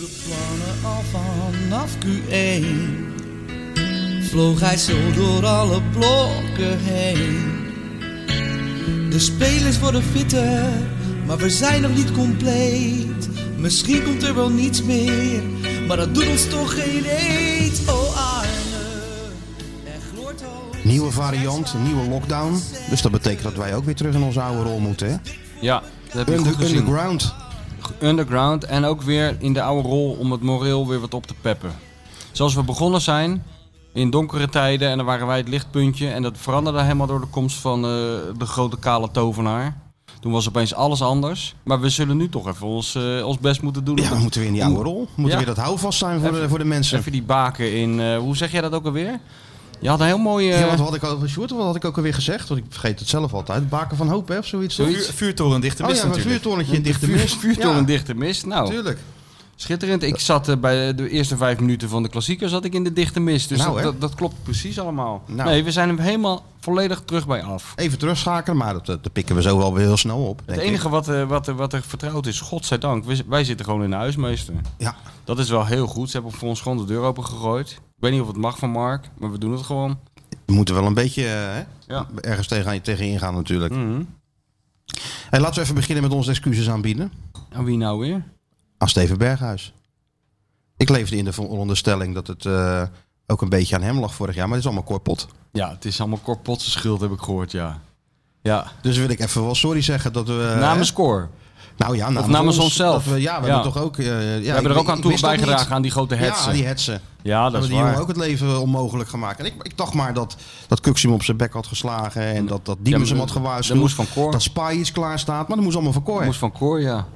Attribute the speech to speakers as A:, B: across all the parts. A: plannen al vanaf Q1 vloog hij zo door alle blokken heen. De spelers worden fitter, maar we zijn nog niet compleet. Misschien komt er wel niets meer, maar dat doet ons toch geen eet. Oh Arne, er gloort al...
B: Nieuwe variant, nieuwe lockdown. Dus dat betekent dat wij ook weer terug in onze oude rol moeten. Hè?
C: Ja, dat heb je goed
B: Under,
C: gezien.
B: underground.
C: underground en ook weer in de oude rol om het moreel weer wat op te peppen. Zoals we begonnen zijn in donkere tijden en dan waren wij het lichtpuntje en dat veranderde helemaal door de komst van eh, de grote kale tovenaar. Toen was opeens alles anders. Maar we zullen nu toch even ons, eh, ons best moeten doen.
B: Ja, we
C: om
B: moeten weer in die oude rol. We moeten
C: Ja.
B: weer dat houvast zijn voor,
C: Even-
B: de, voor de mensen.
C: even die baken in. eh, hoe zeg jij dat ook alweer? Je had een heel mooi. eh,
B: Ja, wat had ik over Sjoerd, wat had ik ook alweer gezegd? Want ik vergeet het zelf altijd. Baken van hoop, hè, of zoiets. toch?
C: Zoiets.
D: Vuur, vuurtoren dichter
B: Oh
D: mist
B: ja, een
D: natuurlijk.
B: vuurtorentje in dichte
C: vuur-
B: mist.
C: vuurtoren
B: ja,
C: dichte mist. Nou,
B: Tuurlijk.
C: schitterend. Ik zat eh, bij de eerste vijf minuten van de klassieker zat ik in de dichte mist. Dus
B: Nou, hè?
C: dat, dat, dat klopt precies allemaal.
B: Nou.
C: Nee, we zijn hem helemaal volledig terug bij af.
B: Even terugschakelen, maar dat, dat pikken we zo wel weer heel snel op.
C: Het
B: denk
C: enige wat, eh, wat, er- wat er vertrouwd is, godzijdank, wij, wij zitten gewoon in de huismeester.
B: Ik. Ja,
C: Dat is wel heel goed. Ze hebben voor ons gewoon de deur open gegooid. Ik weet niet of het mag van Mark, maar we doen het gewoon.
B: we moeten wel een beetje eh, hè,
C: Ja.
B: ergens tegen, tegenin gaan natuurlijk.
C: Mhm.
B: Hey, laten we even beginnen met onze excuses aanbieden.
C: En wie nou weer?
B: Aan Steven Berghuis. Ik leefde in de veronderstelling dat het eh, ook een beetje aan hem lag vorig jaar, maar het is allemaal korpot.
C: Ja, het is allemaal korpotse schuld, heb ik gehoord, ja. Ja,
B: Dus wil ik even wel sorry zeggen dat we...
C: namens Cor.
B: Nou Eh, ja, namens,
C: namens
B: ons,
C: onszelf.
B: dat we- ja, we
C: Ja.
B: hebben toch ook... eh, ja,
C: we hebben er ook aan toe bijgedragen aan die grote
B: hetsen. Ja,
C: hetsen.
B: die
C: Ja,
B: hetsen.
C: dat is
B: hebben die jongen
C: waar.
B: ook het leven onmogelijk gemaakt. En ik, ik dacht maar dat, dat Kuxim op zijn bek had geslagen en dat, dat Diemers
C: Ja,
B: hem had
C: Dat
B: gewaarschuwd.
C: moest van Cor.
B: Dat Spy iets klaar staat, maar dat moest allemaal van Cor.
C: Dat moest van Cor, ja.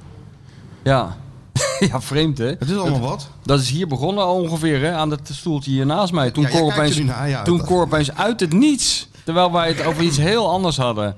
C: Ja. ja, vreemd hè.
B: Het is allemaal wat.
C: Dat is hier begonnen al ongeveer, hè, aan dat stoeltje hier naast mij. Toen,
B: Ja, jij
C: Cor,
B: kijkt er
C: opeens,
B: nu naar, ja,
C: toen
B: dat-
C: Cor opeens uit het niets, terwijl wij het over iets heel anders hadden.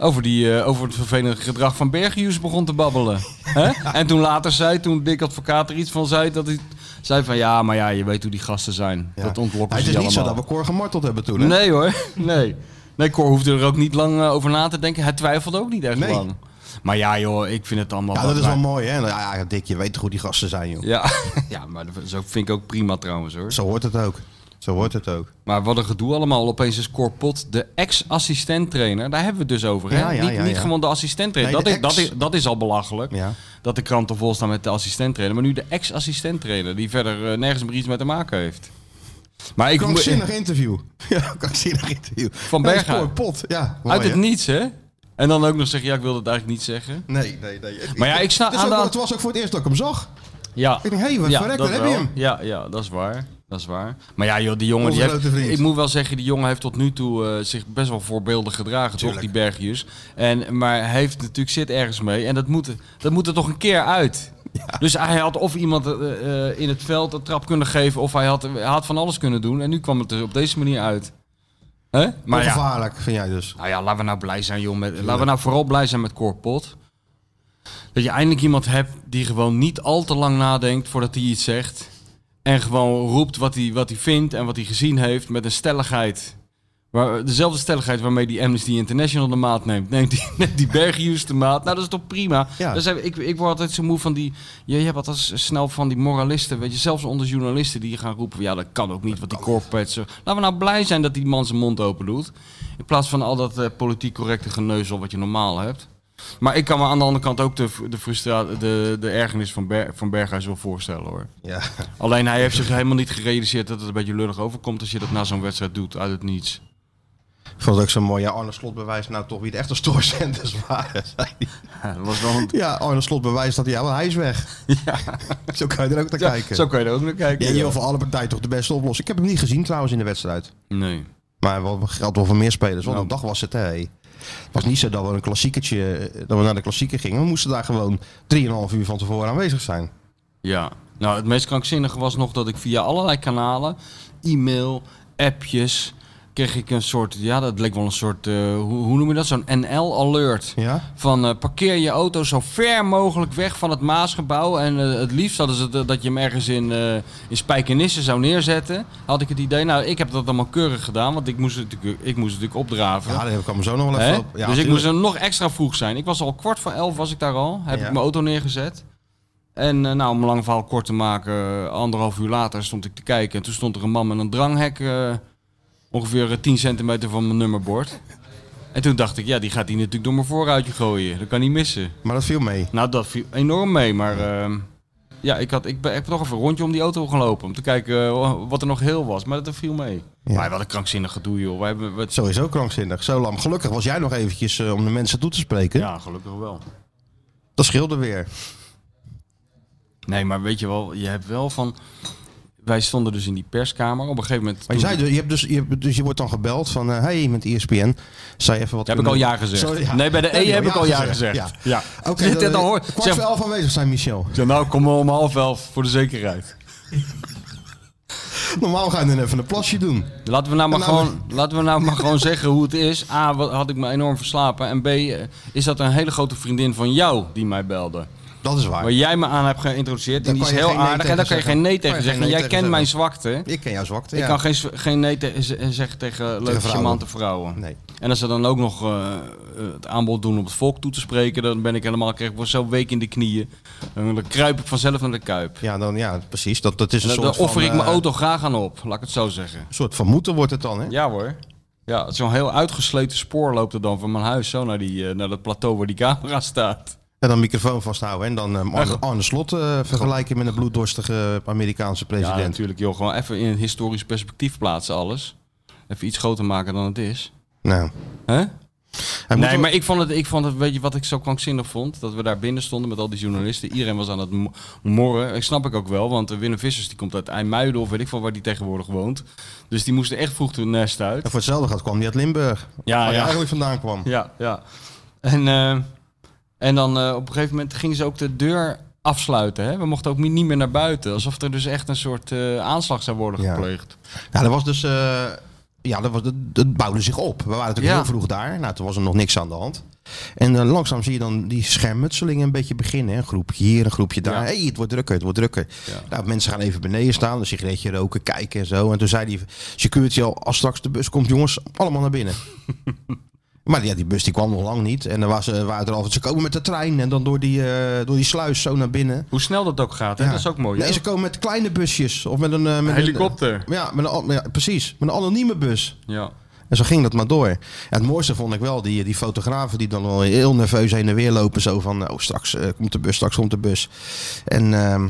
C: Over, die, eh, over het vervelende gedrag van Bergius begon te babbelen. hè? En toen later zei, toen Dick Advocaat er iets van zei, dat hij zei van ja, maar ja, je weet hoe die gasten zijn.
B: Ja.
C: Dat
B: Maar
C: ontlokken
B: het
C: ze
B: is
C: je
B: niet zo
C: allemaal.
B: dat we Cor gemarteld hebben toen. Hè?
C: Nee hoor, nee. Nee, Cor hoefde er ook niet lang eh, over na te denken. Hij twijfelde ook niet echt
B: Nee.
C: lang. Maar ja joh, ik vind het allemaal...
B: Ja,
C: wat-
B: dat is wel
C: maar-
B: mooi, hè? Ja, ja, Dick, je weet toch hoe die gasten zijn, joh.
C: Ja, ja, maar dat is ook- vind ik ook prima trouwens hoor.
B: Zo hoort het ook. Zo hoort het ook.
C: Maar wat een gedoe allemaal. Opeens is Cor Pot de ex-assistent trainer. Daar hebben we het dus over. Hè?
B: Ja, ja,
C: niet
B: ja,
C: niet
B: ja.
C: gewoon de assistent trainer.
B: Nee, de
C: dat, is,
B: ex.
C: dat, is, dat is al belachelijk.
B: Ja.
C: Dat de kranten vol staan met de assistent trainer. Maar nu de ex-assistent trainer. Die verder eh, nergens meer iets mee te maken heeft. Maar ik
B: Krankzinnig interview. Ja, krankzinnig interview.
C: Van
B: Ja, dat is
C: Berghuis.
B: Cor Pot, ja. Mooi,
C: Uit het
B: hè?
C: niets hè. En dan ook nog zeggen, ja ik wilde het eigenlijk niet zeggen.
B: Nee, nee, nee.
C: Maar ja, ik sta
B: Het is
C: aan
B: ook-
C: de-
B: Het was ook voor het eerst dat ik hem zag.
C: Ja.
B: Ik denk, hé, wat
C: ja,
B: verrek,
C: dat
B: daar heb je
C: wel.
B: hem.
C: Ja, ja, dat is waar. Dat is waar. Maar ja, joh, die jongen...
B: Onze
C: Die heeft,
B: grote vriend.
C: ik moet wel zeggen, die jongen heeft tot nu toe eh, zich best wel voorbeeldig gedragen. Toch,
B: Tuurlijk.
C: die Bergius. En, maar hij heeft natuurlijk zit ergens mee. En dat moet, dat moet er toch een keer uit. Dus hij had of iemand eh, eh, in het veld een trap kunnen geven... of hij had, hij had van alles kunnen doen. En nu kwam het er op deze manier uit. Hè? Maar ja,
B: Gevaarlijk, vind jij dus.
C: nou ja, laten we nou blij zijn, joh. Met, laten we nou vooral blij zijn met Corpot. Dat je eindelijk iemand hebt die gewoon niet al te lang nadenkt voordat hij iets zegt. En gewoon roept wat hij, wat hij vindt en wat hij gezien heeft met een stelligheid. Waar, dezelfde stelligheid waarmee die Amnesty International de maat neemt. Neemt die, neemt die Bergius de maat. Nou, dat is toch prima.
B: Ja.
C: Dat zijn- ik, ik word altijd zo moe van die... Je, je hebt altijd s- snel van die moralisten. Weet je, zelfs onder journalisten die gaan roepen... Ja, dat kan ook niet, wat die corporates... zo- Laten we nou blij zijn dat die man zijn mond open doet. In plaats van al dat eh, politiek correcte geneuzel wat je normaal hebt. Maar ik kan me aan de andere kant ook de, de, frustra- de, de ergernis van, Ber- van Berghuis wel voorstellen hoor.
B: Ja.
C: Alleen hij heeft zich helemaal niet gerealiseerd dat het een beetje lullig overkomt als je dat na zo'n wedstrijd doet uit het niets.
B: Ik vond het ook zo mooi. Ja, Arne Slot bewijst nou toch wie de echte stoorzenders waren. zei hij.
C: dat was wel een...
B: Ja, Arne Slot bewijst dat hij, ja, wel, hij is weg. Zo kan je er ook naar kijken.
C: Zo kan je er ook naar kijken.
B: Ja, heel voor alle partijen toch de beste oplossing. Ik heb hem niet gezien trouwens in de wedstrijd.
C: Nee.
B: Maar wel geldt wel voor meer spelers. Want
C: Nou.
B: een dag was het, hè. Het was niet zo dat we een klassiekertje, eh, dat we naar de klassieker gingen. We moesten daar gewoon 3,5 uur van tevoren aanwezig zijn.
C: Ja. Nou, het meest krankzinnige was nog dat ik via allerlei kanalen, e-mail, appjes, kreeg ik een soort, ja, dat leek wel een soort, eh, hoe, hoe noem je dat, zo'n NL-alert.
B: Ja?
C: Van eh, parkeer je auto zo ver mogelijk weg van het Maasgebouw. En eh, het liefst hadden ze het, eh, dat je hem ergens in, eh in Spijkenisse zou neerzetten. Had ik het idee, nou ik heb dat allemaal keurig gedaan, want ik moest het natuurlijk, ik moest het natuurlijk opdraven.
B: Ja, daar kwam zo nog wel
C: Hè?
B: even op. Ja,
C: dus ik
B: tuurlijk.
C: moest er nog extra vroeg zijn. Ik was al kwart voor elf was ik daar al. Heb
B: Ja.
C: ik mijn auto neergezet. En eh, nou, om een lang verhaal kort te maken, eh, anderhalf uur later stond ik te kijken. En toen stond er een man met een dranghek eh, ongeveer eh, 10 centimeter van mijn nummerbord. En toen dacht ik, ja, die gaat die natuurlijk door mijn voorruitje gooien. Dat kan niet missen.
B: Maar dat viel mee.
C: Nou, dat viel enorm mee, maar ehm, ja, ik, had, ik, ben, ik heb nog even een rondje om die auto gelopen om te kijken eh, wat er nog heel was, maar dat viel mee.
B: Ja.
C: Maar wat een krankzinnig gedoe, joh. Wij hebben, we-
B: Sowieso krankzinnig. Zo lam. Gelukkig was jij nog eventjes eh, om de mensen toe te spreken.
C: ja, gelukkig wel.
B: Dat scheelde weer.
C: Nee, maar weet je wel, je hebt wel van... Wij stonden dus in die perskamer. Op een gegeven moment...
B: Maar je,
C: toen-
B: zei, dus- je, hebt dus, je, hebt- dus je wordt dan gebeld van... eh, hey, met ESPN. Zou je even wat...
C: heb ik al ja gezegd.
B: Sorry, ja.
C: Nee, bij de
B: Ja, die
C: E heb ik al ja gezegd.
B: Ja.
C: Ja.
B: Oké,
C: Zit dit
B: dan- eh,
C: al hoor?
B: Kwart
C: Zeg-
B: voor elf aanwezig zijn, Michel.
C: Ik zei, nou, kom maar om half elf voor de zekerheid.
B: Normaal ga je dan even een plasje doen.
C: Laten we nou maar,
B: Nou,
C: gewoon, laten we nou maar gewoon zeggen hoe het is. A, wat, had ik me enorm verslapen. En B, eh, is dat een hele grote vriendin van jou die mij belde.
B: Dat is waar.
C: Waar jij me aan hebt
B: Ah.
C: geïntroduceerd. En
B: Daar
C: die is
B: kan je
C: heel
B: geen nee
C: aardig. en daar kan je
B: tegen
C: geen nee
B: zeggen.
C: tegen
B: Kan je
C: zeggen.
B: geen
C: Jij
B: nee
C: kent
B: tegen
C: mijn zwakte.
B: Ik ken jouw zwakte,
C: Ik
B: ja.
C: kan geen, zw- geen nee te- z- zeggen tegen leuke,
B: vrouwen.
C: charmante vrouwen.
B: Nee.
C: En als ze dan ook nog eh, het aanbod doen om het volk toe te spreken, dan ben ik helemaal, krijg ik wel zo week in de knieën. En dan kruip ik vanzelf naar de kuip.
B: Ja, dan, ja, precies. Dat, dat is een
C: En dan- dan
B: soort
C: offer
B: van,
C: ik mijn
B: eh,
C: auto graag aan op, laat ik het zo zeggen.
B: Een soort van moeten wordt het dan, hè?
C: Ja hoor. Ja, het is zo'n heel uitgesleten spoor loopt er dan van mijn huis zo naar, die, eh, naar dat plateau waar die camera staat.
B: En dan microfoon vasthouden en dan ehm, Arne, Arne Slot eh, vergelijken met een bloeddorstige Amerikaanse
C: Ja,
B: president.
C: natuurlijk joh. Gewoon even in een historisch perspectief plaatsen alles. Even iets groter maken dan het is.
B: nou,
C: Hè?
B: hij moet
C: Nee,
B: wel-
C: maar ik vond, het, ik vond het, weet je wat ik zo krankzinnig vond? Dat we daar binnen stonden met al die journalisten. Iedereen was aan het mo- morren. Ik snap ik ook wel, want eh, Willem Vissers die komt uit IJmuiden of weet ik van waar die tegenwoordig woont. Dus die moesten echt vroeg hun nest uit.
B: en voor hetzelfde gaat kwam hij uit Limburg.
C: Ja,
B: waar hij
C: ja.
B: eigenlijk vandaan kwam.
C: Ja, ja. En, eh, en dan eh, op een gegeven moment gingen ze ook de deur afsluiten. Hè? We mochten ook mi- niet meer naar buiten. Alsof er dus echt een soort eh, aanslag zou worden
B: Ja.
C: gepleegd.
B: Ja, dat was dus... eh, ja, dat, was, dat, dat bouwde zich op. We waren natuurlijk
C: Ja.
B: heel vroeg daar. Nou, toen was er nog niks aan de hand. En eh, langzaam zie je dan die schermutselingen een beetje beginnen. hè. Een groepje hier, een groepje daar.
C: Ja.
B: hey, het wordt drukker, het wordt drukker.
C: Ja.
B: Nou, mensen gaan even beneden staan, een sigaretje roken, kijken en zo. En toen zei die security al, als straks de bus komt, jongens, allemaal naar binnen. maar ja, die bus die kwam nog lang niet. En dan was, eh, waren er altijd, ze komen met de trein en dan door die, eh, door die sluis zo naar binnen.
C: Hoe snel dat ook gaat, hè?
B: Ja.
C: dat is ook mooi. hè?
B: Nee, ze komen met kleine busjes of met een... eh, met
C: Een helikopter.
B: Een, ja, met een, an- ja, precies. Met een anonieme bus.
C: Ja.
B: En zo ging dat maar door. En het mooiste vond ik wel, die, die fotografen die dan wel heel nerveus heen en weer lopen. Zo van, oh straks eh, komt de bus, straks komt de bus. En ehm,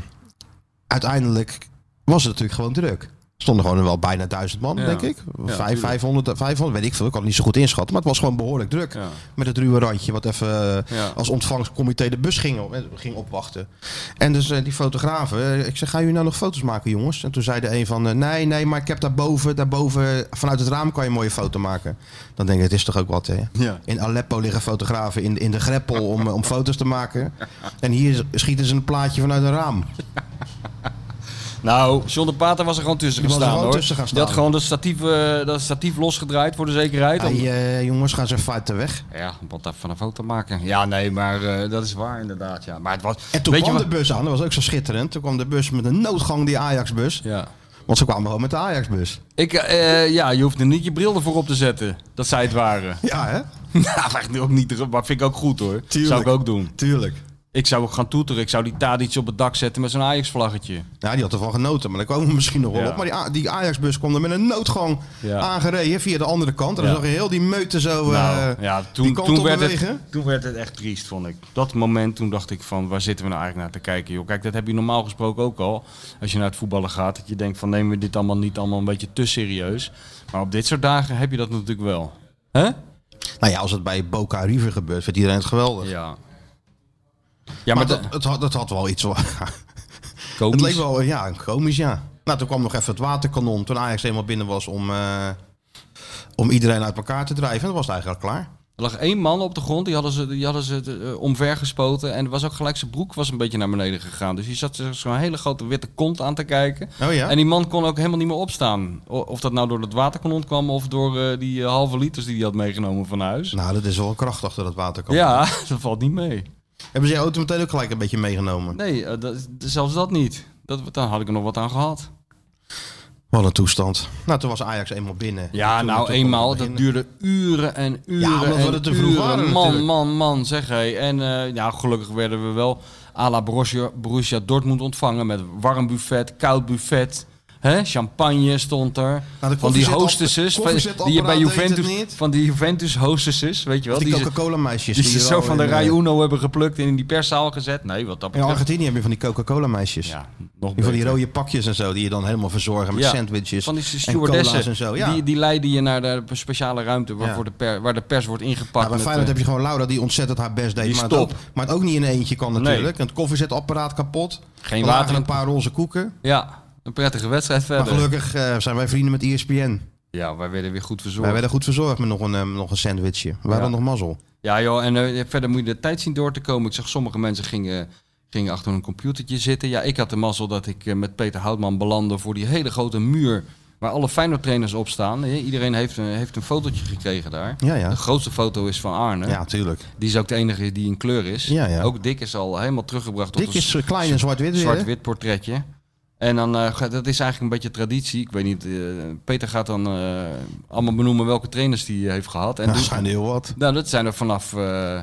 B: uiteindelijk was het natuurlijk gewoon druk. Er stonden gewoon wel bijna duizend man,
C: Ja.
B: denk ik.
C: Ja,
B: Vijf,
C: tuurlijk.
B: 500, 500, weet ik veel. Ik kan het niet zo goed inschatten. Maar het was gewoon behoorlijk druk.
C: Ja.
B: Met het ruwe randje, wat even eh,
C: Ja.
B: als ontvangstcomité de bus ging, op- eh, ging opwachten. En dus eh, die fotografen, eh, ik zeg, gaan jullie nou nog foto's maken, jongens? En toen zei de een van, eh, nee, nee, maar ik heb daarboven, daarboven, vanuit het raam kan je een mooie foto maken. Dan denk ik, het is toch ook wat, hè?
C: Ja.
B: In Aleppo liggen fotografen in, in de greppel om, eh, om foto's te maken. En hier schieten ze een plaatje vanuit een raam.
C: Nou, John de Pater was er gewoon tussen
B: Die was er
C: gestaan,
B: gewoon
C: hoor.
B: tussen gaan
C: Die had
B: staan.
C: gewoon dat statief, eh, dat statief losgedraaid voor de zekerheid.
B: Hey,
C: Om-
B: eh, jongens, gaan ze even uit de weg.
C: Ja, wat daar van een foto maken. Ja, nee, maar eh, dat is waar inderdaad. Ja. Maar het was,
B: En toen
C: weet
B: kwam
C: je
B: de bus aan, dat was ook zo schitterend. Toen kwam de bus met een noodgang, die Ajax-bus.
C: Ja.
B: Want ze kwamen gewoon met de Ajax-bus.
C: Ik, eh, ja, je hoeft er niet je bril ervoor op te zetten. Dat zij het waren.
B: Ja, hè?
C: nou, maar ook niet, maar vind ik ook goed hoor.
B: Tuurlijk.
C: Zou ik ook doen.
B: Tuurlijk.
C: Ik zou ook gaan toeteren. Ik zou die Tadic op het dak zetten met zo'n Ajax-vlaggetje.
B: Ja, die had ervan genoten, maar daar komen we misschien nog wel
C: Ja.
B: op. Maar die, A- die Ajax-bus kwam er met een noodgang
C: Ja.
B: aangereden via de andere kant. En
C: Ja.
B: dan zag je heel die meute zo
C: Nou,
B: eh,
C: ja, toen,
B: die kant
C: toen,
B: op
C: werd
B: bewegen.
C: het, toen werd het echt triest, vond ik. Dat moment, toen dacht ik van, waar zitten we nou eigenlijk naar te kijken? Joh? Kijk, dat heb je normaal gesproken ook al. Als je naar het voetballen gaat, dat je denkt van, nemen we dit allemaal niet allemaal een beetje te serieus. Maar op dit soort dagen heb je dat natuurlijk wel. Hè?
B: Nou ja, als het bij Boca River gebeurt, vindt iedereen het geweldig.
C: Ja. Ja,
B: maar
C: maar,
B: dat, het had, dat had wel iets... het
C: komisch.
B: leek wel, eh, ja, komisch, ja. Nou, toen kwam nog even het waterkanon toen Ajax helemaal binnen was om, eh, om iedereen uit elkaar te drijven. En dat was het eigenlijk al klaar.
C: Er lag één man op de grond, die hadden ze, die hadden ze eh, omvergespoten. En er was ook gelijk zijn broek was een beetje naar beneden gegaan. Dus je zat zich zo'n hele grote witte kont aan te kijken.
B: Oh ja?
C: En die man kon ook helemaal niet meer opstaan. O- Of dat nou door het waterkanon kwam of door eh, die eh, halve liters die hij had meegenomen van huis.
B: Nou, dat is wel een kracht achter dat waterkanon.
C: Ja, dat valt niet mee.
B: Hebben ze je auto meteen ook gelijk een beetje meegenomen?
C: Nee, eh, dat, zelfs dat niet. Dat, daar had ik er nog wat aan gehad.
B: Wat een toestand. Nou, toen was Ajax eenmaal binnen.
C: Ja,
B: Toen-
C: nou
B: toen
C: eenmaal,
B: kon het
C: dat
B: beginnen.
C: duurde uren en uren.
B: Ja, omdat we
C: en
B: er te vroeg
C: uren.
B: waren
C: Man,
B: natuurlijk.
C: man, man, zeg hé. En eh, ja, gelukkig werden we wel à la Borussia, Borussia Dortmund ontvangen. Met warm buffet, koud buffet. hè? Champagne stond er.
B: Nou, de
C: van die
B: koffiezetapp-
C: hostesses. van-
B: koffiezetapparaat
C: Die je bij
B: deed het
C: Juventus.
B: niet.
C: Van die Juventus hostesses. Weet je wel.
B: Die,
C: Die, ze-
B: Coca-Cola meisjes.
C: die ze
B: er
C: zo
B: al
C: van de
B: in,
C: Rai
B: eh,
C: Uno hebben geplukt en in die perszaal gezet. Nee, wat dat
B: In
C: betreft.
B: Argentinië heb je van die Coca-Cola meisjes.
C: Ja, nog
B: Die van die
C: beter.
B: rode pakjes en zo, die je dan helemaal verzorgen met
C: Ja.
B: sandwiches
C: Van die
B: en cola's
C: stewardessen.
B: en zo. Ja.
C: die, die leiden je naar de speciale ruimte waarvoor
B: Ja.
C: de per, waar de pers wordt ingepakt.
B: Nou, bij
C: met,
B: Feyenoord
C: eh,
B: heb je gewoon Laura die ontzettend haar best deed.
C: die
B: maar, het
C: stop.
B: ook, maar het ook niet in een eentje kan natuurlijk.
C: Nee.
B: En Het koffiezetapparaat kapot.
C: Geen
B: Er
C: water
B: lagen
C: in
B: Een
C: het-
B: paar roze koeken.
C: Ja, een prettige wedstrijd
B: Maar
C: verder.
B: gelukkig eh, zijn wij vrienden met ESPN.
C: Ja, wij werden weer goed verzorgd.
B: Wij werden goed verzorgd met nog een, eh, nog een sandwichje. We hadden
C: Ja.
B: nog mazzel.
C: Ja joh, en eh, verder moet je de tijd zien door te komen. Ik zag sommige mensen gingen, gingen achter hun computertje zitten. Ja, ik had de mazzel dat ik eh, met Peter Houtman belandde voor die hele grote muur... waar alle Feyenoord trainers op staan. Eh, Iedereen heeft een, heeft een fotootje gekregen daar.
B: Ja, ja.
C: De grootste foto is van Arne.
B: Ja, tuurlijk.
C: Die is ook de enige die in kleur is.
B: Ja, ja.
C: Ook Dick is al helemaal teruggebracht tot
B: Dik
C: een
B: is eh, klein en zwart-wit weer. hè?
C: zwart-wit portretje. En dan, eh, ga- dat is eigenlijk een beetje traditie. Ik weet niet, eh, Peter gaat dan eh, allemaal benoemen welke trainers die hij heeft gehad. En
B: Nou,
C: doet-
B: dat zijn er heel wat.
C: nou, dat zijn er vanaf, eh,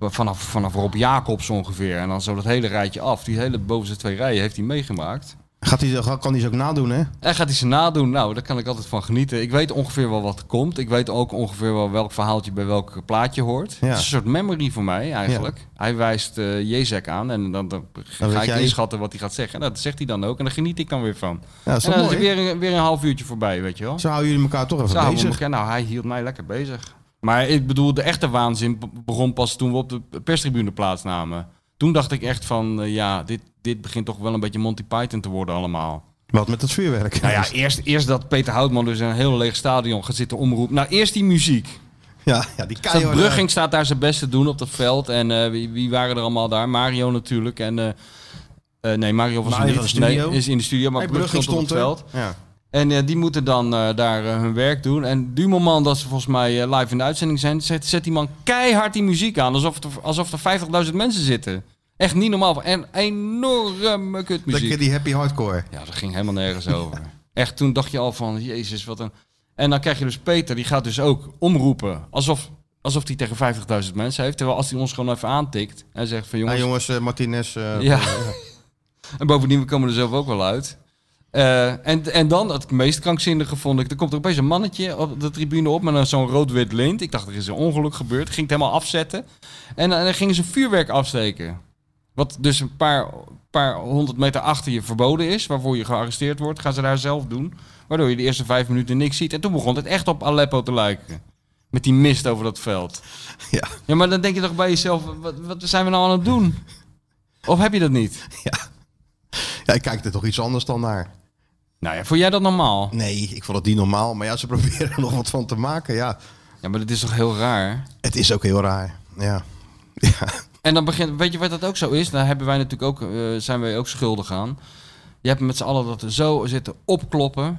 C: vanaf, vanaf Rob Jacobs ongeveer. En dan zo dat hele rijtje af. Die hele bovenste twee rijen heeft hij meegemaakt.
B: Gaat die, kan hij ze ook nadoen, hè?
C: En gaat hij ze nadoen? Nou, daar kan ik altijd van genieten. Ik weet ongeveer wel wat er komt. Ik weet ook ongeveer wel welk verhaaltje bij welk plaatje hoort.
B: Ja.
C: Het is een soort memory voor mij eigenlijk. Hij wijst eh Jezek aan en dan, dan ga
B: weet
C: ik
B: jij-
C: inschatten wat hij gaat zeggen. Nou, dat zegt hij dan ook en daar geniet ik dan weer van.
B: Ja, dat is
C: en
B: toch
C: dan is
B: mooi?
C: er weer, een- weer een half uurtje voorbij, weet je wel.
B: Zo houden jullie elkaar toch
C: Zo
B: even
C: houden we
B: bezig.
C: elkaar- nou, hij hield mij lekker bezig. Maar ik bedoel, de echte waanzin be- begon pas toen we op de perstribune plaatsnamen. Toen dacht ik echt van, eh, ja, dit, dit begint toch wel een beetje Monty Python te worden allemaal.
B: Wat met dat vuurwerk.
C: Nou ja, eerst, eerst dat Peter Houtman dus in een heel leeg stadion gaat zitten omroepen. Nou, eerst die muziek.
B: ja, ja, die eh,
C: Staat
B: keiharde...
C: Brugging staat daar zijn best te doen op dat veld. En eh, wie, wie waren er allemaal daar? Mario natuurlijk. En, eh, eh, nee, Mario was
B: Mario
C: er
B: was
C: niet.
B: in de studio.
C: Nee, is in de studio, maar
B: Hey,
C: Brugging stond op het veld.
B: er. Ja.
C: En eh, die moeten dan eh, daar eh, hun werk doen. En die moment dat ze volgens mij eh, live in de uitzending zijn, zet, zet die man keihard die muziek aan. Alsof er, alsof er 50.000 mensen zitten. Echt niet normaal. En enorme
B: Lekker
C: kutmuziek.
B: die happy hardcore.
C: Ja, dat ging helemaal nergens over. Echt, toen dacht je al van, jezus, wat een... En dan krijg je dus Peter, die gaat dus ook omroepen. Alsof alsof hij tegen 50.000 mensen heeft. Terwijl als hij ons gewoon even aantikt en zegt van,
B: Ja,
C: jongens,
B: jongens, eh, Martinez... eh,
C: ja. en bovendien, we komen er zelf ook wel uit. Eh, en, en dan, het meest krankzinnige vond ik, er komt er opeens een mannetje op de tribune op met een- zo'n rood-wit lint. Ik dacht, er is een ongeluk gebeurd. Ik ging het helemaal afzetten. En, eh, dan gingen ze vuurwerk afsteken. Wat dus een paar, paar honderd meter achter je verboden is, waarvoor je gearresteerd wordt, gaan ze daar zelf doen. Waardoor je de eerste vijf minuten niks ziet. En toen begon het echt op Aleppo te lijken. Met die mist over dat veld.
B: Ja.
C: Ja, maar dan denk je toch bij jezelf, wat, wat zijn we nou aan het doen? Of heb je dat niet?
B: ja, ik kijk er toch iets anders dan naar.
C: Nou ja, vond jij dat normaal?
B: Nee, ik vond het niet normaal. Maar ja, ze proberen er nog wat van te maken. Ja,
C: Ja, maar dat is toch heel raar?
B: het is ook heel raar. Ja. ja.
C: En dan begint, weet je wat dat ook zo is? Daar hebben wij natuurlijk ook, eh, zijn wij ook schuldig aan. Je hebt met z'n allen dat er zo zitten opkloppen.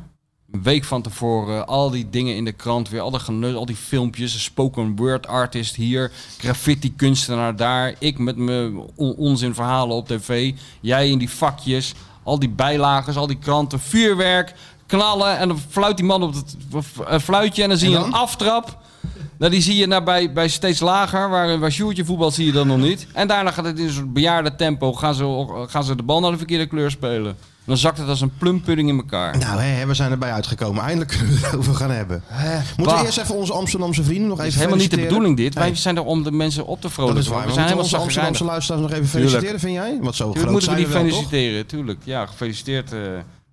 C: Een week van tevoren, al die dingen in de krant weer, al, dat geneu- al die filmpjes, een spoken word artist hier, graffiti kunstenaar daar, ik met mijn on- onzin verhalen op tv, jij in die vakjes, al die bijlagers, al die kranten, vuurwerk, knallen en dan fluit die man op het f- eh, fluitje en dan zie
B: En
C: je
B: dan?
C: een aftrap. Nou, die zie je naar bij, bij steeds lager, waar, waar Sjoertje voetbal zie je dan nog niet. En daarna gaat het in zo'n bejaarde tempo, gaan ze, gaan ze de bal naar de verkeerde kleur spelen. Dan zakt het als een plumpudding in elkaar.
B: Nou, hè, we zijn erbij uitgekomen. Eindelijk kunnen we het erover gaan hebben. Moeten
C: bah.
B: we eerst even onze Amsterdamse vrienden nog
C: Het
B: even
C: is helemaal niet de
B: feliciteren?
C: bedoeling dit.
B: Nee,
C: Wij zijn er om de mensen op te
B: Oh, dat
C: vrolijken.
B: is waar.
C: we
B: We
C: zijn
B: moeten
C: helemaal
B: onze
C: zagrijnig.
B: Amsterdamse luisteraars nog even
C: Tuurlijk.
B: feliciteren, vind jij? Want zo
C: Natuurlijk
B: groot
C: moeten
B: zijn
C: we
B: we
C: die
B: wel, toch?
C: feliciteren, tuurlijk. Ja, gefeliciteerd eh,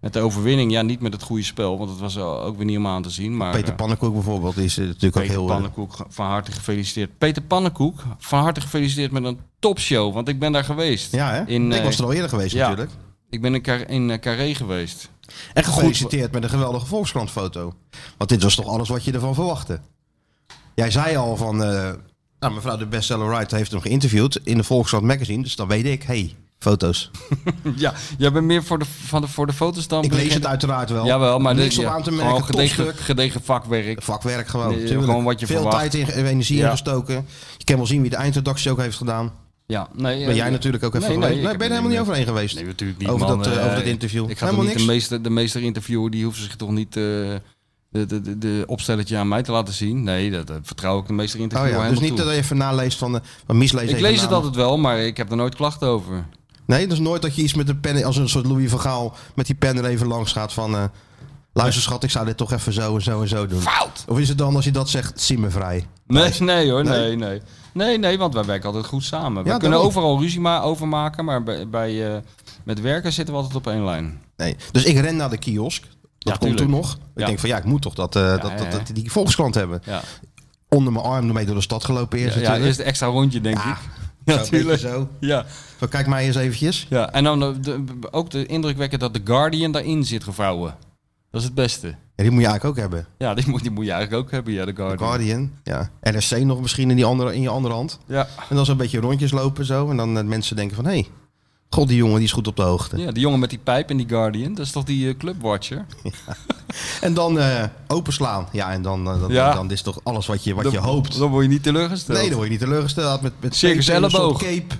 C: met de overwinning. Ja, niet met het goede spel, want het was eh, ook weer niet om aan te zien. Maar,
B: Peter
C: eh,
B: Pannenkoek bijvoorbeeld is eh, natuurlijk ook
C: Peter
B: heel... eh,
C: Pannenkoek, van harte gefeliciteerd. Peter Pannenkoek, van harte gefeliciteerd met een topshow, want ik ben daar geweest.
B: ja, hè?
C: In,
B: ik
C: eh,
B: was er al eerder geweest
C: ja.
B: natuurlijk.
C: Ik ben in, Car- in eh, Carré geweest.
B: En gefeliciteerd met een geweldige Volkskrantfoto. Want dit was toch alles wat je ervan verwachtte. Jij zei al van... eh, nou, mevrouw de bestseller Wright heeft hem geïnterviewd in de Volkskrant magazine. Dus dan weet ik, hey, foto's.
C: ja, jij bent meer voor de, van de, voor de foto's dan...
B: Ik lees het uiteraard wel.
C: Jawel, maar
B: niks
C: dit-
B: op
C: ja,
B: aan te
C: gewoon
B: merken.
C: gedegen,
B: Topstuk.
C: gedegen vakwerk.
B: Vakwerk gewoon.
C: Nee,
B: tuurlijk.
C: gewoon wat je
B: Veel
C: verwacht.
B: tijd en energie
C: Ja.
B: ingestoken. Je kan wel zien wie de eindredactie ook heeft gedaan.
C: Ja, nee,
B: Ben
C: eh,
B: jij natuurlijk ook even
C: nee, nee,
B: geweest.
C: ik
B: Nee,
C: heb
B: ben je
C: er
B: helemaal niet
C: mee-
B: overheen geweest.
C: Nee, natuurlijk niet.
B: Over
C: man.
B: dat, eh,
C: Eh,
B: over dat interview.
C: Ik ga
B: Helemaal
C: toch
B: niks?
C: niet de meester, de meester interviewen, die hoeft zich toch niet eh, de, de, de, de opstelletje aan mij te laten zien. Nee, dat, dat vertrouw ik de meester in te
B: Oh ja, dus niet dat je even naleest van de van nou, mislees
C: Ik
B: even
C: lees
B: na.
C: het altijd wel, maar ik heb er nooit klachten over.
B: Nee, dus nooit dat je iets met een pen, als een soort Louis van Gaal, met die pen er even langs gaat van... eh, Luister schat, ik zou dit toch even zo en zo en zo doen.
C: Fout!
B: Of is het dan als je dat zegt, zie me vrij?
C: Nee, nee hoor,
B: Nee.
C: nee, nee. Nee, nee, want wij werken altijd goed samen.
B: Ja,
C: we kunnen
B: daarom.
C: overal ruzie ma over maken, maar bij, bij, eh, met werken zitten we altijd op één lijn.
B: Nee. Dus ik ren naar de kiosk. Dat
C: Ja,
B: komt
C: tuurlijk.
B: toen nog. Ik
C: Ja.
B: denk van ja, ik moet toch dat, eh, dat,
C: ja,
B: dat,
C: ja.
B: dat die Volkskrant hebben.
C: Ja,
B: Onder mijn arm ermee door de stad gelopen eerst
C: ja, ja
B: natuurlijk.
C: eerst een extra rondje, denk
B: Ja,
C: ik.
B: Zo,
C: Ja,
B: een beetje
C: natuurlijk.
B: Zo.
C: Ja,
B: Van, kijk mij eens eventjes.
C: ja. En dan de- de- ook de indruk wekken dat The Guardian daarin zit gevouwen. Dat is het beste.
B: Ja, die moet je eigenlijk ook hebben.
C: Ja, die moet, die moet je eigenlijk ook hebben, ja, The
B: The
C: Guardian.
B: Guardian. Ja. NRC nog misschien in, die andere, in je andere hand.
C: Ja.
B: En dan zo'n beetje rondjes lopen zo. En dan eh, mensen denken van hé, hey, god die jongen die is goed op de hoogte.
C: ja, die jongen met die pijp in die Guardian, dat is toch die eh, Clubwatcher?
B: En dan eh, openslaan. Ja, en dan, eh, dan,
C: Ja.
B: dan is toch alles wat je, wat
C: Dan-
B: je hoopt.
C: Dan word je niet teleurgesteld.
B: Nee, dan word je niet teleurgesteld. Met, met
C: Circus
B: tape en een soort
C: elleboog.
B: Cape.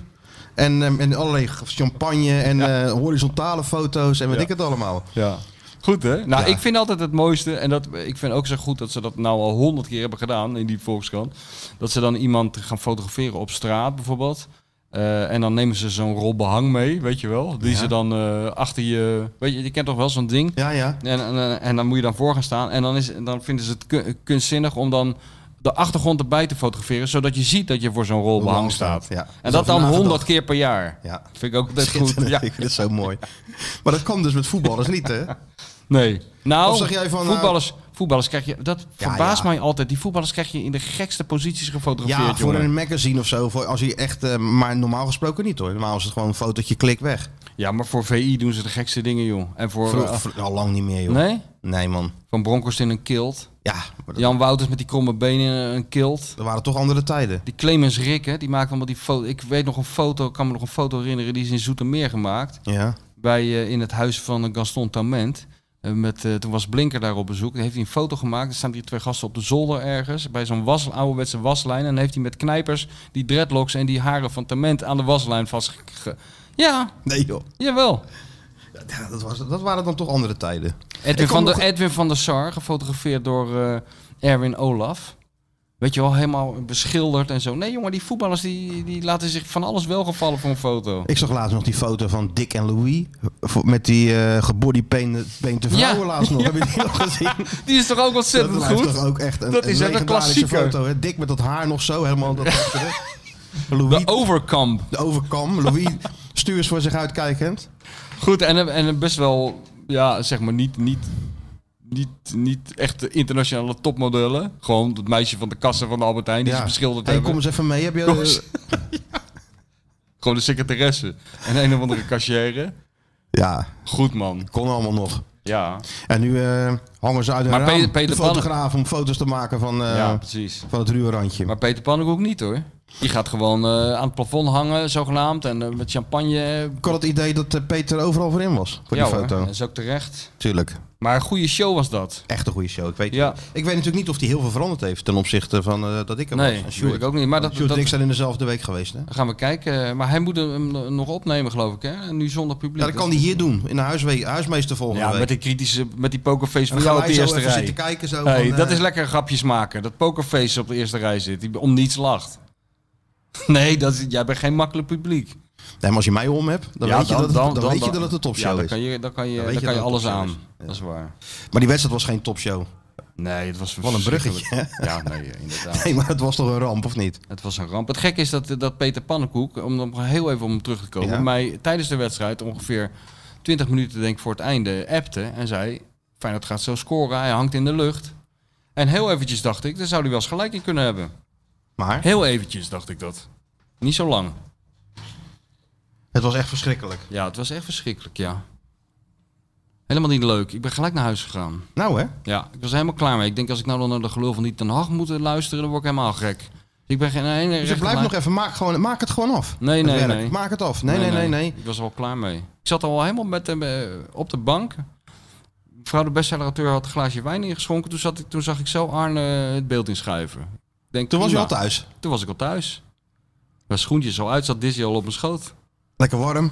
B: En, ehm, en allerlei champagne en eh, horizontale foto's en weet
C: Ja.
B: ik het allemaal.
C: Ja. Goed hè? Nou,
B: Ja.
C: ik vind altijd het mooiste, en dat, ik vind ook zo goed dat ze dat nou al honderd keer hebben gedaan in die Volkskrant. Dat ze dan iemand gaan fotograferen op straat bijvoorbeeld. Eh, en dan nemen ze zo'n rol behang mee, weet je wel. Die
B: Ja.
C: ze dan eh, achter je. Weet je, je kent toch wel zo'n ding?
B: Ja, ja.
C: En, en, eh, en dan moet je dan voor gaan staan. En dan, is, dan vinden ze het kun- kunstzinnig om dan de achtergrond erbij te fotograferen. Zodat je ziet dat je voor zo'n rol behang staat.
B: Ja.
C: En dat dan
B: Vanavond
C: honderd keer per jaar.
B: Ja.
C: Vind ik ook best goed.
B: Schitterend.
C: Ja.
B: Ik vind het zo mooi. Maar dat kan dus met voetballers niet, hè?
C: Nee. Nou,
B: Of zeg jij van, eh,
C: voetballers, voetballers krijg je... Dat
B: Ja,
C: verbaast
B: ja.
C: mij altijd. Die voetballers krijg je in de gekste posities gefotografeerd,
B: Ja, voor
C: jongen.
B: een magazine of zo. Voor als je echt, eh, maar normaal gesproken niet hoor. Normaal is het gewoon een fotootje, klik weg.
C: Ja, maar voor VI doen ze de gekste dingen, joh. En voor...
B: Vroeg,
C: eh,
B: vro- al lang niet meer, joh.
C: nee?
B: Nee, man.
C: Van Bronkhorst in een kilt.
B: Ja, maar dat,
C: Jan Wouters met die kromme benen in een kilt.
B: er waren toch andere tijden.
C: Die Clemens Rick, hè, die maakt allemaal die foto. Ik weet nog een foto, kan me nog een foto herinneren, die is in Zoetermeer gemaakt.
B: Ja.
C: bij, eh, in het huis van eh, Gaston Tament. Eh, met, eh, toen was Blinker daar op bezoek. Dan heeft hij een foto gemaakt. Er staan die twee gasten op de zolder ergens. Bij zo'n was, ouderwetse waslijn. En heeft hij met knijpers die dreadlocks en die haren van Tament aan de waslijn vast. Ja,
B: Nee, joh.
C: jawel.
B: Ja, dat, was, dat waren dan toch andere tijden.
C: Edwin
B: kan
C: van,
B: nog-
C: der, Edwin van der Sar, gefotografeerd door eh, Erwin Olaf. Weet je wel, helemaal beschilderd en zo. Nee jongen, die voetballers die, die laten zich van alles wel gevallen voor een foto.
B: Ik zag laatst nog die foto van Dick en Louis. voor- Met die eh gebodypainte
C: Ja.
B: vrouwen laatst nog. Heb je die nog gezien?
C: Die is toch ook
B: Dat
C: ontzettend
B: blijft
C: goed?
B: toch ook echt een,
C: Dat is
B: een
C: echt een
B: legendarische
C: klassieker.
B: foto. Hè? Dick met dat haar nog zo helemaal. Dat achteren. Louis,
C: De
B: de,
C: overkamp.
B: overkam. Louis stuur eens voor zich uitkijkend.
C: Goed, en, en best wel, ja, zeg maar, niet, niet, niet, niet echt de internationale topmodellen. Gewoon het meisje van de kassa van de Albert Heijn, die
B: Ja.
C: ze beschilderd
B: Hey,
C: hebben.
B: kom eens even mee. Heb je,
C: Kom eens. Gewoon de secretaresse en een of andere cashier.
B: ja,
C: Goed, man.
B: kon allemaal nog.
C: Ja,
B: En nu eh, hangen ze uit een
C: Maar
B: raam,
C: Peter- Peter
B: de fotograaf om foto's te maken van, eh,
C: ja precies.
B: van het ruwe randje.
C: Maar Peter Pannenkoek niet, hoor. Die gaat gewoon eh, aan het plafond hangen, zogenaamd, en eh, met champagne.
B: ik had het idee dat eh, Peter overal voor in was. Voor
C: ja,
B: die
C: hoor,
B: foto.
C: dat is ook terecht.
B: Tuurlijk.
C: Maar een goede show was dat.
B: Echt een goede show. Ik weet,
C: Ja.
B: ik weet natuurlijk niet of hij heel veel veranderd heeft ten opzichte van eh, dat ik hem
C: Nee,
B: was. En
C: dat
B: Sjoerd.
C: ik ook niet. Maar dat,
B: Sjoerd en
C: dat
B: ik zijn in dezelfde week geweest. Hè?
C: gaan we kijken. Maar hij moet hem eh, nog opnemen, geloof ik, hè? En nu zonder publiek.
B: Ja, dat kan hij hier doen. In de huiswe- huismeester volgende
C: Ja,
B: week.
C: met die kritische, met die pokerface
B: Dan
C: van
B: gaan
C: jou op
B: wij
C: de
B: zo
C: eerste
B: even
C: rij.
B: zitten kijken. Zo
C: Hey,
B: van,
C: dat
B: eh,
C: is lekker grapjes maken. Dat pokerface op de eerste rij zit, die om niets lacht. Nee, dat is, jij bent geen makkelijk publiek.
B: nee, maar als je mij om hebt, dan
C: Ja,
B: weet je dat het- dan
C: dan-
B: weet je dat
C: dan-
B: het een
C: ja,
B: topshow
C: dan
B: is.
C: Kan je, dan kan je,
B: Dan
C: dan
B: weet je
C: kan je
B: dat het
C: alles
B: een
C: aan.
B: topshow is. Ja.
C: Dat is waar.
B: Maar die wedstrijd was geen topshow.
C: Nee, het was
B: Wat een bruggetje,
C: verschrikkelijk. Ja, nee, inderdaad.
B: Nee, maar het was toch een ramp, of niet?
C: Het was een ramp. Het gekke is dat, dat Peter Pannenkoek, om nog heel even om hem terug te komen,
B: Ja.
C: mij tijdens de wedstrijd ongeveer 20 minuten denk ik voor het einde appte en zei: Feyenoord gaat zo scoren, hij hangt in de lucht. En heel eventjes dacht ik, daar zou hij wel eens gelijk in kunnen hebben.
B: Maar
C: Heel eventjes dacht ik dat. Niet zo lang.
B: het was echt verschrikkelijk.
C: Ja, het was echt verschrikkelijk, ja. Helemaal niet leuk. Ik ben gelijk naar huis gegaan.
B: Nou hè?
C: Ja, ik was er helemaal klaar mee. Ik denk, als ik nou dan naar de gelul van die Ten Hag moet luisteren, dan word ik helemaal gek. Ik ben geen ene
B: Dus
C: rechte
B: ik blijf
C: lijn-
B: nog even, maak, gewoon, maak het gewoon af.
C: Nee,
B: Het
C: nee,
B: werk.
C: nee.
B: Maak het af. Nee, nee, nee, nee.
C: Ik was er al klaar mee. Ik zat al helemaal met hem eh, op de bank. Mevrouw de bestsellerauteur had een glaasje wijn ingeschonken. Toen, zat ik, toen zag ik zo Arne het beeld inschuiven. Ik Denk,
B: Toen was je al
C: prima.
B: thuis.
C: Toen was ik al thuis. Mijn schoentjes al uit, zat Dizzy al op mijn schoot.
B: Lekker warm.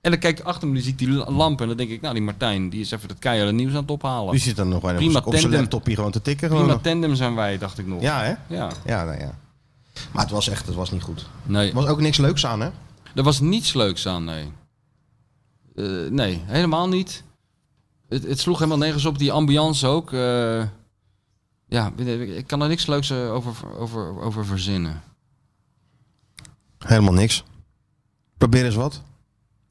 C: En dan kijk ik achter me, die zie ik die la- lamp. En dan denk ik, nou, die Martijn, die is even het keiharde nieuws aan het ophalen.
B: Die zit dan nog wel
C: Prima
B: op zijn
C: tandem.
B: laptopje gewoon te tikken. Gewoon
C: Prima
B: nog.
C: tandem zijn wij, dacht ik nog.
B: Ja, hè?
C: Ja.
B: Ja, nou ja. Maar het was echt, het was niet goed.
C: Nee,
B: Er was ook niks leuks aan, hè?
C: er was niets leuks aan, nee. Eh, nee, helemaal niet. Het, het sloeg helemaal nergens op, die ambiance ook. eh. ja, ik kan er niks leuks eh, over, over, over verzinnen.
B: Helemaal niks. Probeer eens wat.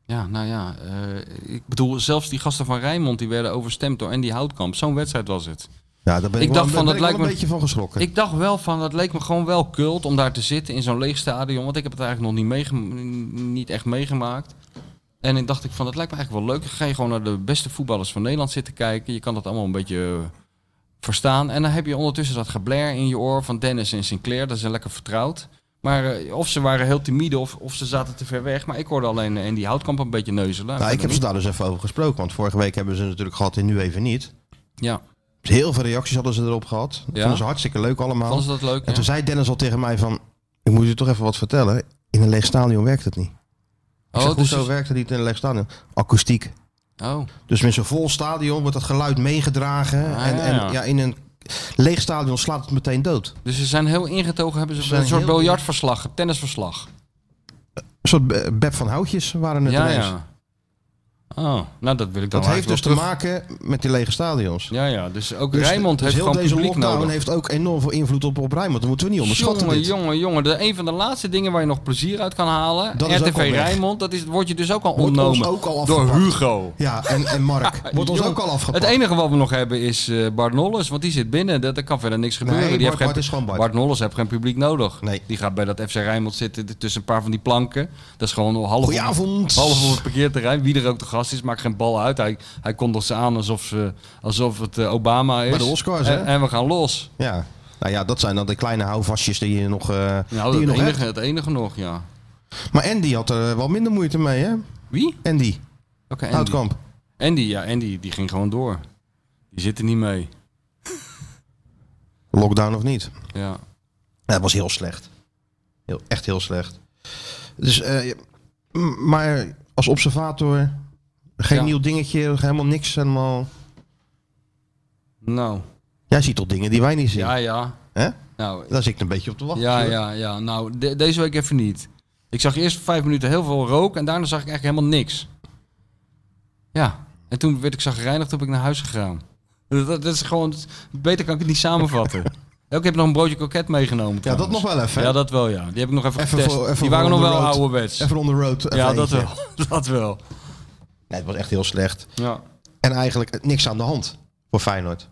C: Ja, nou ja. eh, ik bedoel, zelfs die gasten van Rijnmond die werden overstemd door Andy Houtkamp. Zo'n wedstrijd was het.
B: Ja, daar ben ik, wel,
C: Ik dacht
B: daar
C: van,
B: ben
C: dat
B: ik
C: lijkt
B: wel een
C: me-
B: beetje van geschrokken.
C: Ik dacht wel van, dat leek me gewoon wel kult om daar te zitten in zo'n leeg stadion. Want ik heb het eigenlijk nog niet, meegem- niet echt meegemaakt. En ik dacht ik van, dat lijkt me eigenlijk wel leuk. Dan ga je gewoon naar de beste voetballers van Nederland zitten kijken. Je kan dat allemaal een beetje eh, verstaan. En dan heb je ondertussen dat gebler in je oor van Dennis en Sinclair. Dat is lekker vertrouwd. Maar eh, of ze waren heel timide of, of ze zaten te ver weg. Maar ik hoorde alleen eh, Andy Houtkamp een beetje neuzelen.
B: nou, ik
C: Verder
B: heb ze daar dus even over gesproken. Want vorige week hebben ze natuurlijk gehad en nu even niet.
C: niet. Ja,
B: Heel veel reacties hadden ze erop gehad. Dat
C: Ja.
B: vonden ze hartstikke leuk allemaal.
C: vonden ze dat leuk?
B: En
C: ja?
B: toen zei Dennis al tegen mij van... Ik moet je toch even wat vertellen. In een leeg stadion werkt het niet. Ik zeg,
C: dus
B: hoezo
C: is-
B: werkt het niet in een leeg stadion? Akoestiek.
C: Oh,
B: Dus met zo'n vol stadion wordt dat geluid meegedragen.
C: Ah,
B: en,
C: ja,
B: en
C: ja.
B: ja, in een leeg stadion slaat het meteen dood.
C: dus ze zijn heel ingetogen, hebben ze,
B: Ze zijn
C: een soort
B: heel-
C: biljartverslag, tennisverslag.
B: Een soort Be- Beb van Houtjes waren het
C: Ja,
B: ineens.
C: ja. Oh, nou dat wil ik dan
B: Dat heeft dus
C: eigenlijk
B: te
C: wel terug.
B: maken met die lege stadions.
C: Ja, ja, dus ook
B: Dus-
C: Rijnmond
B: dus
C: heeft
B: heel
C: gewoon
B: deze
C: publiek
B: lockdown
C: nodig.
B: heeft ook enorm veel invloed op, op Rijnmond. Dat moeten we niet onderschatten.
C: jongen,
B: dit.
C: jongen, jongen. De, een van de laatste dingen waar je nog plezier uit kan halen.
B: Dat is ook
C: RTV
B: al weg.
C: Rijnmond, dat is, wordt je dus ook al
B: Wordt
C: ontnomen
B: ons ook al
C: door
B: afgepakt.
C: Hugo.
B: Ja, en, en Mark. Wordt ons
C: Jong,
B: ook al afgepakt.
C: Het enige wat we nog hebben is eh Bart Nolles, want die zit binnen. Dat, er kan verder niks gebeuren. die
B: Bart-
C: heeft geen,
B: Bart is gewoon Bart.
C: Nolles heeft geen publiek nodig.
B: Nee.
C: Die gaat bij dat FC Rijnmond zitten t- tussen een paar van die planken. Dat is gewoon half op-
B: Goedenavond.
C: Half op het parkeerterrein. Wie er ook de gast is, maakt geen bal uit. Hij, hij kondigt ze aan alsof, ze, alsof het eh, Obama is.
B: Bij de Oscars, hè?
C: En, en we gaan los.
B: Ja. Nou ja, dat zijn dan de kleine houvastjes die je nog, eh,
C: Nou,
B: die je
C: dat
B: nog
C: enige,
B: hebt.
C: het enige nog, ja.
B: Maar Andy had er eh, wel minder moeite mee, hè?
C: Wie?
B: Andy,
C: Oké, Andy.
B: Houtkamp.
C: Andy, ja, Andy, die ging gewoon door. Die zit er niet mee.
B: Lockdown of niet?
C: Ja.
B: Ja, dat was heel slecht. Heel, echt heel slecht. Dus, eh, je- m- maar als observator, geen
C: Ja.
B: nieuw dingetje, helemaal niks. Helemaal...
C: Nou,
B: Jij ziet toch dingen die wij niet zien?
C: ja, ja.
B: Hè?
C: Nou,
B: Daar zit ik een beetje op te wachten.
C: Ja,
B: hoor.
C: ja, ja. Nou, de- deze week even niet. Ik zag eerst vijf minuten heel veel rook en daarna zag ik eigenlijk helemaal niks. Ja. En toen werd ik zagrijnig, toen ben ik naar huis gegaan. Dat, dat is gewoon... Beter kan ik het niet samenvatten. En Ik heb nog een broodje koket meegenomen
B: Ja, dat
C: trouwens.
B: nog wel even. hè?
C: Ja, dat wel, ja. Die heb ik nog even,
B: Even
C: getest.
B: voor- even
C: Die waren
B: voor
C: nog
B: on the
C: wel
B: road.
C: ouderwets.
B: Even on the road. even
C: ja, dat
B: eentje.
C: wel. Dat wel.
B: Nee, het was echt heel slecht.
C: Ja.
B: En eigenlijk eh, niks aan de hand voor Feyenoord.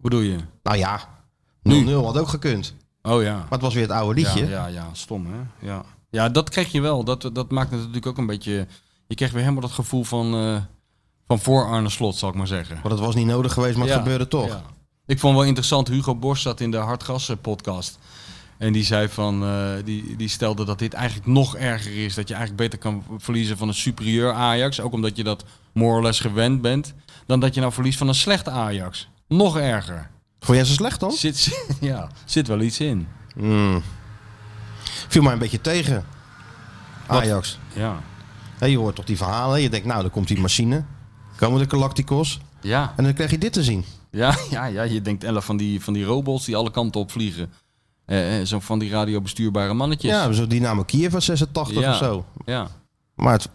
C: Hoe doe je?
B: Nou ja, 0-0
C: Nu.
B: had ook gekund.
C: Oh ja.
B: Maar het was weer het oude liedje.
C: Ja, ja, ja, stom hè. Ja, ja dat kreeg je wel. Dat, dat maakt het natuurlijk ook een beetje... Je kreeg weer helemaal dat gevoel van, eh, van voor Arne Slot, zal ik maar zeggen.
B: Maar dat was niet nodig geweest, maar het
C: Ja,
B: gebeurde toch.
C: ja. Ik vond wel interessant, Hugo Borst zat in de Hartgassen podcast. En die zei van, eh, die, die stelde dat dit eigenlijk nog erger is. Dat je eigenlijk beter kan verliezen van een superieur Ajax. Ook omdat je dat more or less gewend bent. Dan dat je nou verliest van een slecht Ajax. Nog erger.
B: Vond jij ze slecht dan?
C: Zit, ja, zit wel iets in. Hmm.
B: Mm. Viel mij een beetje tegen.
C: Wat?
B: Ajax.
C: Ja.
B: Hé, je hoort toch die verhalen. Je denkt, nou, dan komt die machine. Komen de Galacticos.
C: Ja.
B: En dan krijg je dit te zien.
C: Ja, ja, ja, je denkt elf van die, van die robots die alle kanten op vliegen. Eh, eh, zo van die radiobestuurbare mannetjes.
B: Ja, zo'n Dynamo Kiev van 86
C: Ja.
B: of zo.
C: ja.
B: Maar het,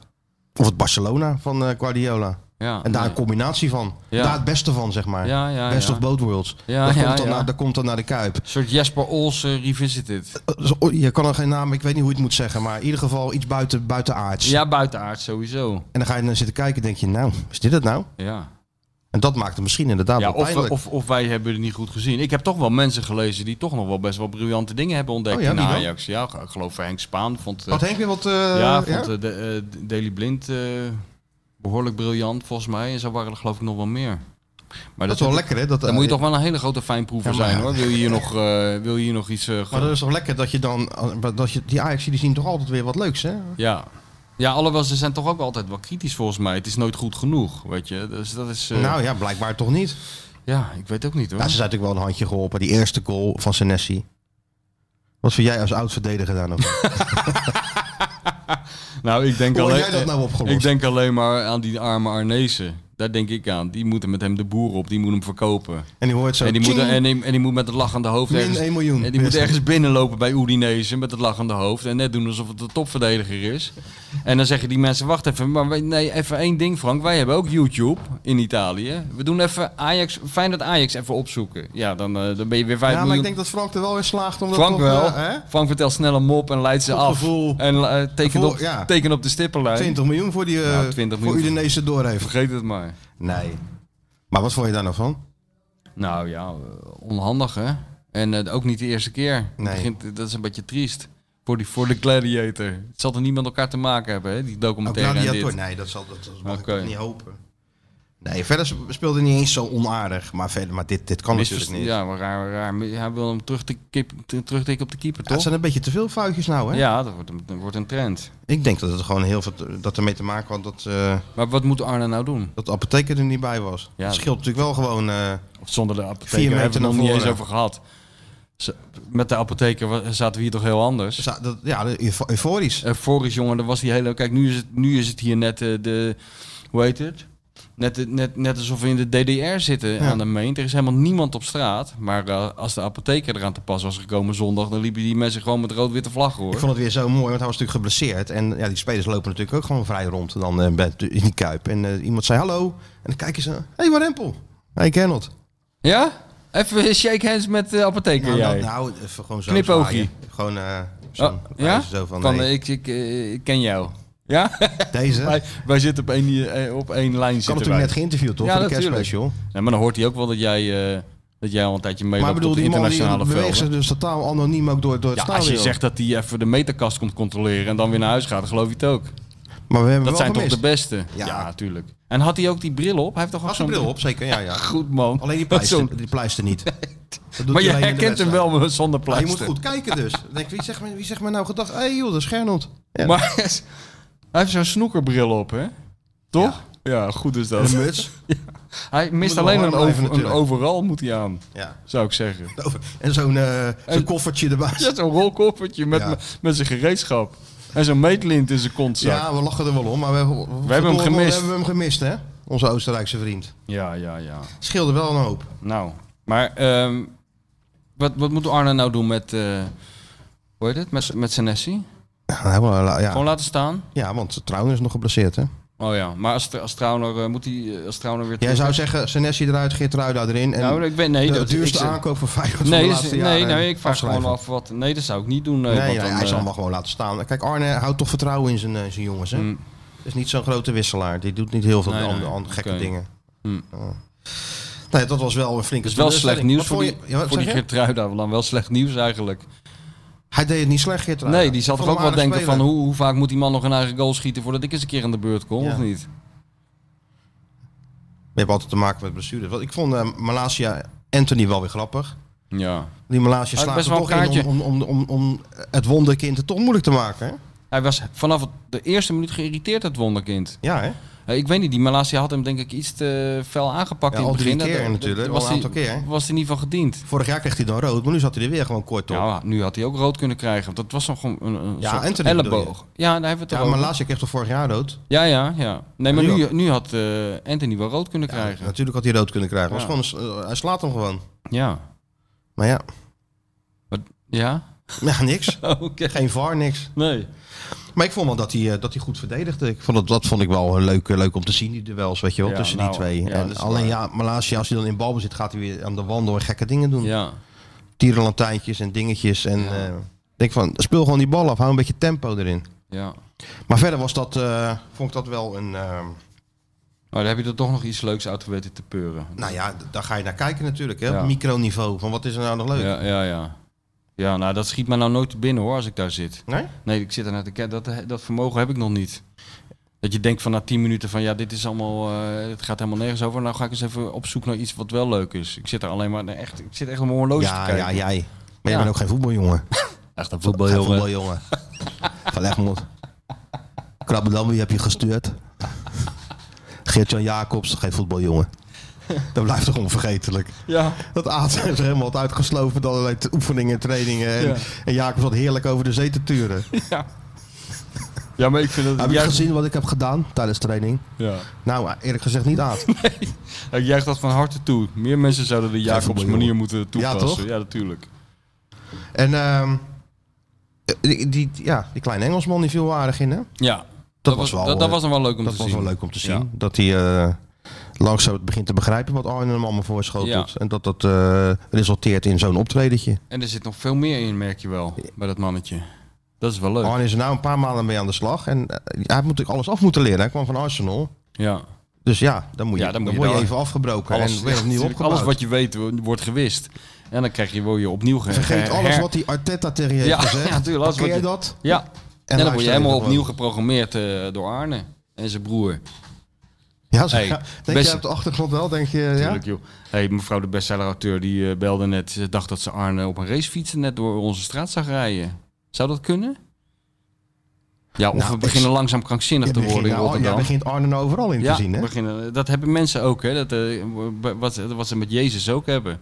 B: of het Barcelona van eh, Guardiola.
C: ja.
B: En daar
C: Nee.
B: een combinatie van.
C: Ja.
B: Daar het beste van, zeg maar.
C: Ja, ja,
B: Best
C: ja.
B: of both worlds.
C: Ja,
B: dat,
C: ja,
B: komt dan
C: ja.
B: naar, dat komt dan naar de Kuip.
C: Een soort Jesper Olsen revisited.
B: Eh, zo- Je kan er geen naam, ik weet niet hoe je het moet zeggen. Maar in ieder geval iets buiten, buiten aards.
C: Ja, buitenaard sowieso.
B: En dan ga je naar zitten kijken en denk je, nou, is dit het nou?
C: Ja.
B: En dat maakt het misschien inderdaad
C: Ja,
B: wel
C: of, we-
B: Ah, pijnlijk.
C: of, of wij hebben het niet goed gezien. Ik heb toch wel mensen gelezen die toch nog wel best wel briljante dingen hebben ontdekt
B: Oh ja,
C: in
B: wie dan?
C: Ajax. Ja, ik geloof Henk Spaan vond, eh,
B: Had Henk weer wat... eh,
C: ja,
B: ja?
C: vond eh, de, eh, Daily Blind eh, behoorlijk briljant volgens mij. En zo waren er geloof ik nog wel meer. Maar
B: Dat is wel lekker, hè? Dat,
C: Dan moet je
B: eh,
C: toch wel een hele grote fijnproever
B: Ja, maar-
C: zijn hoor. Wil je hier nog, eh, wil je hier nog iets. eh,
B: Maar
C: gro-
B: dat is toch lekker dat je dan, eh, dat je, die Ajax die zien toch altijd weer wat leuks, hè?
C: Ja. Ja, alhoewel ze zijn toch ook altijd wel kritisch volgens mij. Het is nooit goed genoeg, weet je. Dus dat is. eh,
B: Nou ja, blijkbaar toch niet.
C: Ja, ik weet ook niet hoor.
B: Ja, ze zijn natuurlijk wel een handje geholpen. Die eerste nou goal van Senesi. Wat vind jij als oud verdediger daar nog? van?
C: Nou, ik denk,
B: Hoe had
C: alleen,
B: jij dat nou opgelost?
C: ik denk alleen maar aan die arme Arnezen. Daar denk ik aan. Die moeten met hem de boer op. Die moet hem verkopen.
B: En die hoort zo...
C: En die, moet,
B: tjing.
C: en, die, en die moet met het lachende hoofd
B: Min
C: ergens,
B: 1 miljoen.
C: En die moet
B: Weerstand.
C: ergens binnenlopen bij Udinese met het lachende hoofd. En net doen alsof het de topverdediger is. En dan zeggen die mensen, wacht even, maar wij- nee, even één ding Frank. Wij hebben ook YouTube in Italië. We doen even Ajax, fijn dat Ajax even opzoeken. Ja, dan, eh, dan ben je weer 5
B: Ja, maar ik
C: miljoen.
B: denk dat Frank er wel in slaagt om dat
C: Frank
B: toch,
C: wel.
B: eh, hè?
C: Frank vertelt snel een mop en leidt ze
B: Goed
C: af.
B: gevoel.
C: En eh, tekent
B: Gevoel,
C: op,
B: ja.
C: teken op de stippenlijn.
B: 20 miljoen voor die eh
C: Ja, 20
B: voor
C: miljoen.
B: Udinese doorheven.
C: Vergeet het maar.
B: Nee. Maar wat vond je daar nou van?
C: Nou ja, eh, onhandig hè. En eh, ook niet de eerste keer. Het
B: Nee.
C: Begint, eh, dat is een beetje triest. Voor, die, voor de gladiator. Het zal er niet met elkaar te maken hebben, hè, die
B: Ook
C: documentaire en
B: gladiator?
C: dit.
B: Nee, dat, zal, dat, dat mag
C: Oké.
B: ik toch niet hopen. Nee, verder sp- speelde hij niet eens zo onaardig. Maar, verder, maar dit, dit kan
C: Misverst-
B: natuurlijk niet.
C: Ja, maar raar, raar. Hij wil hem terug te kip, te- terugtikken op de keeper,
B: Ja, het
C: toch?
B: zijn een beetje te veel foutjes nou, hè?
C: Ja, dat wordt een, dat wordt een trend.
B: Ik denk dat het gewoon heel veel te- dat ermee te maken had dat, eh,
C: Maar wat moet Arne nou doen?
B: dat de apotheker er niet bij was.
C: Ja.
B: dat scheelt natuurlijk wel gewoon... eh,
C: Of zonder de apotheker
B: Vier meter
C: hebben we het nog
B: naar
C: niet eens
B: voren.
C: over gehad. Ze- Met de apotheker wa- zaten we hier toch heel anders?
B: za- dat, ja, de- eufo- euforisch.
C: euforisch, Eh, jongen. Dat was die hele. Kijk, nu is het, nu is het hier net eh, de. Hoe heet het? Net, de- net, net alsof we in de DDR zitten aan de meent. Er is helemaal niemand op straat. Maar eh, als de apotheker eraan te pas was gekomen zondag, dan liepen die mensen gewoon met rood-witte vlaggen hoor.
B: Ik vond het weer zo mooi, want hij was natuurlijk geblesseerd. En ja, die spelers lopen natuurlijk ook gewoon vrij rond dan, eh, bij- in die kuip. En eh, iemand zei hallo. En dan kijken ze. Hé, hey, Warempel. Hé, hey, Gernot.
C: Ja? Even shake hands met de apotheker.
B: Nou,
C: jij.
B: nou, nou, even gewoon zo
C: Knipoogie.
B: zwaaien. Gewoon eh
C: Oh,
B: zo'n
C: ja?
B: zo van,
C: Van,
B: hey,
C: eh, ik, ik, eh, ik ken jou. Ja?
B: deze.
C: wij,
B: Ik
C: wij zitten op één, eh, op één
B: had
C: lijn. Zitten
B: natuurlijk
C: wij.
B: net geïnterviewd, toch?
C: Ja,
B: voor de
C: natuurlijk.
B: kerstspecial.
C: Nee, maar dan hoort hij ook wel dat jij, eh, dat jij al een tijdje meeloopt
B: Maar ik bedoel,
C: op de
B: die man die
C: internationale
B: beweegt
C: velden.
B: zich dus totaal anoniem ook door, door het
C: Ja,
B: stadion.
C: als je zegt dat hij even de meterkast komt controleren en dan weer naar huis gaat, dan geloof je het ook.
B: maar we hebben
C: Dat
B: wel
C: zijn toch
B: gemist.
C: de beste?
B: Ja.
C: Ja, natuurlijk. En had hij ook die bril op? Hij heeft toch ook
B: Had een
C: zo'n
B: bril op, zeker. Ja, ja.
C: Goed man.
B: Alleen die
C: Dat is zo'n-
B: pleister, die pleister niet. Dat doet
C: Maar
B: hij
C: je
B: alleen in de
C: herkent hem
B: wedstrijd.
C: wel met- zonder
B: Maar je
C: pleister.
B: moet goed kijken dus. Dan Denk, ik, wie, zegt me, wie zegt me nou gedacht? Hé hey, joh, dat is Gernot. Ja.
C: Maar hij heeft zo'n snoekerbril op, hè? Toch? Ja, goed is dat.
B: Een muts.
C: Hij mist
B: nog
C: alleen
B: warm
C: een,
B: blijven
C: over- een
B: natuurlijk.
C: overal moet hij aan,
B: Ja.
C: zou ik zeggen.
B: En zo'n eh, zo'n
C: En-
B: koffertje erbij.
C: Ja, zo'n rolkoffertje met,
B: Ja.
C: met zijn gereedschap. En zo'n meetlint in zijn kontzak. Ja,
B: Ja, we lachen er wel om, maar we,
C: We hebben hem gemist.
B: We hebben hem gemist, hè? Onze Oostenrijkse vriend.
C: ja, ja. ja.
B: Scheelde wel een hoop.
C: Nou, maar ehm, wat, wat moet Arne nou doen met, eh hoe heet het, met, met Senesi?
B: Ja, wel,
C: Gewoon
B: ja.
C: laten staan?
B: ja want Trouwen is nog geblesseerd, hè?
C: Oh ja, maar als, Tra- als Trauner, eh, moet hij eh, als Trauner weer
B: Jij
C: terug?
B: zou zeggen, Senesi eruit, Geertruida erin. En
C: Nou, ik ben, nee,
B: de
C: dat,
B: duurste
C: ik, zeg-
B: aankoop voor Feyenoord van
C: Nee,
B: de
C: dat is-
B: laatste
C: nee,
B: jaren
C: nee, ik vraag
B: afschrijven.
C: gewoon af wat... Nee, dat zou ik niet doen. eh,
B: Nee,
C: want
B: nee,
C: dan,
B: hij zal
C: eh,
B: hem wel gewoon laten staan. Kijk, Arne houdt toch vertrouwen in zijn, eh, zijn jongens, hè?
C: Mm.
B: is niet zo'n grote wisselaar. Die doet niet heel veel
C: Nee, nee,
B: andere, andere gekke
C: oké.
B: dingen.
C: Hm.
B: Ja. Nee, dat was wel een flinke
C: Het is wel
B: teleurstelling.
C: slecht nieuws
B: Wat
C: voor
B: vond
C: die,
B: je- ja, wat
C: voor die
B: zeg je?
C: Geertruida. Dan wel slecht nieuws eigenlijk.
B: Hij deed het niet slecht, Geertruida.
C: Nee, die zal
B: Ik
C: toch ook
B: vond hem
C: wel denken
B: aardig
C: van...
B: spelen.
C: Hoe, hoe vaak moet die man nog een eigen goal schieten... voordat ik eens een keer aan de beurt kom,
B: Ja.
C: of niet?
B: Je hebt altijd te maken met blessures. Want ik vond eh Malasia Anthony wel weer grappig.
C: Ja.
B: Die Malasia
C: Hij
B: slaat
C: heeft
B: er
C: best
B: toch
C: wel een
B: in om, om, om, om, om het wonderkind het toch moeilijk te maken. Hè?
C: Hij was vanaf het- de eerste minuut geïrriteerd, het wonderkind.
B: Ja, hè?
C: Eh, Ik weet niet, die Malasia had hem denk ik iets te fel aangepakt
B: Ja,
C: in het
B: al drie
C: begin.
B: keer
C: Dat- dat-
B: natuurlijk,
C: was
B: al een
C: hij-
B: aantal keer.
C: Was hij niet van gediend.
B: Vorig jaar kreeg hij dan rood, maar nu zat hij er weer gewoon kort op. Ja,
C: Ja, nu had hij ook rood kunnen krijgen. Want dat was nog een, een een
B: Ja,
C: soort
B: Anthony
C: elleboog. Ja, daar hebben we het
B: maar
C: over.
B: Malasia kreeg toch vorig jaar rood?
C: Ja, ja, ja. Nee, maar
B: Nu
C: nu,
B: ook.
C: nu had eh, Anthony wel rood kunnen
B: Ja,
C: krijgen.
B: natuurlijk had hij rood kunnen krijgen.
C: Ja.
B: Was gewoon, een s- eh, hij slaat hem gewoon.
C: Ja.
B: Maar ja,
C: Wat- Ja?
B: ja niks.
C: Oké.
B: Geen VAR, niks.
C: Nee.
B: Maar ik vond wel dat hij, eh, dat hij goed verdedigde. Ik vond dat, dat vond ik wel eh, leuk, eh, leuk om te zien, die duels, weet je wel,
C: Ja,
B: tussen
C: nou,
B: die twee.
C: ja, dat
B: en
C: is
B: alleen ja, Malasia, als hij dan in balbezit, gaat hij weer aan de wandel en gekke dingen doen.
C: Ja.
B: Tierenlantijntjes en dingetjes. En eh, ik denk van, speel gewoon die bal af, hou een beetje tempo erin.
C: Ja.
B: Maar verder was dat, eh, vond ik dat wel een, eh,
C: Maar dan heb je er toch nog iets leuks uit weten te peuren.
B: nou ja, d- daar ga je naar kijken natuurlijk, hè,
C: Ja.
B: op microniveau. Van wat is er nou nog leuk?
C: Ja, ja, ja. Ja, nou dat schiet me nou nooit te binnen hoor, als ik daar zit.
B: Nee?
C: Nee, ik zit er naar te kijken. Dat, dat vermogen heb ik nog niet. Dat je denkt van na 10 minuten van ja, dit is allemaal, eh, het gaat helemaal nergens over. Nou ga ik eens even op zoek naar iets wat wel leuk is. Ik zit er alleen maar, nee, echt, ik zit echt op mijn horloge te
B: Ja,
C: kijken.
B: ja, jij. Maar jij
C: Ja.
B: bent ook geen voetbaljongen.
C: Echt een
B: Geen voetbaljongen. Van Egmond. Krabbendam, wie heb je gestuurd? Geert-Jan Jacobs, geen voetbaljongen. Dat blijft toch onvergetelijk.
C: Ja,
B: Dat Aad is er helemaal had uitgesloven met allerlei t- oefeningen en trainingen. En,
C: Ja.
B: en Jacobs had heerlijk over de zee te turen.
C: ja. Ja, maar ik vind dat...
B: Heb je
C: juist-
B: gezien wat ik heb gedaan tijdens training?
C: Ja.
B: Nou, eerlijk gezegd niet aan.
C: Ja, Ik juich dat van harte toe. Meer mensen zouden de Jacobs
B: voetbal,
C: manier
B: jongen.
C: moeten toepassen. Ja,
B: toch?
C: natuurlijk.
B: en ehm, die, die, ja, die kleine Engelsman die viel aardig in, hè?
C: Ja. Dat,
B: was wel,
C: dat, dat
B: eh,
C: was dan wel leuk om
B: dat
C: te
B: was
C: zien.
B: wel leuk om te zien.
C: Ja.
B: Dat hij eh, langzaam het begint te begrijpen wat Arne hem allemaal voorschotelt.
C: Ja.
B: En dat dat eh, resulteert in zo'n optredentje.
C: En er zit nog veel meer in, merk je wel, bij dat mannetje. Dat is wel leuk.
B: Arne is er nou een paar maanden mee aan de slag. En eh, hij moet natuurlijk alles af moeten leren. Hij kwam van Arsenal.
C: Ja.
B: Dus ja, dan moet je,
C: Ja,
B: dan
C: dan moet je
B: word je
C: daar-
B: even afgebroken
C: Alles,
B: en weer
C: ja,
B: opnieuw
C: natuurlijk.
B: opgebouwd.
C: alles wat je weet wo- wordt gewist. En dan krijg je, word je opnieuw ge-
B: Vergeet
C: ge-
B: alles
C: Eh, her-
B: wat die Arteta tegen je heeft
C: Ja,
B: gezegd.
C: ja, tuurlijk, alles
B: Parkeer
C: wat je-
B: dat.
C: Ja. En, dan word je
B: luister
C: helemaal
B: gewoon.
C: opnieuw geprogrammeerd eh, door Arne en zijn broer.
B: Ja, zo-
C: Hey,
B: ja. denk
C: beste-
B: je op de achtergrond wel, denk je. Ja?
C: Tuurlijk, joh. Hey, mevrouw de bestseller-auteur die eh, belde net. Ze dacht dat ze Arne op een racefiets net door onze straat zag rijden. Zou dat kunnen? Ja, of
B: Nou,
C: we
B: ik-
C: beginnen langzaam krankzinnig
B: Je
C: te worden in
B: begint, nou, ja,
C: Rotterdam.
B: begint Arne nou overal in te zien, hè?
C: beginnen, dat hebben mensen ook. Hè? Dat, eh, b- wat, ze- wat ze met Jezus ook hebben.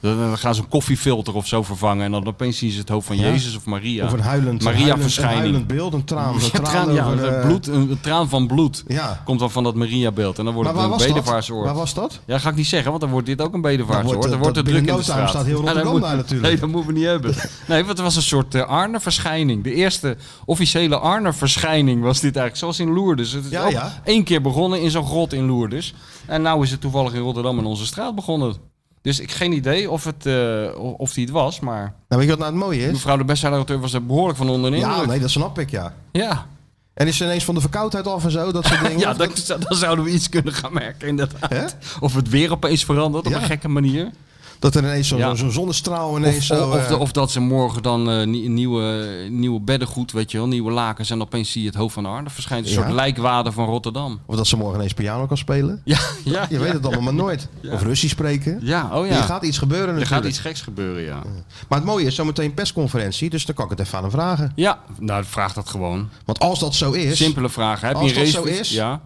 C: Dan eh, dan gaan ze een koffiefilter of zo vervangen. En dan opeens zien ze het hoofd van
B: Ja.
C: Jezus of Maria.
B: Of een huilend,
C: Maria
B: een huilend, een
C: verschijning.
B: huilend beeld, een traan. Een
C: Ja,
B: traan,
C: traan, ja,
B: over,
C: een
B: eh,
C: bloed, een, een traan van bloed.
B: Ja.
C: Komt dan van dat Maria-beeld. En dan wordt
B: Maar waar
C: het
B: was
C: een
B: dat?
C: bedevaarsoord.
B: Waar was dat?
C: Ja, dat ga ik niet zeggen, want dan wordt dit ook een
B: Dan
C: bedevaartsoord.
B: wordt
C: Dan
B: het-
C: wordt er
B: dat
C: druk in de
B: binnen
C: straat.
B: no time staat heel
C: Ja, dat
B: Rotterdam
C: moet-
B: daar natuurlijk.
C: Nee, dat moeten we niet hebben. Nee, want het was een soort eh, Arne-verschijning. De eerste officiële Arne-verschijning was dit eigenlijk. Zoals in Lourdes. Het is
B: Ja,
C: ook
B: ja.
C: één keer begonnen in zo'n grot in Lourdes. En nou is het toevallig in Rotterdam in onze straat begonnen. Dus ik geen idee of, het, eh, o- of die het was, maar
B: Nou, weet je wat nou het mooie is?
C: mevrouw de bestseller was er behoorlijk van onder de
B: Ja,
C: indruk.
B: nee, dat snap ik, ja.
C: ja.
B: En is ze ineens van de verkoudheid af en zo, dat soort dingen?
C: Ja,
B: Of
C: dat, dan zouden we iets kunnen gaan merken inderdaad.
B: Hè?
C: Of het weer opeens verandert
B: Ja.
C: op een gekke manier.
B: dat er ineens zo'n
C: Ja.
B: zo'n zonnestraal
C: Of,
B: ineens zo...
C: of,
B: eh,
C: de- of dat ze morgen dan eh, nie- nieuwe, nieuwe beddengoed, weet je wel, nieuwe lakens. En opeens zie je het hoofd van Arne verschijnt. Een
B: Ja.
C: soort lijkwade van Rotterdam.
B: of dat ze morgen ineens piano kan spelen.
C: Ja, ja.
B: Je weet het allemaal maar nooit. Of Russisch spreken.
C: Ja, oh
B: Er
C: ja.
B: gaat iets gebeuren
C: Er gaat
B: natuurlijk.
C: iets geks gebeuren, ja.
B: Maar het mooie is, zometeen persconferentie, dus dan kan ik het even aan hem vragen.
C: Ja, nou vraag dat gewoon.
B: Want als dat zo is,
C: Simpele vragen. Heb
B: Als
C: je een
B: dat
C: race?
B: zo is-
C: Ja.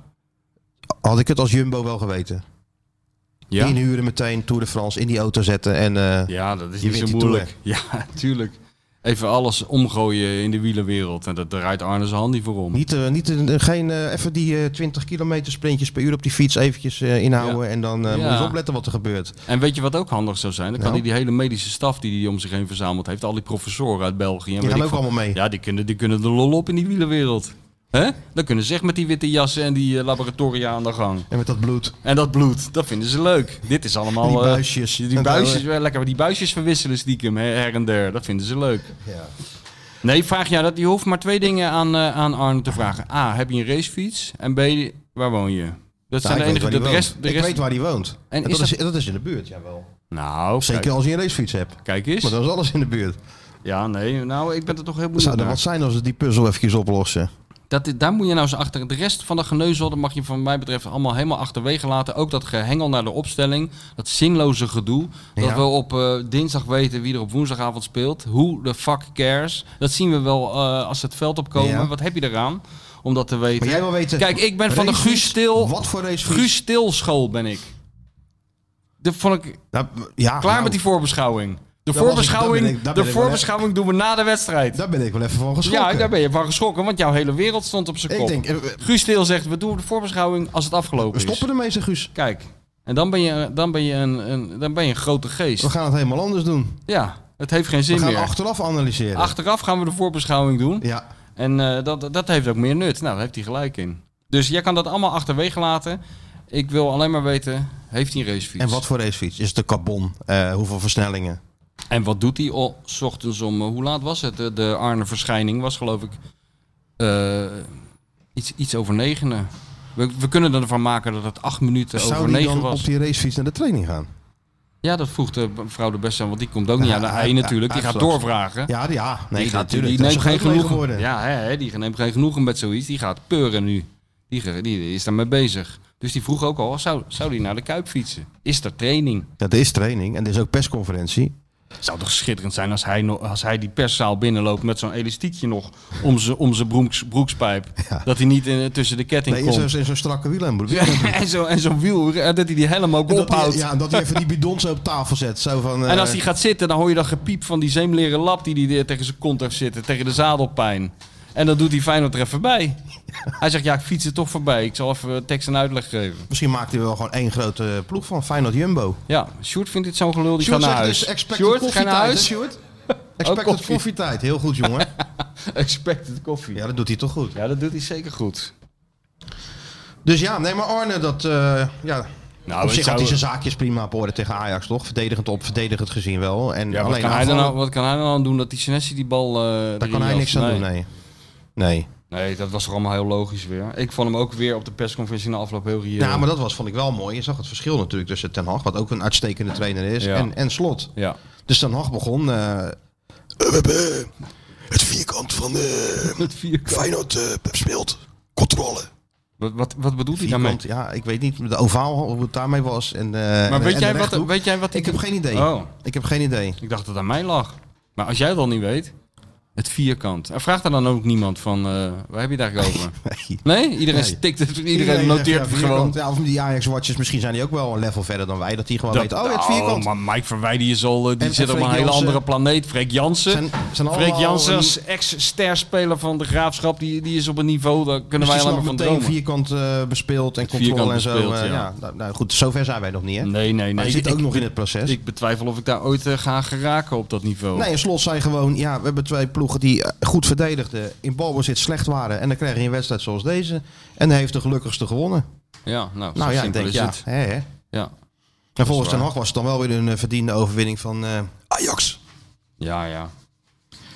B: had ik het als Jumbo wel geweten.
C: Ja.
B: Inhuren meteen, Tour de France, in die auto zetten en... eh,
C: ja, dat is
B: Je
C: niet zo
B: wint die
C: moeilijk. Ja, tuurlijk. Even alles omgooien in de wielenwereld. En dat draait Arne zijn hand niet voor om.
B: Niet, eh, niet een- geen, eh, even die eh, 20 kilometer sprintjes per uur op die fiets eventjes eh, inhouden. En dan eh,
C: Ja.
B: moet je eens opletten wat er gebeurt.
C: En weet je wat ook handig zou zijn? Dan kan
B: Nou?
C: hij die hele medische staf die hij om zich heen verzameld heeft, al die professoren uit België.
B: Die
C: En weet
B: gaan
C: ik
B: ook
C: veel-
B: allemaal mee.
C: Ja, die kunnen, die kunnen de lol op in die wielenwereld. hè? Dan kunnen ze echt met die witte jassen en die eh, laboratoria aan de gang.
B: En met dat bloed.
C: En dat bloed, dat vinden ze leuk. Dit is allemaal...
B: Die
C: eh,
B: buisjes.
C: die
B: En
C: buisjes,
B: zo,
C: wel lekker die buisjes verwisselen stiekem hè, her en der. Dat vinden ze leuk.
B: Ja.
C: Nee, vraag jij dat. Je hoeft maar twee dingen aan, eh, aan Arne te vragen. A, heb je een racefiets? En B, waar woon je? Dat zijn
B: Nou, ik
C: de
B: weet
C: enige...
B: waar die
C: De
B: woont.
C: rest, de
B: Ik weet
C: rest...
B: waar hij woont. En
C: is
B: dat, is, dat is in de buurt, jawel.
C: Nou,
B: Zeker
C: kijk,
B: als je een racefiets hebt.
C: kijk eens.
B: Maar dat is alles in de buurt.
C: Ja, nee, nou, ik ben er toch heel
B: Het
C: benieuwd
B: zou er
C: naar.
B: wat zijn als we die puzzel eventjes oplossen.
C: Dat, is- daar moet je nou eens achter. De rest van de geneuzel, dat mag je van mij betreft allemaal helemaal achterwege laten. Ook dat gehengel naar de opstelling, dat zinloze gedoe. Dat
B: Ja.
C: we op eh, dinsdag weten wie er op woensdagavond speelt. Who the fuck cares? Dat zien we wel eh, als ze het veld opkomen.
B: Ja.
C: Wat heb je eraan om dat te weten?
B: Maar jij wil weten...
C: Kijk, ik ben van de
B: racefiets?
C: Guus Stil,
B: Wat voor racefiets?
C: Oh. Guus Stil school ben ik. Dat vond ik
B: Nou, ja,
C: klaar
B: nou,
C: met die voorbeschouwing. De
B: Daar was ik- daar ben
C: voorbeschouwing,
B: ik- daar
C: de
B: ben ik wel, hè.
C: voorbeschouwing doen we na de wedstrijd.
B: Daar ben ik wel even van geschrokken.
C: Ja, daar ben je van geschrokken, want jouw hele wereld stond op zijn
B: Ik
C: kop.
B: denk, eh, we-
C: Guus Steel zegt, we doen de voorbeschouwing als het
B: we
C: afgelopen is.
B: stoppen ermee, zeg Guus.
C: Kijk, en dan ben je, dan ben je, een, een, dan ben je een grote geest.
B: We gaan het helemaal anders doen.
C: Ja, het heeft geen
B: We
C: zin
B: gaan
C: meer.
B: achteraf analyseren.
C: Achteraf gaan we de voorbeschouwing doen.
B: Ja.
C: En eh, dat, dat heeft ook meer nut. Nou, daar heeft hij gelijk in. Dus jij kan dat allemaal achterwege laten. Ik wil alleen maar weten, heeft hij een racefiets?
B: En wat voor racefiets? Is het de carbon? Eh, hoeveel versnellingen?
C: En wat doet hij al s ochtends om, eh, hoe laat was het? De, de Arne-verschijning was geloof ik eh, iets, iets over negenen. We, we kunnen ervan maken dat het acht minuten over
B: Zou die
C: negen
B: dan
C: was.
B: op die racefiets naar de training gaan?
C: Ja, dat vroeg de mevrouw de beste aan, want die komt ook niet
B: Ja,
C: aan de
B: hij-
C: ei natuurlijk.
B: hij-
C: Die gaat
B: hij-
C: doorvragen.
B: Ja, ja. Nee,
C: die, gaat, die,
B: natuurlijk.
C: neemt geen genoegen.
B: worden.
C: Ja, hè, hè, die neemt geen genoegen met zoiets. Die gaat peuren nu. Die, ge- die is daarmee bezig. Dus die vroeg ook al, zou, zou die naar de Kuip fietsen? Is er training?
B: Dat is training en er is ook persconferentie.
C: zou toch schitterend zijn als hij, no- als hij die perszaal binnenloopt met zo'n elastiekje nog om zijn om zijn broeks- broekspijp.
B: Ja.
C: Dat hij niet in, tussen de ketting
B: Nee, in
C: komt.
B: zo'n in zo'n strakke wielen.
C: en zo'n en zo'n wiel, eh, dat hij die helm ook
B: Dat
C: ophoudt.
B: hij, ja, dat hij even die bidon zo op tafel zet. Zo van, eh,
C: En als hij eh, gaat zitten, dan hoor je dat gepiep van die zeemleren lap die hij er tegen zijn kont heeft zitten, tegen de zadelpijn. En dan doet die Feyenoord er even bij. Hij zegt, ja, ik fiets er toch voorbij. Ik zal even eh, tekst en uitleg geven.
B: Misschien maakt hij wel gewoon één grote eh, ploeg van Feyenoord Jumbo.
C: Ja, Sjoerd vindt dit zo'n gelul, die
B: Sjoerd
C: gaat naar
B: zegt
C: huis.
B: dus expected
C: Sjoerd, ga
B: koffietijd, hè,
C: naar huis.
B: Sjoerd?
C: Oh,
B: Expected
C: koffie.
B: koffietijd. Heel goed, jongen.
C: Expected koffie.
B: Ja, dat doet hij toch goed.
C: Ja, dat doet hij zeker goed.
B: Dus ja, nee, maar Arne, dat... eh, ja,
C: Nou,
B: op
C: ik
B: zich had
C: zou-
B: hij zijn zaakjes prima op orde tegen Ajax, toch? Verdedigend op, verdedigend gezien wel. En
C: Ja, wat,
B: alleen
C: kan hij dan
B: aanvallen,
C: nou, wat kan hij dan aan doen dat die Senesi die bal... eh,
B: daar
C: erin
B: kan hij
C: jas?
B: niks aan doen, nee. Nee.
C: Nee, dat was toch allemaal heel logisch weer. Ik vond hem ook weer op de persconferentie na afloop heel reëel.
B: Ja, Nou, maar dat was, vond ik wel mooi. Je zag het verschil natuurlijk tussen Ten Hag, wat ook een uitstekende trainer is,
C: Ja.
B: en, en Slot.
C: Ja.
B: Dus Ten Hag begon... eh,
D: We hebben het vierkant van eh
C: Het vierkant.
D: Feyenoord eh, speelt. Controle.
C: Wat, wat, wat bedoelt hij daarmee?
B: vierkant, ja, ik weet niet, de ovaal, hoe het daarmee was. En, eh,
C: Maar
B: en-
C: weet
B: en
C: jij,
B: de
C: wat,
B: rechthoek.
C: weet jij wat
B: Ik heb geen idee.
C: Oh,
B: Ik heb geen idee.
C: ik dacht dat het aan mij lag. Maar als jij het al niet weet, het vierkant. En vraagt er dan ook niemand van, eh, waar heb je het eigenlijk over?
B: Nee.
C: Nee? Iedereen
B: Nee.
C: stikt het, iedereen, noteert het
B: zegt, ja,
C: gewoon.
B: vierkant. Ja, of die Ajax-watchers, misschien zijn die ook wel een level verder dan wij. Dat die gewoon weten, oh, ja, het
C: nou,
B: vierkant.
C: maar Mike Verwij die is al, eh, die
B: En-
C: zit
B: en
C: op een
B: Freek
C: hele
B: Jansen.
C: andere planeet. Freek Jansen.
B: Zijn- zijn
C: Freek
B: allemaal
C: Jansen
B: een-
C: als ex-sterspeler van de Graafschap, die, die is op een niveau, daar
B: Dus
C: kunnen wij
B: die
C: alleen maar
B: snapt
C: van
B: meteen
C: dromen.
B: vierkant eh, bespeeld en
C: Vierkant
B: controle en zo.
C: bespeeld,
B: eh,
C: ja.
B: ja. nou, nou goed, zover zijn wij nog niet, hè?
C: Nee, nee,
B: maar
C: nee.
B: je zit
C: Ik-
B: ook
C: ik-
B: nog in het proces.
C: Ik betwijfel of ik daar ooit eh, ga geraken op dat niveau.
B: Nee, in slot zei gewoon, ja, we hebben twee ploegen die eh, goed verdedigden, in balbezit slecht waren. En dan krijg je een wedstrijd zoals deze. En heeft de gelukkigste gewonnen.
C: Ja, nou, zo
B: nou ja, ik
C: simpel
B: denk,
C: is
B: ja,
C: het.
B: hè, hè.
C: Ja.
B: En volgens
C: waar.
B: Ten Hag was het dan wel weer een eh, verdiende overwinning van... eh,
D: Ajax.
C: Ja, ja.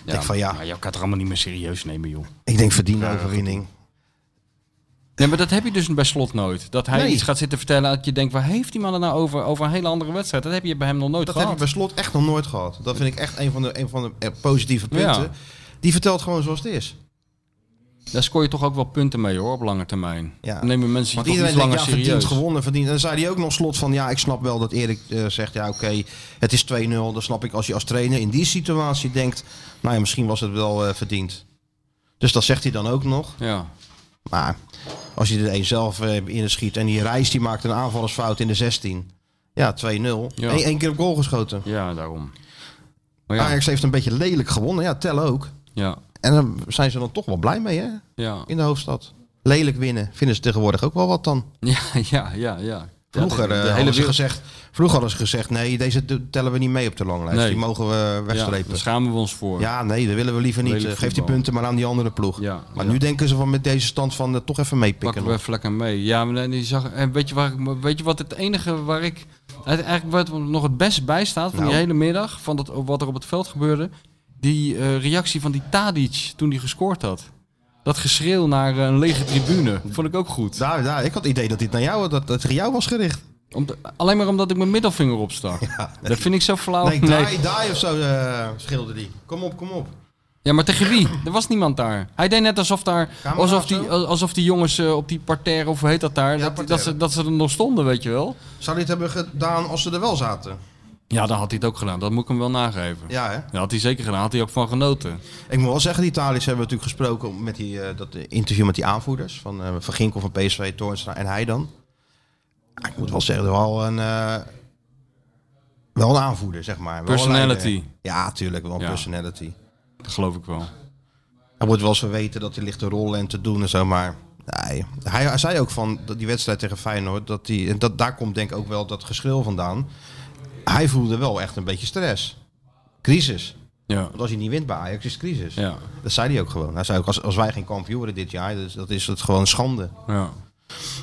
B: denk van, ja.
C: Maar je kan het er allemaal niet meer serieus nemen, joh.
B: ik denk verdiende overwinning.
C: Nee, maar dat heb je dus bij slot nooit. Dat hij
B: Nee.
C: iets gaat zitten vertellen dat je denkt, waar heeft die man het nou over? Over een hele andere wedstrijd. Dat heb je bij hem nog nooit
B: Dat heb ik
C: gehad.
B: bij slot echt nog nooit gehad. Dat vind ik echt een van de, een van de eh, positieve punten.
C: Ja.
B: Die vertelt gewoon zoals het is.
C: Daar scoor je toch ook wel punten mee, hoor, op lange termijn.
B: Ja.
C: Dan nemen mensen je
B: Want
C: toch
B: iedereen
C: iets
B: denkt,
C: langer
B: ja, verdient
C: serieus.
B: gewonnen, verdient. En dan zei hij ook nog slot van, ja, ik snap wel dat Erik eh, zegt, ja, oké, het is 2-0. Dan snap ik als je als trainer in die situatie denkt, nou ja, misschien was het wel eh, verdiend. Dus dat zegt hij dan ook nog.
C: Ja.
B: Maar als je er een zelf eh, in schiet en die reis die maakt een aanvallersfout in de 16. Ja, 2-0.
C: Ja.
B: Eén één keer op goal geschoten.
C: ja, daarom. Maar ja,
B: Ajax heeft een beetje lelijk gewonnen. Ja, tel ook.
C: ja,
B: En dan zijn ze dan toch wel blij mee, hè?
C: ja.
B: In de hoofdstad. Lelijk winnen vinden ze tegenwoordig ook wel wat dan.
C: Ja, ja, ja, ja.
B: Vroeger,
C: Ja,
B: eh,
C: de hele
B: hadden, ze
C: wereld.
B: gezegd, vroeger hadden ze gezegd, nee, deze do- tellen we niet mee op de langlijst.
C: Nee.
B: Die mogen we
C: Ja,
B: wegstrepen.
C: daar
B: Ja,
C: schamen we ons voor.
B: nee, dat willen we liever niet.
C: Lelijk
B: Geef die
C: voetbal.
B: punten maar aan die andere ploeg.
C: Ja,
B: maar
C: ja.
B: nu denken ze van met deze stand van eh, toch even meepikken.
C: Pakken we
B: nog.
C: even lekker mee. Ja, maar nee, die zag, en weet, je waar, ik- weet je wat het enige waar ik het- eigenlijk wat me nog het best bij staat van die
B: Nou.
C: hele middag, van dat, wat er op het veld gebeurde? Die eh, reactie van die Tadic toen hij gescoord had. Dat geschreeuw naar eh, een lege tribune. Vond ik ook goed.
B: Daar, daar, ik had het idee dat dit naar jou, dat, dat tegen jou was gericht.
C: Om te- alleen maar omdat ik mijn middelvinger opstak. Dat vind ik zo flauw.
B: nee,
C: Oh, Nee.
B: die, die of zo eh, schilderde die. Kom op, kom op.
C: Ja, maar tegen wie? Er was niemand daar. Hij deed net alsof daar,
B: Camera
C: alsof
B: of zo?
C: die, alsof die jongens eh, op die parterre, of hoe heet dat daar, dat, dat,
B: parterre.
C: ze, dat ze er nog stonden, weet je wel.
B: Zou dit hebben gedaan als ze er wel zaten?
C: Ja, dan had hij het ook gedaan. Dat moet ik hem wel nageven.
B: Ja, hè?
C: Ja, had hij zeker gedaan. Had hij ook van genoten.
B: Ik moet wel zeggen, die Italiërs hebben natuurlijk gesproken met die, eh, dat interview met die aanvoerders. Van, eh, van Ginkel van PSV, Toornstra en hij dan. Ah, ik moet wel zeggen, wel een, eh, wel een aanvoerder, zeg maar. Wel een
C: Personality.
B: leider. ja, tuurlijk, wel een
C: Ja.
B: personality.
C: Dat geloof ik wel.
B: Hij wordt wel eens verweten dat hij ligt te rollen en te doen en zo, maar... Nee. Hij, hij zei ook van dat die wedstrijd tegen Feyenoord, dat die, en dat, daar komt denk ik ook wel dat geschil vandaan. Hij voelde wel echt een beetje stress. Crisis.
C: Ja.
B: Want als je niet wint bij Ajax, is het crisis.
C: Ja.
B: Dat zei hij ook gewoon. Hij zei ook, als, als wij geen kampioen worden dit jaar, dus dat is het gewoon schande.
C: ja.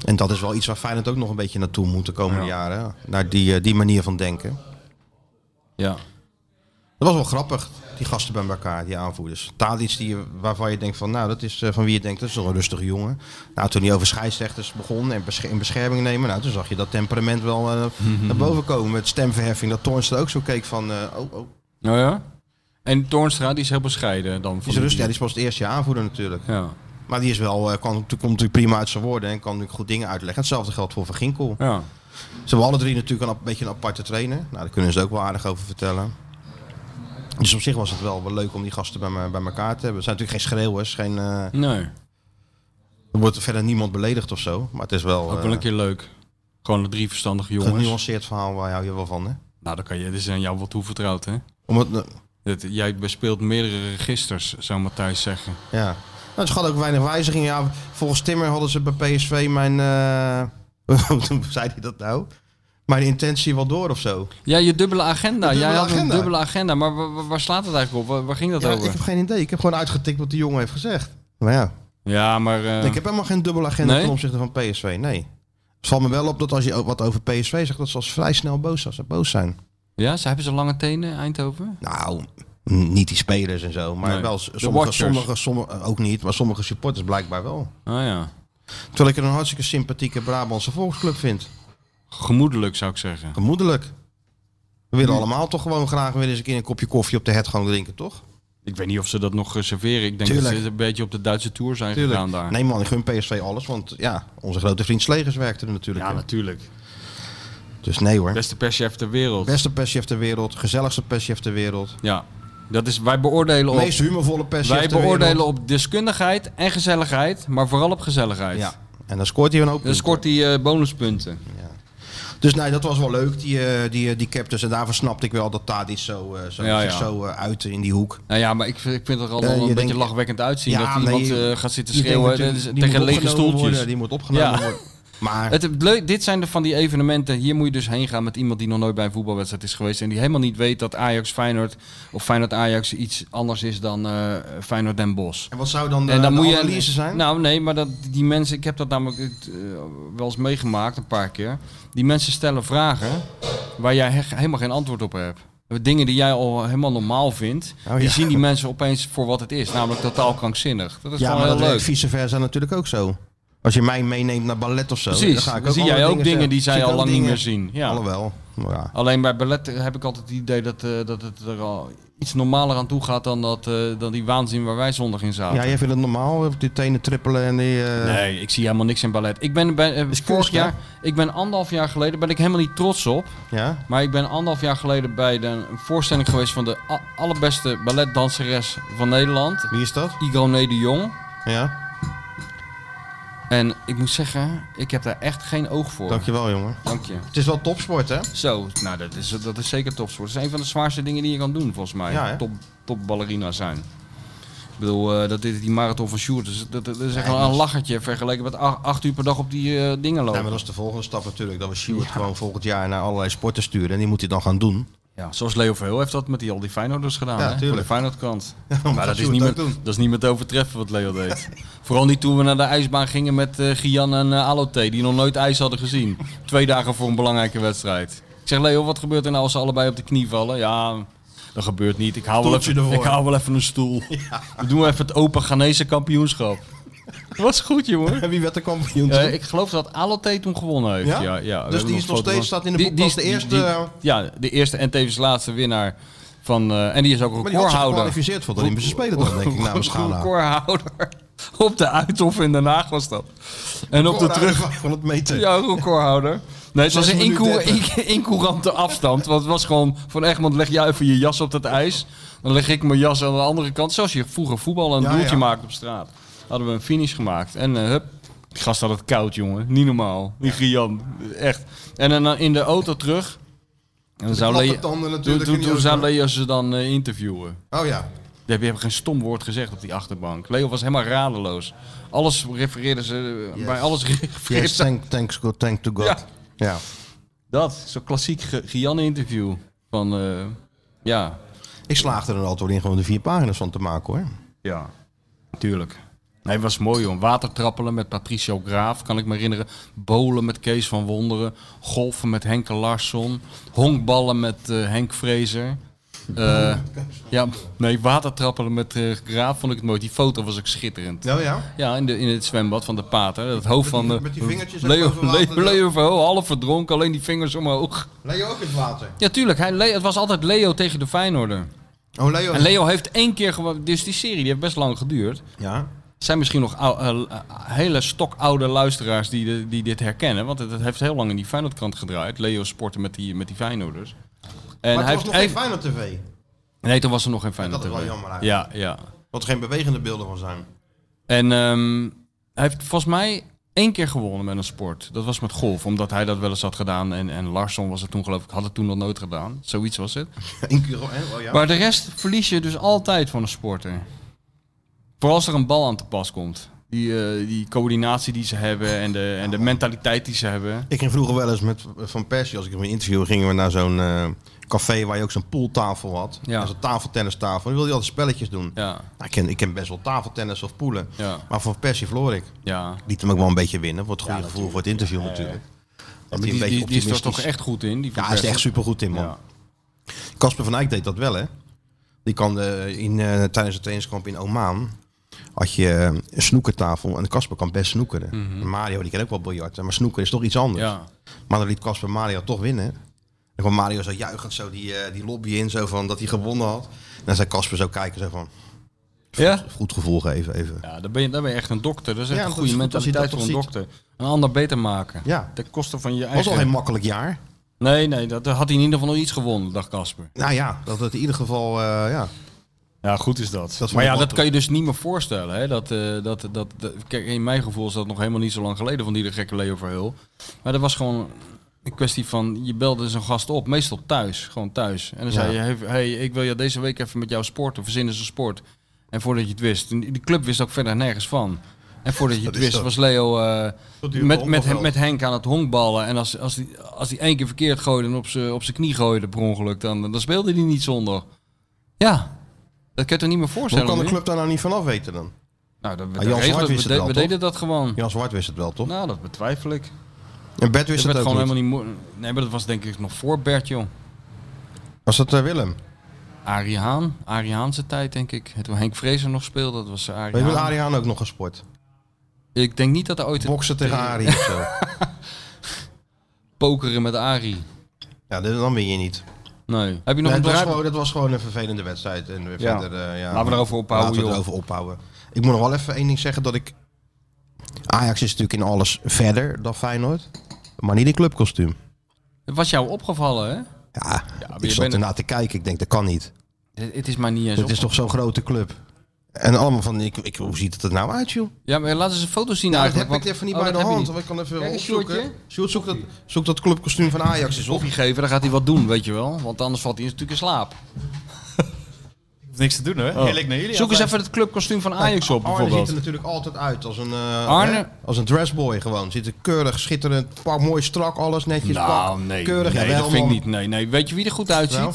B: En dat is wel iets waar Feyenoord ook nog een beetje naartoe moet de komende
C: Ja.
B: jaren. Naar die, eh, die manier van denken.
C: Ja.
B: Dat was wel grappig, die gasten bij elkaar, die aanvoerders. Tadic, die, waarvan je denkt van, nou, dat is eh, van wie je denkt, dat is toch een rustige jongen. Nou, toen hij over scheidsrechters begon en besche- in bescherming nemen, nou, toen zag je dat temperament wel eh, naar boven komen. Met stemverheffing, dat Toornstra ook zo keek van, eh, oh, oh.
C: Nou ja. En Toornstra, die is heel bescheiden dan.
B: Die
C: van
B: is rustig, ja, die
C: die-
B: is pas het eerste jaar aanvoerder natuurlijk.
C: Ja.
B: Maar die is wel, eh, kan, komt natuurlijk prima uit zijn woorden en kan natuurlijk goed dingen uitleggen. Hetzelfde geldt voor Van Ginkel.
C: Ja.
B: Ze hebben alle drie natuurlijk een, ap- beetje een aparte trainer. Nou, daar kunnen ze ook wel aardig over vertellen. Dus op zich was het wel, wel leuk om die gasten bij, me- bij elkaar te hebben. Het zijn natuurlijk geen schreeuwers. Geen, eh,
C: Nee.
B: er wordt verder niemand beledigd of zo. Maar het is wel,
C: Ook
B: eh,
C: wel een keer leuk. Gewoon de drie verstandige
B: een
C: jongens.
B: genuanceerd verhaal. Waar hou je wel van, hè?
C: Nou, dan kan je, dit is aan jou wat toevertrouwd, hè?
B: Om het, eh,
C: Dat, jij bespeelt meerdere registers, zou Matthijs zeggen.
B: ja. Nou, ze hadden ook weinig wijzigingen. Ja, volgens Timmer hadden ze bij PSV mijn... eh, Hoe zei hij dat nou? Mijn intentie wel door of zo.
C: Ja, je dubbele agenda.
B: Je dubbele
C: Jij had
B: agenda.
C: een dubbele agenda. Maar wa- wa- waar, slaat het eigenlijk op? Waar, waar ging dat
B: Ja,
C: over?
B: ik heb geen idee. Ik heb gewoon uitgetikt wat die jongen heeft gezegd. Maar ja,
C: Ja, maar... eh,
B: ik heb helemaal geen dubbele agenda
C: Nee?
B: ten opzichte van PSV. Nee. Het valt me wel op dat als je ook wat over PSV zegt, dat ze als vrij snel boos, als ze boos zijn.
C: Ja, ze hebben ze lange tenen, Eindhoven?
B: Nou, n- niet die spelers en zo, maar
C: Nee.
B: wel s-
C: De
B: sommige,
C: watchers.
B: sommige, sommige, eh, ook niet, maar sommige supporters blijkbaar wel.
C: Ah ja.
B: Terwijl ik er een hartstikke sympathieke Brabantse volksclub vind.
C: Gemoedelijk, zou ik zeggen.
B: Gemoedelijk. We willen allemaal toch gewoon graag weer eens een keer een kopje koffie op de hertgang drinken, toch?
C: Ik weet niet of ze dat nog eh, serveren. Ik denk
B: Tuurlijk.
C: dat ze een beetje op de Duitse Tour zijn gegaan daar.
B: Nee man, ik gun PSV alles, want ja, onze grote vriend Slegers werkte er natuurlijk.
C: ja,
B: in.
C: natuurlijk.
B: Dus nee hoor.
C: Beste perschef ter wereld.
B: Beste perschef ter wereld, gezelligste perschef ter wereld.
C: Ja. Dat is, wij beoordelen op,
B: Meest humorvolle perschef
C: wij
B: ter wereld.
C: beoordelen op deskundigheid en gezelligheid. Maar vooral op gezelligheid.
B: Ja, en dan scoort hij een hoop
C: Dan
B: punten.
C: scoort hij eh, bonuspunten.
B: Dus nee, dat was wel leuk, die, eh, die, eh, die captains. En daarvoor snapte ik wel dat Tadic zo, eh, zo,
C: Ja,
B: zich
C: ja.
B: zo eh, uitte in die hoek.
C: Nou ja, maar ik vind, ik vind het er al
B: Eh,
C: wel
B: je
C: een beetje
B: denkt-
C: lachwekkend uitzien.
B: Ja,
C: dat
B: nee,
C: iemand
B: je-
C: eh, gaat zitten
B: Die
C: schreeuwen
B: denkt
C: eh,
B: natuurlijk, die
C: tegen
B: moet
C: lege
B: opgenomen
C: stoeltjes.
B: worden, die moet opgenomen
C: Ja.
B: worden. Maar
C: Het, het leuk, dit zijn er van die evenementen. Hier moet je dus heen gaan met iemand die nog nooit bij een voetbalwedstrijd is geweest. En die helemaal niet weet dat Ajax Feyenoord of Feyenoord Ajax iets anders is dan eh, Feyenoord Den Bosch.
B: en wat zou dan de,
C: en dan
B: Eh, de
C: moet je
B: analyse zijn?
C: Nou, nee, maar dat, die mensen, ik heb dat namelijk eh, wel eens meegemaakt een paar keer. Die mensen stellen vragen waar jij he- helemaal geen antwoord op hebt. Dingen die jij al helemaal normaal vindt,
B: Oh,
C: die
B: ja.
C: zien die mensen opeens voor wat het is. Namelijk totaal krankzinnig. Dat is
B: ja,
C: gewoon
B: maar
C: heel
B: dat
C: leuk.
B: werkt vice versa natuurlijk ook zo. Als je mij meeneemt naar ballet of zo,
C: Precies,
B: dan ga ik
C: dan
B: ook
C: zie
B: andere
C: jij ook dingen
B: zeggen.
C: die zij
B: Zit
C: al
B: ook
C: lang niet
B: dingen-
C: meer zien. Ja.
B: Alhoewel, maar ja.
C: Alleen bij ballet heb ik altijd het idee dat, eh, dat het er al iets normaler aan toe gaat dan, dat, eh, dan die waanzin waar wij zondag in zaten.
B: Ja, jij vindt het normaal, eh, die tenen trippelen en die... eh,
C: Nee, ik zie helemaal niks in ballet. Ik ben bij, eh,
B: is
C: vorig
B: kunst, hè?
C: jaar, ik ben anderhalf jaar geleden, ben ik helemaal niet trots op.
B: Ja?
C: Maar ik ben anderhalf jaar geleden bij de, een voorstelling geweest van de a- allerbeste balletdanseres van Nederland.
B: Wie is dat?
C: Igone de Jong.
B: Ja,
C: En ik moet zeggen, ik heb daar echt geen oog voor.
B: dankjewel jongen.
C: Dank je.
B: Het is wel topsport hè?
C: Zo, nou dat is, dat is zeker topsport. Dat is een van de zwaarste dingen die je kan doen, volgens mij.
B: Ja, hè?
C: top, top ballerina zijn. Ik bedoel, eh, dat dit die marathon van Sjoerd, dat is, dat, dat is echt
B: Nee,
C: wel
B: dat
C: een
B: is-
C: lachertje vergeleken met ach- acht, uur per dag op die eh, dingen
B: Ja,
C: lopen.
B: maar dat is de volgende stap natuurlijk. Dat we Sjoerd gewoon volgend jaar naar allerlei sporten sturen. En die moet hij dan gaan doen.
C: Ja, zoals Leo Verhul heeft dat met die, al die Feyenoorders gedaan,
B: Ja,
C: hè? voor de
B: tuurlijk.
C: Feyenoordkant.
B: maar
C: maar
B: dat
C: dat is,
B: Sjoerd
C: niet
B: ook
C: met,
B: doen.
C: dat is niet met te overtreffen wat Leo deed. Vooral niet toen we naar de ijsbaan gingen met eh Gian en eh Alote, die nog nooit ijs hadden gezien. Twee dagen voor een belangrijke wedstrijd. Ik zeg, Leo, wat gebeurt er nou als ze allebei op de knie vallen? Ja, dat gebeurt niet. Ik hou, wel
B: Stoeltje
C: even,
B: ervoor.
C: ik hou wel even een stoel. We doen even het Open Ghanese kampioenschap. Dat was goed, jongen.
B: En wie werd de kampioen?
C: Eh, ik geloof dat Alote toen gewonnen heeft.
B: Ja?
C: Ja? Ja, we
B: Dus
C: hebben
B: die is nog
C: foto's.
B: steeds- staat in de boek als de
C: is-
B: eerste, eh,
C: ja, de eerste en tevens laatste winnaar. Van, eh, en die is ook
B: maar die had zich
C: recordhouder.
B: gekwalificeerd voor de Olympische Spelen dan, denk ik, namens Ghana.
C: Recordhouder. Op de Uithof in Den Haag was dat. En op de terug...
B: van het meten.
C: Ja, recordhouder. Nee, het was een
B: 16 minuten
C: inco- in- incoherente afstand. Want het was gewoon van Egmond, leg jij even je jas op dat ijs. Dan leg ik mijn jas aan de andere kant. Zoals je vroeger voetbal een
B: Ja,
C: doeltje
B: ja.
C: maakte op straat. Hadden we een finish gemaakt. En eh, hup, die gast had het koud, jongen. Niet normaal. Die Gian, echt. En dan eh, in de auto terug. En dan zou
B: Latte
C: Leo,
B: tanden
C: toen,
B: natuurlijk.
C: toen,
B: in
C: toen
B: die
C: zou
B: auto.
C: Leo ze dan eh, interviewen.
B: Oh ja.
C: Daar heb je geen stom woord gezegd op die achterbank. Leo was helemaal radeloos. Alles refereerden ze, eh,
B: Yes.
C: bij alles refereerden
B: Yes,
C: ze.
B: thank, thanks, God, thank to God. Ja.
C: Ja. Dat, zo'n klassiek Ge- Gianne-interview. Van, eh, ja.
B: Ik slaagde er altijd wel in gewoon de vier pagina's van te maken hoor.
C: Ja, natuurlijk. Nee, het was mooi om watertrappelen met Patricio Graaf, kan ik me herinneren. Bolen met Kees van Wonderen. Golfen met Henke Larsson. Honkballen met eh, Henk Vrezer. Eh, ja, nee, watertrappelen met eh, Graaf vond ik het mooi. Die foto was ook schitterend.
B: Nou ja.
C: Ja, in, de, in het zwembad van de Pater. Het
B: Met
C: hoofd van
B: die-
C: de
B: met die vingertjes ook
C: Leo,
B: boven water,
C: Leo,
B: zo.
C: Leo Verhoeven, half verdronken, alleen die vingers omhoog.
B: Leo ook in het water.
C: Ja, tuurlijk. Hij, Le- het was altijd Leo tegen de Feyenoorder.
B: Oh, Leo.
C: En Leo heeft één keer gewoon... Dus die serie die heeft best lang geduurd.
B: Ja.
C: Er zijn misschien nog ou- eh, eh, hele stokoude luisteraars die, de- die dit herkennen. Want het, het heeft heel lang in die Feyenoordkrant gedraaid. Leo sporten met die, met die Feyenoorders. En
B: maar
C: hij
B: hij was nog geen
C: heeft...
B: fijn op tv.
C: Nee, toen was er nog geen Feyenoord.
B: dat is wel
C: TV.
B: jammer
C: Ja, ja.
B: Wat geen bewegende beelden van zijn.
C: En ehm, hij heeft volgens mij één keer gewonnen met een sport. Dat was met golf, omdat hij dat wel eens had gedaan. En, en Larsson was het toen geloof ik, had het toen nog nooit gedaan. Zoiets was het.
B: Eén keer, hè? Oh ja.
C: Maar de rest verlies je dus altijd van een sporter. Vooral als er een bal aan te pas komt. Die, eh, die coördinatie die ze hebben en de, en de mentaliteit die ze hebben.
B: Ik ging vroeger wel eens met Van Persie, als ik hem interview, gingen we naar zo'n eh, café waar je ook zo'n pooltafel had.
C: Ja.
B: Ja. Zo'n tafeltennistafel. Ik wilde altijd spelletjes doen.
C: Ja,
B: Nou, ik, ken, ik ken best wel tafeltennis of poelen.
C: Ja.
B: Maar Van Persie verloor ik.
C: ja.
B: Liet hem ook wel een beetje winnen. Voor het goede gevoel voor het interview natuurlijk. Dat
C: Die,
B: hij een beetje
C: die, die is er toch
B: optimistisch-
C: echt goed in. Die
B: Ja, hij is er echt supergoed in, man.
C: Ja.
B: Casper van Eyck deed dat wel, hè? Die kan eh, in, eh, tijdens het trainingskamp in Oman had je eh, een snoekertafel en Casper kan best snoekeren. Mario die kan ook wel biljarten, maar snoeker is toch iets anders.
C: Mhm. Ja.
B: Maar dan liet Casper Mario toch winnen. En kwam Mario zo juichend zo die, eh, die lobby in, zo van dat hij gewonnen had. En dan zei Casper zo kijken, zo van
C: Ja?
B: goed gevoel geven even.
C: Ja, dan ben, je, dan ben je echt een dokter. Dat is echt
B: Ja,
C: een
B: dat
C: goede
B: is goed als je dat
C: mentaliteit voor een
B: toch
C: dokter. Een ander beter maken.
B: Ja.
C: Ten koste van je
B: was
C: eigen...
B: al geen makkelijk jaar.
C: Nee, nee, dat had hij in ieder geval nog iets gewonnen, dacht Casper.
B: Nou ja, dat het in ieder geval, eh, ja.
C: Ja, goed is dat.
B: vond
C: maar
B: ik
C: ja,
B: wel
C: dat
B: tof.
C: kan je dus niet meer voorstellen. Hè? Dat, eh, dat, dat, dat- kijk, in mijn gevoel is dat nog helemaal niet zo lang geleden van die de gekke Leo Verheul. Maar dat was gewoon een kwestie van, je belde zo'n gast op, meestal thuis, gewoon thuis. En dan zei je, hey, hey, ik wil jou deze week even met jou sporten, verzinnen ze sport. En voordat je het wist, en die club wist ook verder nergens van. En voordat je het
B: Dat is
C: wist,
B: zo.
C: was Leo eh,
B: Tot die
C: met, met,
B: honkbalveld.
C: met Henk aan het honkballen. En als, als, die, als die één keer verkeerd gooide en op zijn op z'n knie gooide per ongeluk, dan, dan speelde hij niet zondag. Ja, dat kan je toch niet meer
B: Hoe
C: voorstellen?
B: kan de
C: nu?
B: club daar nou niet vanaf weten dan?
C: Nou, dat,
B: Jan
C: dat regelen-
B: Zwart
C: we,
B: wist het
C: de-
B: wel,
C: we
B: toch?
C: deden dat gewoon.
B: Jan Zwart wist het wel, toch?
C: Nou, dat betwijfel ik.
B: En Bert
C: Dat
B: wist
C: werd
B: het
C: gewoon
B: ook niet.
C: helemaal niet moe- Nee, maar dat was denk ik nog voor Bert, joh.
B: Was dat eh, Willem?
C: Arie Haan. Arie Haanse tijd, denk ik. Toen Henk Vrezer nog speelde, dat was
B: We
C: Arie
B: hebben
C: Haan.
B: Ariaan ook nog gesport.
C: Ik denk niet dat er ooit...
B: Boksen tegen Arie of zo.
C: Pokeren met Arie.
B: Ja, dit- dan win je niet.
C: Nee. Heb je nog
B: Nee,
C: een
B: dat, was
C: draai...
B: gewoon, dat was gewoon een vervelende wedstrijd. En weer
C: Ja.
B: verder, eh, ja,
C: Laten we erover ophouden,
B: Laten we
C: joh.
B: erover ophouden. Ik moet nog wel even één ding zeggen dat ik... Ajax is natuurlijk in alles verder dan Feyenoord. Maar niet in clubkostuum.
C: Het was jou opgevallen, hè?
B: Ja,
C: maar je
B: ik zat
C: bent-
B: ernaar te kijken. Ik denk, dat kan niet.
C: Het, het is maar niet eens
B: Het is toch zo'n grote club. En allemaal van, ik, ik, hoe ziet het er nou uit, joh?
C: op- Ja, maar laten ze een foto zien
B: Nou, dat
C: eigenlijk. Oh,
B: heb ik even niet bij de hand. want Ik kan even
C: Kijk, een
B: opzoeken.
C: shortje.
B: Sjoerd, zoek dat, zoek dat clubkostuum van Ajax eens op.
C: Koffie geven, dan gaat hij wat doen, weet je wel. Want anders valt hij natuurlijk in slaap.
E: hoeft niks te doen, hè? Heerlijk naar jullie.
C: Zoek eens
E: altijd.
C: even het clubkostuum van Ajax
B: Arne ziet
C: op, bijvoorbeeld.
B: er natuurlijk altijd uit als een, eh,
C: Arne-
B: hè, als een dressboy gewoon. Ziet er keurig, schitterend, pak, mooi strak, alles netjes. pak, keurig
C: Nou, nee,
B: en wel,
C: dat vind ik
B: man.
C: niet. Nee, nee. Weet je wie er goed uitziet?
B: Wel?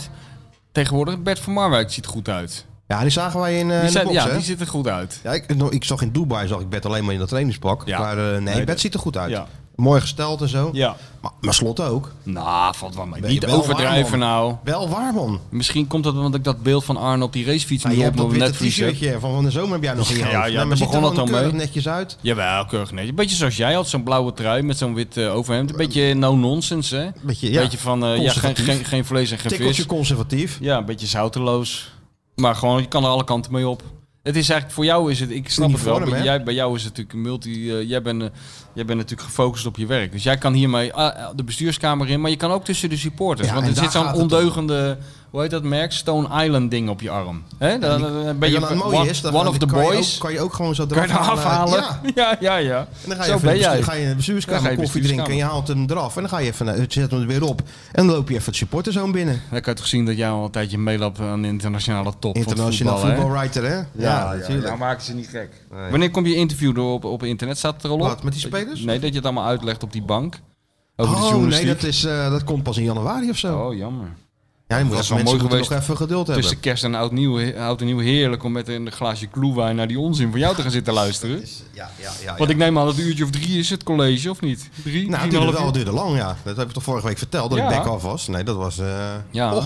C: Tegenwoordig Bert van Marwijk ziet er goed uit.
B: Ja, die zagen wij in, eh,
C: Die
B: in
C: zijn-
B: de box,
C: ja,
B: hè?
C: die ziet er goed uit.
B: Ja, ik, nou, ik zag in Dubai zag ik Bert alleen maar in dat trainingspak.
C: Ja.
B: Maar eh, nee,
C: Nee,
B: Bert
C: dat-
B: ziet er goed uit.
C: ja.
B: Mooi gesteld en zo.
E: Ja.
B: Maar, maar slot ook.
C: Nou, valt wel mee.
B: Ben je
C: Niet
B: wel
C: overdrijven
B: waar,
C: nou.
B: Wel waar, man.
C: Misschien komt dat omdat ik dat beeld van Arne op die racefiets
B: Ja,
C: nu
B: je
C: op
B: hebt dat
C: mijn
B: witte
C: netvlies heb.
B: t-shirtje van van de zomer heb jij nog in je
C: Ja,
B: hoofd.
C: ja,
B: Nou,
C: daar
B: maar ziet
C: begon
B: er
C: het al
B: keurig
C: mee.
B: netjes uit.
C: Jawel, keurig netjes. Een beetje zoals jij had, zo'n blauwe trui met zo'n wit eh, overhemd. Een beetje no-nonsense, hè?
B: Beetje, ja.
C: beetje van, eh, ja, geen,
B: Conservatief.
C: geen, geen vlees en geen
B: Tikkeltje
C: vis.
B: conservatief.
C: Ja, een beetje zouteloos. Maar gewoon, je kan er alle kanten mee op. Het is eigenlijk, voor jou is het, ik snap het wel,
B: Uniform,
C: bij,
B: hè?
C: jij, bij jou is het natuurlijk een multi, eh, jij, bent, eh, jij bent natuurlijk gefocust op je werk. Dus jij kan hiermee ah, de bestuurskamer in, maar je kan ook tussen de supporters.
B: Ja,
C: want
B: en
C: er zit
B: daar
C: zo'n
B: gaat het om.
C: ondeugende, hoe heet dat merk? Stone Island ding op je arm. Hè? Dan, dan ben je
B: en dan het mooie
C: one,
B: is, dan
C: one of the
B: kan je
C: boys.
B: ook- kan je ook gewoon zo
C: Kan je
B: eraf
C: eraf halen?
B: eh, Ja.
C: Ja, ja, ja.
B: En dan ga je
C: Zo
B: even
C: ben
B: in de
C: jij.
B: bestu- ga je in de bestuurskamer
C: Dan ga je in de
B: koffie drinken en je haalt hem eraf. En dan ga je even, naar- zet hem er weer op. En dan loop je even het supporterzoon binnen.
C: Dan kan je toch zien dat jij al een tijdje meeloopt aan de internationale top
B: Internationaal
C: van het voetbal, hè?
B: voetbalwriter, hè? Ja, Nou, natuurlijk.
C: maken ze niet gek. Wanneer kom je interview door op, op internet? Staat het er al op?
B: Wat, met die spelers?
C: Nee, dat je het allemaal uitlegt op die bank. Over de
B: Oh, nee,
C: journalistiek.
B: dat, is, eh, dat komt pas in januari of zo.
C: Oh, jammer.
B: ja, je moet
C: dat
B: als
C: is
B: mensen
C: wel mooi
B: moeten
C: geweest.
B: nog even geduld hebben.
C: Tussen kerst en oud, nieuw, he- oud en nieuw heerlijk om met een glaasje kloewijn naar die onzin van jou te gaan zitten luisteren.
B: Ja, ja, ja.
C: Want ik neem aan dat een uurtje of drie is het college, of niet? Drie,
B: Nou, het duurde
C: drieënhalf
B: wel,
C: uur?
B: het duurde lang, ja. Dat heb ik toch vorige week verteld, dat
C: Ja.
B: ik bek af was. Nee, dat was... eh,
C: Ja.
B: oh.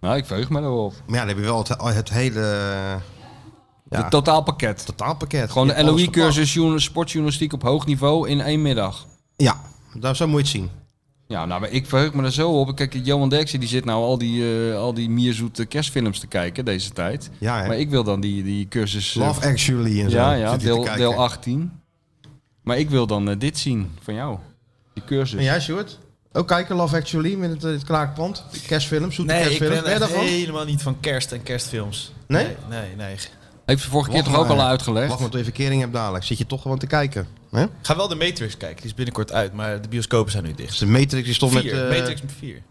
C: Nou, ik veug me erop.
B: Maar ja, dan heb je wel het, het hele eh, Ja.
C: Het totaalpakket.
B: totaalpakket.
C: Gewoon
B: Je
C: de
B: hebt alles
C: LOE-cursus journa- sportjournalistiek op hoog niveau in één middag.
B: verpakt. Ja, daar, zo moet je het zien.
C: Ja, nou, maar ik verheug me er zo op. Kijk, Johan Derksen die zit nou al die, eh, al die mierzoete kerstfilms te kijken deze tijd.
B: Ja, hè.
C: Maar ik wil dan die, die cursus... eh,
B: Love Actually en zo.
C: ja, ja,
B: zit hij te
C: deel,
B: kijken.
C: deel 18. Maar ik wil dan eh, dit zien van jou. Die cursus.
B: En jij, Sjoerd? Ook kijken Love Actually met het, eh, het kraakpand? Kerstfilm, zoete
E: Nee, ik
B: kerstfilm.
E: ben
B: Ben je
E: echt
B: daarvan?
E: helemaal niet van kerst en kerstfilms.
B: Nee?
E: Nee, nee.
C: Heeft ze vorige keer
B: Wacht
C: toch ook
B: maar.
C: al uitgelegd?
B: Wacht maar tot je verkering hebt dadelijk. Zit je toch gewoon te kijken. Hè?
E: Ik ga wel de Matrix kijken. Die is binnenkort uit, maar de bioscopen zijn nu dicht.
B: Dus de Matrix is toch
E: Vier,
B: met, eh,
E: Matrix met vier.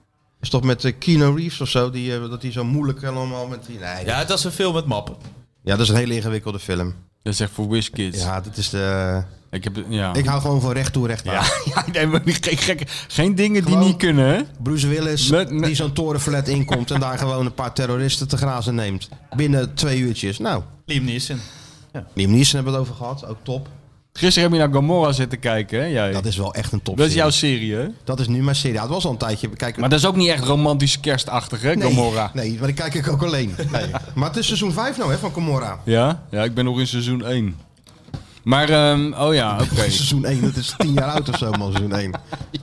B: is toch met eh, Keanu Reeves of zo? Die, eh, dat hij zo moeilijk allemaal met die... Nee,
E: Ja, dat is een film met mappen.
B: Ja, dat is een hele ingewikkelde film.
C: Dat is echt voor WizKids.
B: Ja, dat is de...
C: Ik heb, ja.
B: Ik hou gewoon van recht toe, recht aan.
C: ja, ja, nee, maar niet gek, gek. Geen dingen
B: Gewoon-
C: die niet kunnen, hè?
B: Bruce Willis,
C: Met- met-
B: die zo'n torenflat inkomt en daar gewoon een paar terroristen te grazen neemt. Binnen twee uurtjes. Nou,
E: Liam Neeson.
B: Liam Neeson hebben we het over gehad, ook top.
C: Gisteren heb je naar Gamora zitten kijken, hè? Jij.
B: Dat is wel echt een top.
C: Dat is jouw serie, hè?
B: Dat is nu mijn serie. Ja, het was al een tijdje. Kijk,
C: Maar dat is ook niet echt romantisch kerstachtig, hè,
B: nee,
C: Gamora?
B: Nee, maar die kijk ik ook alleen. Nee. Maar het is seizoen 5 nou hè, van Gamora.
C: Ja? Ja, ik ben nog in seizoen 1. Maar, ehm, oh ja, oké.
B: Seizoen 1, dat is 10 jaar oud of zo, man, seizoen 1.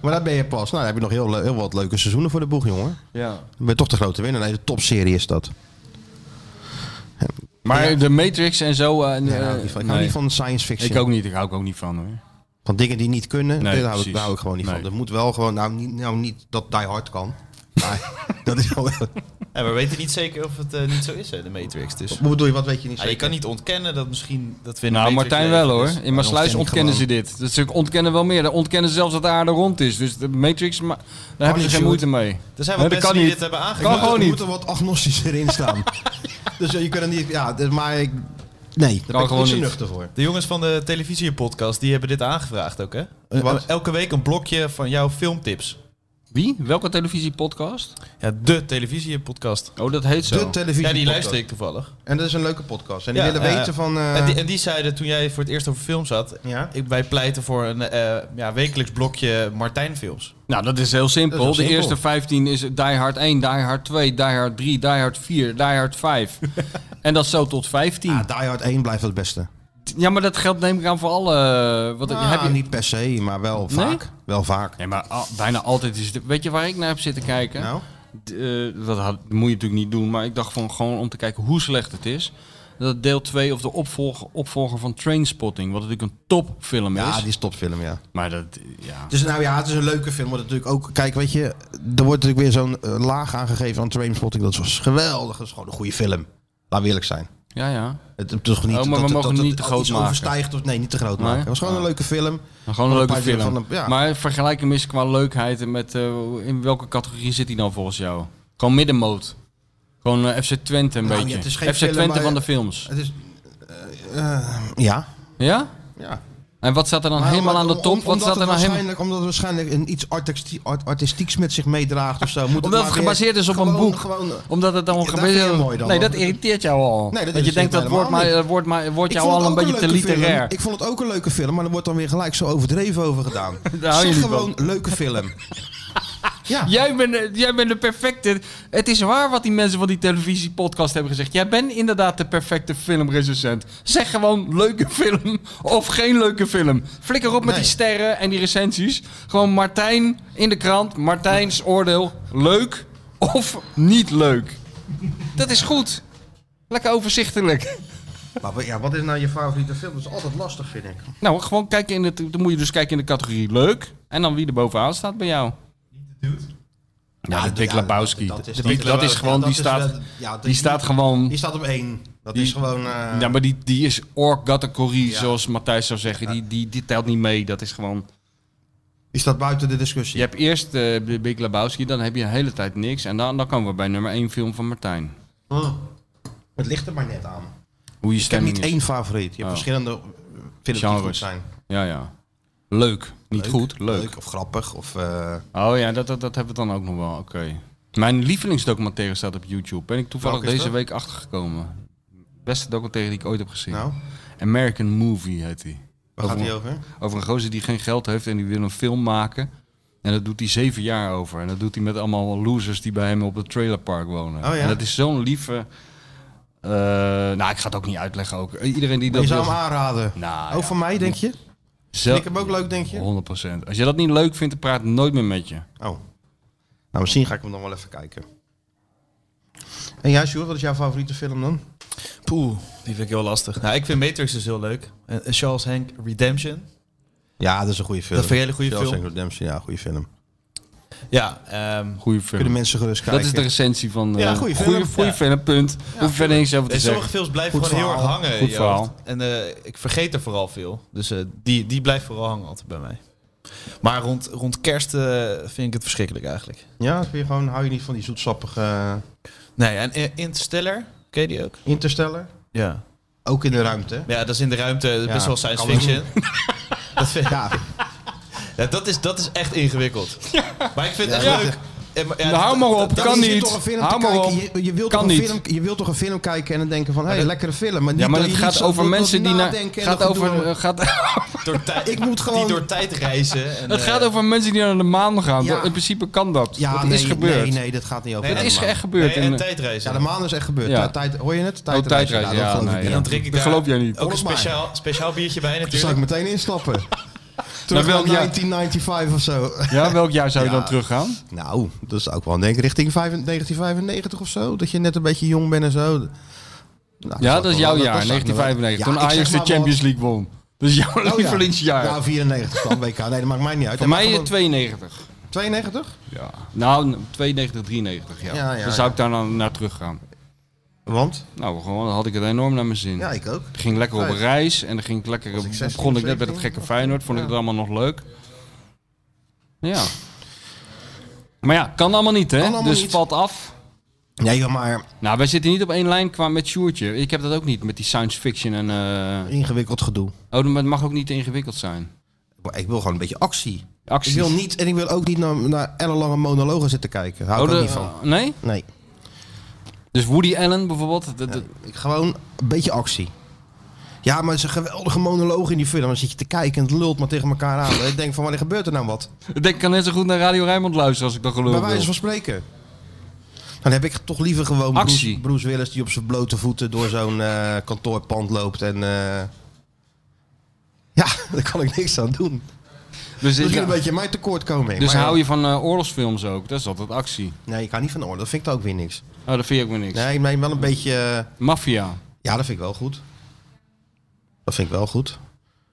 B: Maar daar ben je pas. Nou, dan heb je nog heel, le- heel wat leuke seizoenen voor de boeg, jongen.
C: Ja.
B: Dan ben je toch de grote winnaar. Nee, de topserie is dat.
C: Maar de Matrix en zo... eh,
B: Ja, ik hou niet
C: eh,
B: van- ik hou
C: nee.
B: niet van science fiction.
C: Ik ook niet, ik hou ik ook niet van, hoor.
B: Van dingen die niet kunnen,
C: Nee,
B: daar, hou ik,
C: precies.
B: daar hou ik gewoon niet van.
C: Nee.
B: Dat moet wel gewoon, nou niet, nou, niet dat Die Hard kan. Maar dat is wel...
E: Ja, we weten niet zeker of het eh, niet zo is, hè, de Matrix. Dus.
B: Wat bedoel je, wat weet je niet
E: Ja, je kan niet ontkennen dat misschien... Dat we in de
C: Nou,
E: Matrix
C: Martijn
E: leven,
C: wel, hoor.
E: dus-
C: In Maasluis
B: ontken ik
C: ontkennen ze
B: gewoon.
C: dit. Dat ze ontkennen wel meer. Ze ontkennen zelfs dat de aarde rond is. Dus de Matrix, maar, daar hebben ze
B: niet,
C: geen
B: joh.
C: moeite mee.
E: Er zijn
C: Nee,
E: wel
C: dat
E: mensen die
C: kan
E: dit
C: niet.
E: hebben
C: Kan
E: aangekaart.
B: Maar
C: gewoon
B: er
C: niet.
B: moet er wat agnostischer in staan. dus eh, je kunt er niet... Ja, dus- maar ik... Nee, daar ben ik
C: gewoon
B: niet zo
C: niet.
B: nuchter voor.
E: De jongens van de televisiepodcast, die hebben dit aangevraagd ook, hè?
B: Wat?
E: Elke week een blokje van jouw filmtips.
C: Wie? Welke televisiepodcast?
E: Ja, de televisiepodcast.
C: Oh, dat heet zo.
B: De televisie
E: Ja, die luister ik toevallig.
B: En dat is een leuke podcast. En die
E: Ja,
B: willen
E: ja.
B: weten van... eh,
E: en, die, en die zeiden toen jij voor het eerst over films had...
B: Ja.
E: Ik, wij pleiten voor een eh, ja, wekelijks blokje Martijn-films.
C: Nou, dat is heel simpel.
B: Dat is
C: de
B: heel simpel.
C: eerste 15 is Die Hard 1, Die Hard 2, Die Hard 3, Die Hard 4, Die Hard 5. en dat zo tot 15.
B: ah, Die Hard 1 blijft het beste.
C: Ja, maar dat geldt neem ik aan voor alle... eh, Wat,
B: Nou,
C: heb je...
B: Niet per se, maar wel
C: Nee?
B: vaak. Wel vaak.
C: Nee, maar al- bijna altijd is het... Weet je waar ik naar heb zitten kijken?
B: Nou,
C: D- eh, dat had, moet je natuurlijk niet doen, maar ik dacht van gewoon om te kijken hoe slecht het is. Dat deel 2 of de opvolger, opvolger van Trainspotting, wat natuurlijk een topfilm
B: ja,
C: is.
B: die is topfilm, ja.
C: Maar dat, ja.
B: Dus nou ja, het is een leuke film. Maar natuurlijk ook, kijk, weet je, er wordt natuurlijk weer zo'n eh, laag aangegeven aan Trainspotting. Dat was geweldig. Dat is gewoon een goede film. Laten we eerlijk zijn.
C: Ja, ja.
B: Het, het is gewoon niet,
C: Oh, maar
B: dat,
C: we mogen
B: dat,
C: hem
B: dat-
C: niet te
B: dat
C: groot
B: iets
C: maken.
B: overstijgt of nee, niet te groot
C: Nee?
B: maken. Het was gewoon
C: Ah.
B: een leuke film.
C: Maar Gewoon een
B: Van een
C: leuke
B: paar
C: film.
B: van de- ja.
C: Maar vergelijk hem eens qua leukheid en met eh, in welke categorie zit hij dan volgens jou? Gewoon middenmoot. Gewoon eh, FC Twente een
B: Nou, ja,
C: beetje.
B: het is geen
C: FC
B: film,
C: Twente
B: maar-
C: van de films.
B: Het is, eh, eh, ja.
C: Ja?
B: ja.
C: En wat staat er dan
B: Maar
C: helemaal
B: om-
C: aan de
B: om-
C: top?
B: omdat
C: wat staat
B: het
C: er nou helemaal...
B: waarschijnlijk, Omdat het waarschijnlijk een iets artistie- art- artistieks met zich meedraagt of zo. Moet
C: Omdat
B: maar
C: het gebaseerd
B: weer-
C: is op een
B: gewoon-
C: boek.
B: Gewoon,
C: Omdat het dan
B: Ja, dat vind je mooi dan,
C: nee,
B: want
C: dat
B: het-
C: irriteert jou al.
B: Nee, dat
C: dat je
B: irriteert
C: denkt dat
B: me
C: wordt,
B: helemaal
C: maar, eh, wordt, maar, wordt
B: Ik
C: jou
B: vond
C: al een
B: het ook
C: beetje te
B: leuke film.
C: literair.
B: Ik vond het ook een leuke film, maar er wordt dan weer gelijk zo overdreven over gedaan.
C: Daar hou je
B: zeg
C: niet
B: gewoon leuke film. ja.
C: Jij bent, eh, jij bent de perfecte. Het is waar wat die mensen van die televisiepodcast hebben gezegd. Jij bent inderdaad de perfecte filmrecensent. Zeg gewoon leuke film of geen leuke film. Flikker op met
B: Nee.
C: die sterren en die recensies. Gewoon Martijn in de krant. Martijns oordeel. Leuk of niet leuk. Dat is goed. Lekker overzichtelijk.
B: Maar wa- ja, wat is nou je favoriete film? Dat is altijd lastig, vind ik.
C: Nou, gewoon kijken in het. Dan moet je dus kijken in de categorie leuk. En dan wie er bovenaan staat bij jou. Ja, de Dick
B: ja,
C: Labowski.
B: dat- dat is-
C: De Dick- Dat is gewoon,
B: dat
C: die
B: is
C: staat,
B: wel- ja, dat
C: die
B: is-
C: staat gewoon...
B: Die staat op één. Dat
C: Die-
B: is gewoon... eh,
C: Ja, maar die, die is org-categorie,
B: Ja.
C: zoals Matthijs zou zeggen. Die, die, die telt niet mee. Dat is gewoon...
B: Die staat buiten de discussie.
C: Je hebt eerst eh, de Big Lebowski, dan heb je de hele tijd niks. En dan, dan komen we bij nummer 1 film van Martijn.
B: Hm. Het ligt er maar net aan.
C: Hoe je
B: Ik heb
C: stemming
B: niet
C: is.
B: één favoriet. Je hebt
C: Oh.
B: verschillende eh, films die
C: Genres.
B: goed zijn.
C: Ja, ja. Leuk. Niet goed, leuk.
B: Leuk of grappig. Of, eh,
C: Oh ja, dat, dat, dat hebben we dan ook nog wel. Oké. Mijn lievelingsdocumentaire staat op YouTube. Ben ik toevallig
B: Welke is
C: deze
B: dat?
C: week achtergekomen. Beste documentaire die ik ooit heb gezien.
B: nou,
C: American Movie heet die.
B: waar gaat
C: Over-
B: die over?
C: Over een gozer die geen geld heeft en die wil een film maken. En dat doet hij zeven jaar over. En dat doet hij met allemaal losers die bij hem op het trailerpark wonen.
B: Oh ja?
C: En dat is zo'n lieve... eh, nou, ik ga het ook niet uitleggen. Ook. Iedereen die
B: Maar
C: dat
B: je zou hem
C: wil-
B: aanraden.
C: Nou,
B: Ook
C: ja.
B: van mij, denk je?
C: Zo-
B: Vind ik hem ook leuk, denk je?
C: 100%. Als je dat niet leuk vindt, dan praat ik nooit meer met je.
B: Oh. Nou, misschien ga ik hem dan wel even kijken. En jij, Sjoerd, wat is jouw favoriete film dan?
E: Poeh, die vind ik heel lastig. Nou, ik vind Matrix dus heel leuk. En eh, Charles Hank Redemption.
B: Ja, dat is een goede film.
E: Dat vind je een hele goede film?
B: Redemption, ja, goede film.
E: Ja, ehm,
C: Goeie film.
B: Kunnen mensen gerust kijken.
C: Dat is de recensie van... eh
B: Ja, goeie film.
C: Goeie, goeie
E: Ja.
C: film, punt. Hoef verder niks over te
E: en sommige
C: zeggen.
E: films blijven
B: Goed
E: gewoon heel
B: verhaal.
E: erg hangen.
C: Goed
E: in je
C: verhaal.
E: hoofd. En eh, ik vergeet er vooral veel. Dus eh, die, die blijft vooral hangen altijd bij mij. Maar rond, rond kerst eh, vind ik het verschrikkelijk eigenlijk.
B: Ja, vind je gewoon, hou je niet van die zoetsappige
E: Nee, en eh, Interstellar, ken je die ook?
B: intersteller?
E: Ja.
B: Ook in de ruimte.
E: Ja, dat is in de ruimte dat is
B: Ja,
E: best wel science
B: kan wel
E: fiction. dat, vind-
B: Ja,
E: ja, dat, is, dat is echt ingewikkeld. Maar ik vind het
B: Ja,
E: echt
B: dat-
E: leuk. En, maar ja,
C: Nou, hou maar op,
E: dat- dat
C: kan
E: is-
B: je zit
C: niet.
B: toch een film te
C: Hou maar
B: kijken,
C: op.
B: Je, je wilt
C: Kan
B: toch een
C: niet.
B: Film, je wilt toch een film kijken en dan denken van, hé, hey,
E: dat-
B: lekkere film. Maar, niet
C: Ja, maar
B: dat
C: het
B: je
C: gaat
B: niet zo-
C: over
B: dat- dat
C: mensen die naar.
B: nadenken en
C: Gaat
B: dat gedoe.
C: over, eh, gaat,
E: Door tijd,
B: Ik moet gewoon-
E: Die door tijd reizen. En,
C: het
E: eh,
C: gaat over mensen die naar de maan gaan.
B: Ja.
C: In principe kan dat.
B: Ja,
C: dat
B: nee,
C: is gebeurd.
B: nee, nee, dat gaat niet over.
E: Nee,
C: Dat
B: de
C: is
B: maan.
C: echt gebeurd.
E: nee,
C: in-
E: en tijdreizen.
B: Ja, de maan is echt gebeurd.
C: Ja.
B: Ja. tijd, hoor je het?
C: Oh, tijdreizen,
B: dat
C: ja,
B: geloof
C: nee,
B: ik
C: ja.
E: en
B: niet.
E: dan drink ik
C: Dat
E: daar
C: geloof jij niet.
E: ook een
B: Volgens mij.
E: speciaal, speciaal biertje bij
B: Toen zou ik
E: natuurlijk.
B: meteen instappen. Terug
C: welk
B: naar
C: jaar?
B: 1995 of zo.
C: Ja, welk jaar zou je
B: Ja.
C: dan teruggaan?
B: Nou, dat is ook wel denk ik richting 1995 of zo. Dat je net een beetje jong bent en zo. Nou,
C: Ja,
B: zou
C: dat is
B: wel-
C: jouw jaar,
B: zou ik wel-
C: 1995.
B: Ja,
C: Toen
B: ik zeg
C: Ajax de
B: maar wat.
C: Champions League won. Dat is jouw
B: Oh, ja.
C: lievelingsjaar.
B: Nou, 94 dan WK. Nee, dat maakt mij niet uit.
C: Voor
B: Maar
C: mij
B: gewoon-
C: 92.
B: 92?
C: Ja. Nou, 92, 93, ja.
B: Ja, ja,
C: dan zou
B: ja.
C: ik daar dan naar terug gaan.
B: Want?
C: Nou, gewoon dan had ik het enorm naar mijn zin.
B: Ja, ik ook.
C: Ik ging lekker op
B: Nee.
C: reis en dan ging ik lekker,
B: ik 16,
C: begon ik net bij dat
B: 17,
C: gekke
B: of-
C: Feyenoord, vond ik
B: ja.
C: het allemaal nog leuk. Ja. Maar ja, kan allemaal niet, hè?
B: Kan allemaal
C: dus
B: niet.
C: valt af.
B: Nee, joh, maar
C: Nou, wij zitten niet op één lijn qua met Sjoertje. Ik heb dat ook niet met die science fiction en... eh
B: ingewikkeld gedoe.
C: Oh, maar het mag ook niet te ingewikkeld zijn.
B: Maar ik wil gewoon een beetje actie.
C: Actie.
B: Ik wil niet, en ik wil ook niet naar, naar ellenlange monologen zitten kijken. Hou ik
C: Oh,
B: ook
C: de-
B: niet van.
C: Nee?
B: Nee.
C: Dus Woody Allen bijvoorbeeld. dat- dat-
B: Ik- Gewoon een beetje actie. Ja, maar het is een geweldige monoloog in die film. Dan zit je te kijken en het lult maar tegen elkaar aan. ik denk van, wanneer gebeurt er nou wat?
C: Ik denk, ik kan net zo goed naar Radio Rijnmond luisteren als ik dat geloof.
B: Bij wijze van spreken. Dan heb ik toch liever gewoon Bruce,
C: Actie.
B: Bruce Willis die op zijn blote voeten door zo'n eh, kantoorpand loopt. En eh, ja, daar kan ik niks aan doen.
C: Dus,
B: Misschien
C: ja.
B: een beetje mij tekort komen.
C: dus
B: maar-
C: hou je van eh, oorlogsfilms ook? Dat is altijd actie.
B: Nee, ik hou niet van oorlog. Dat vind ik ook weer niks.
C: Oh, dat vind ik ook weer niks.
B: Nee, ik meen wel een beetje... eh,
C: Mafia.
B: Ja, dat vind ik wel goed. Dat vind ik wel goed.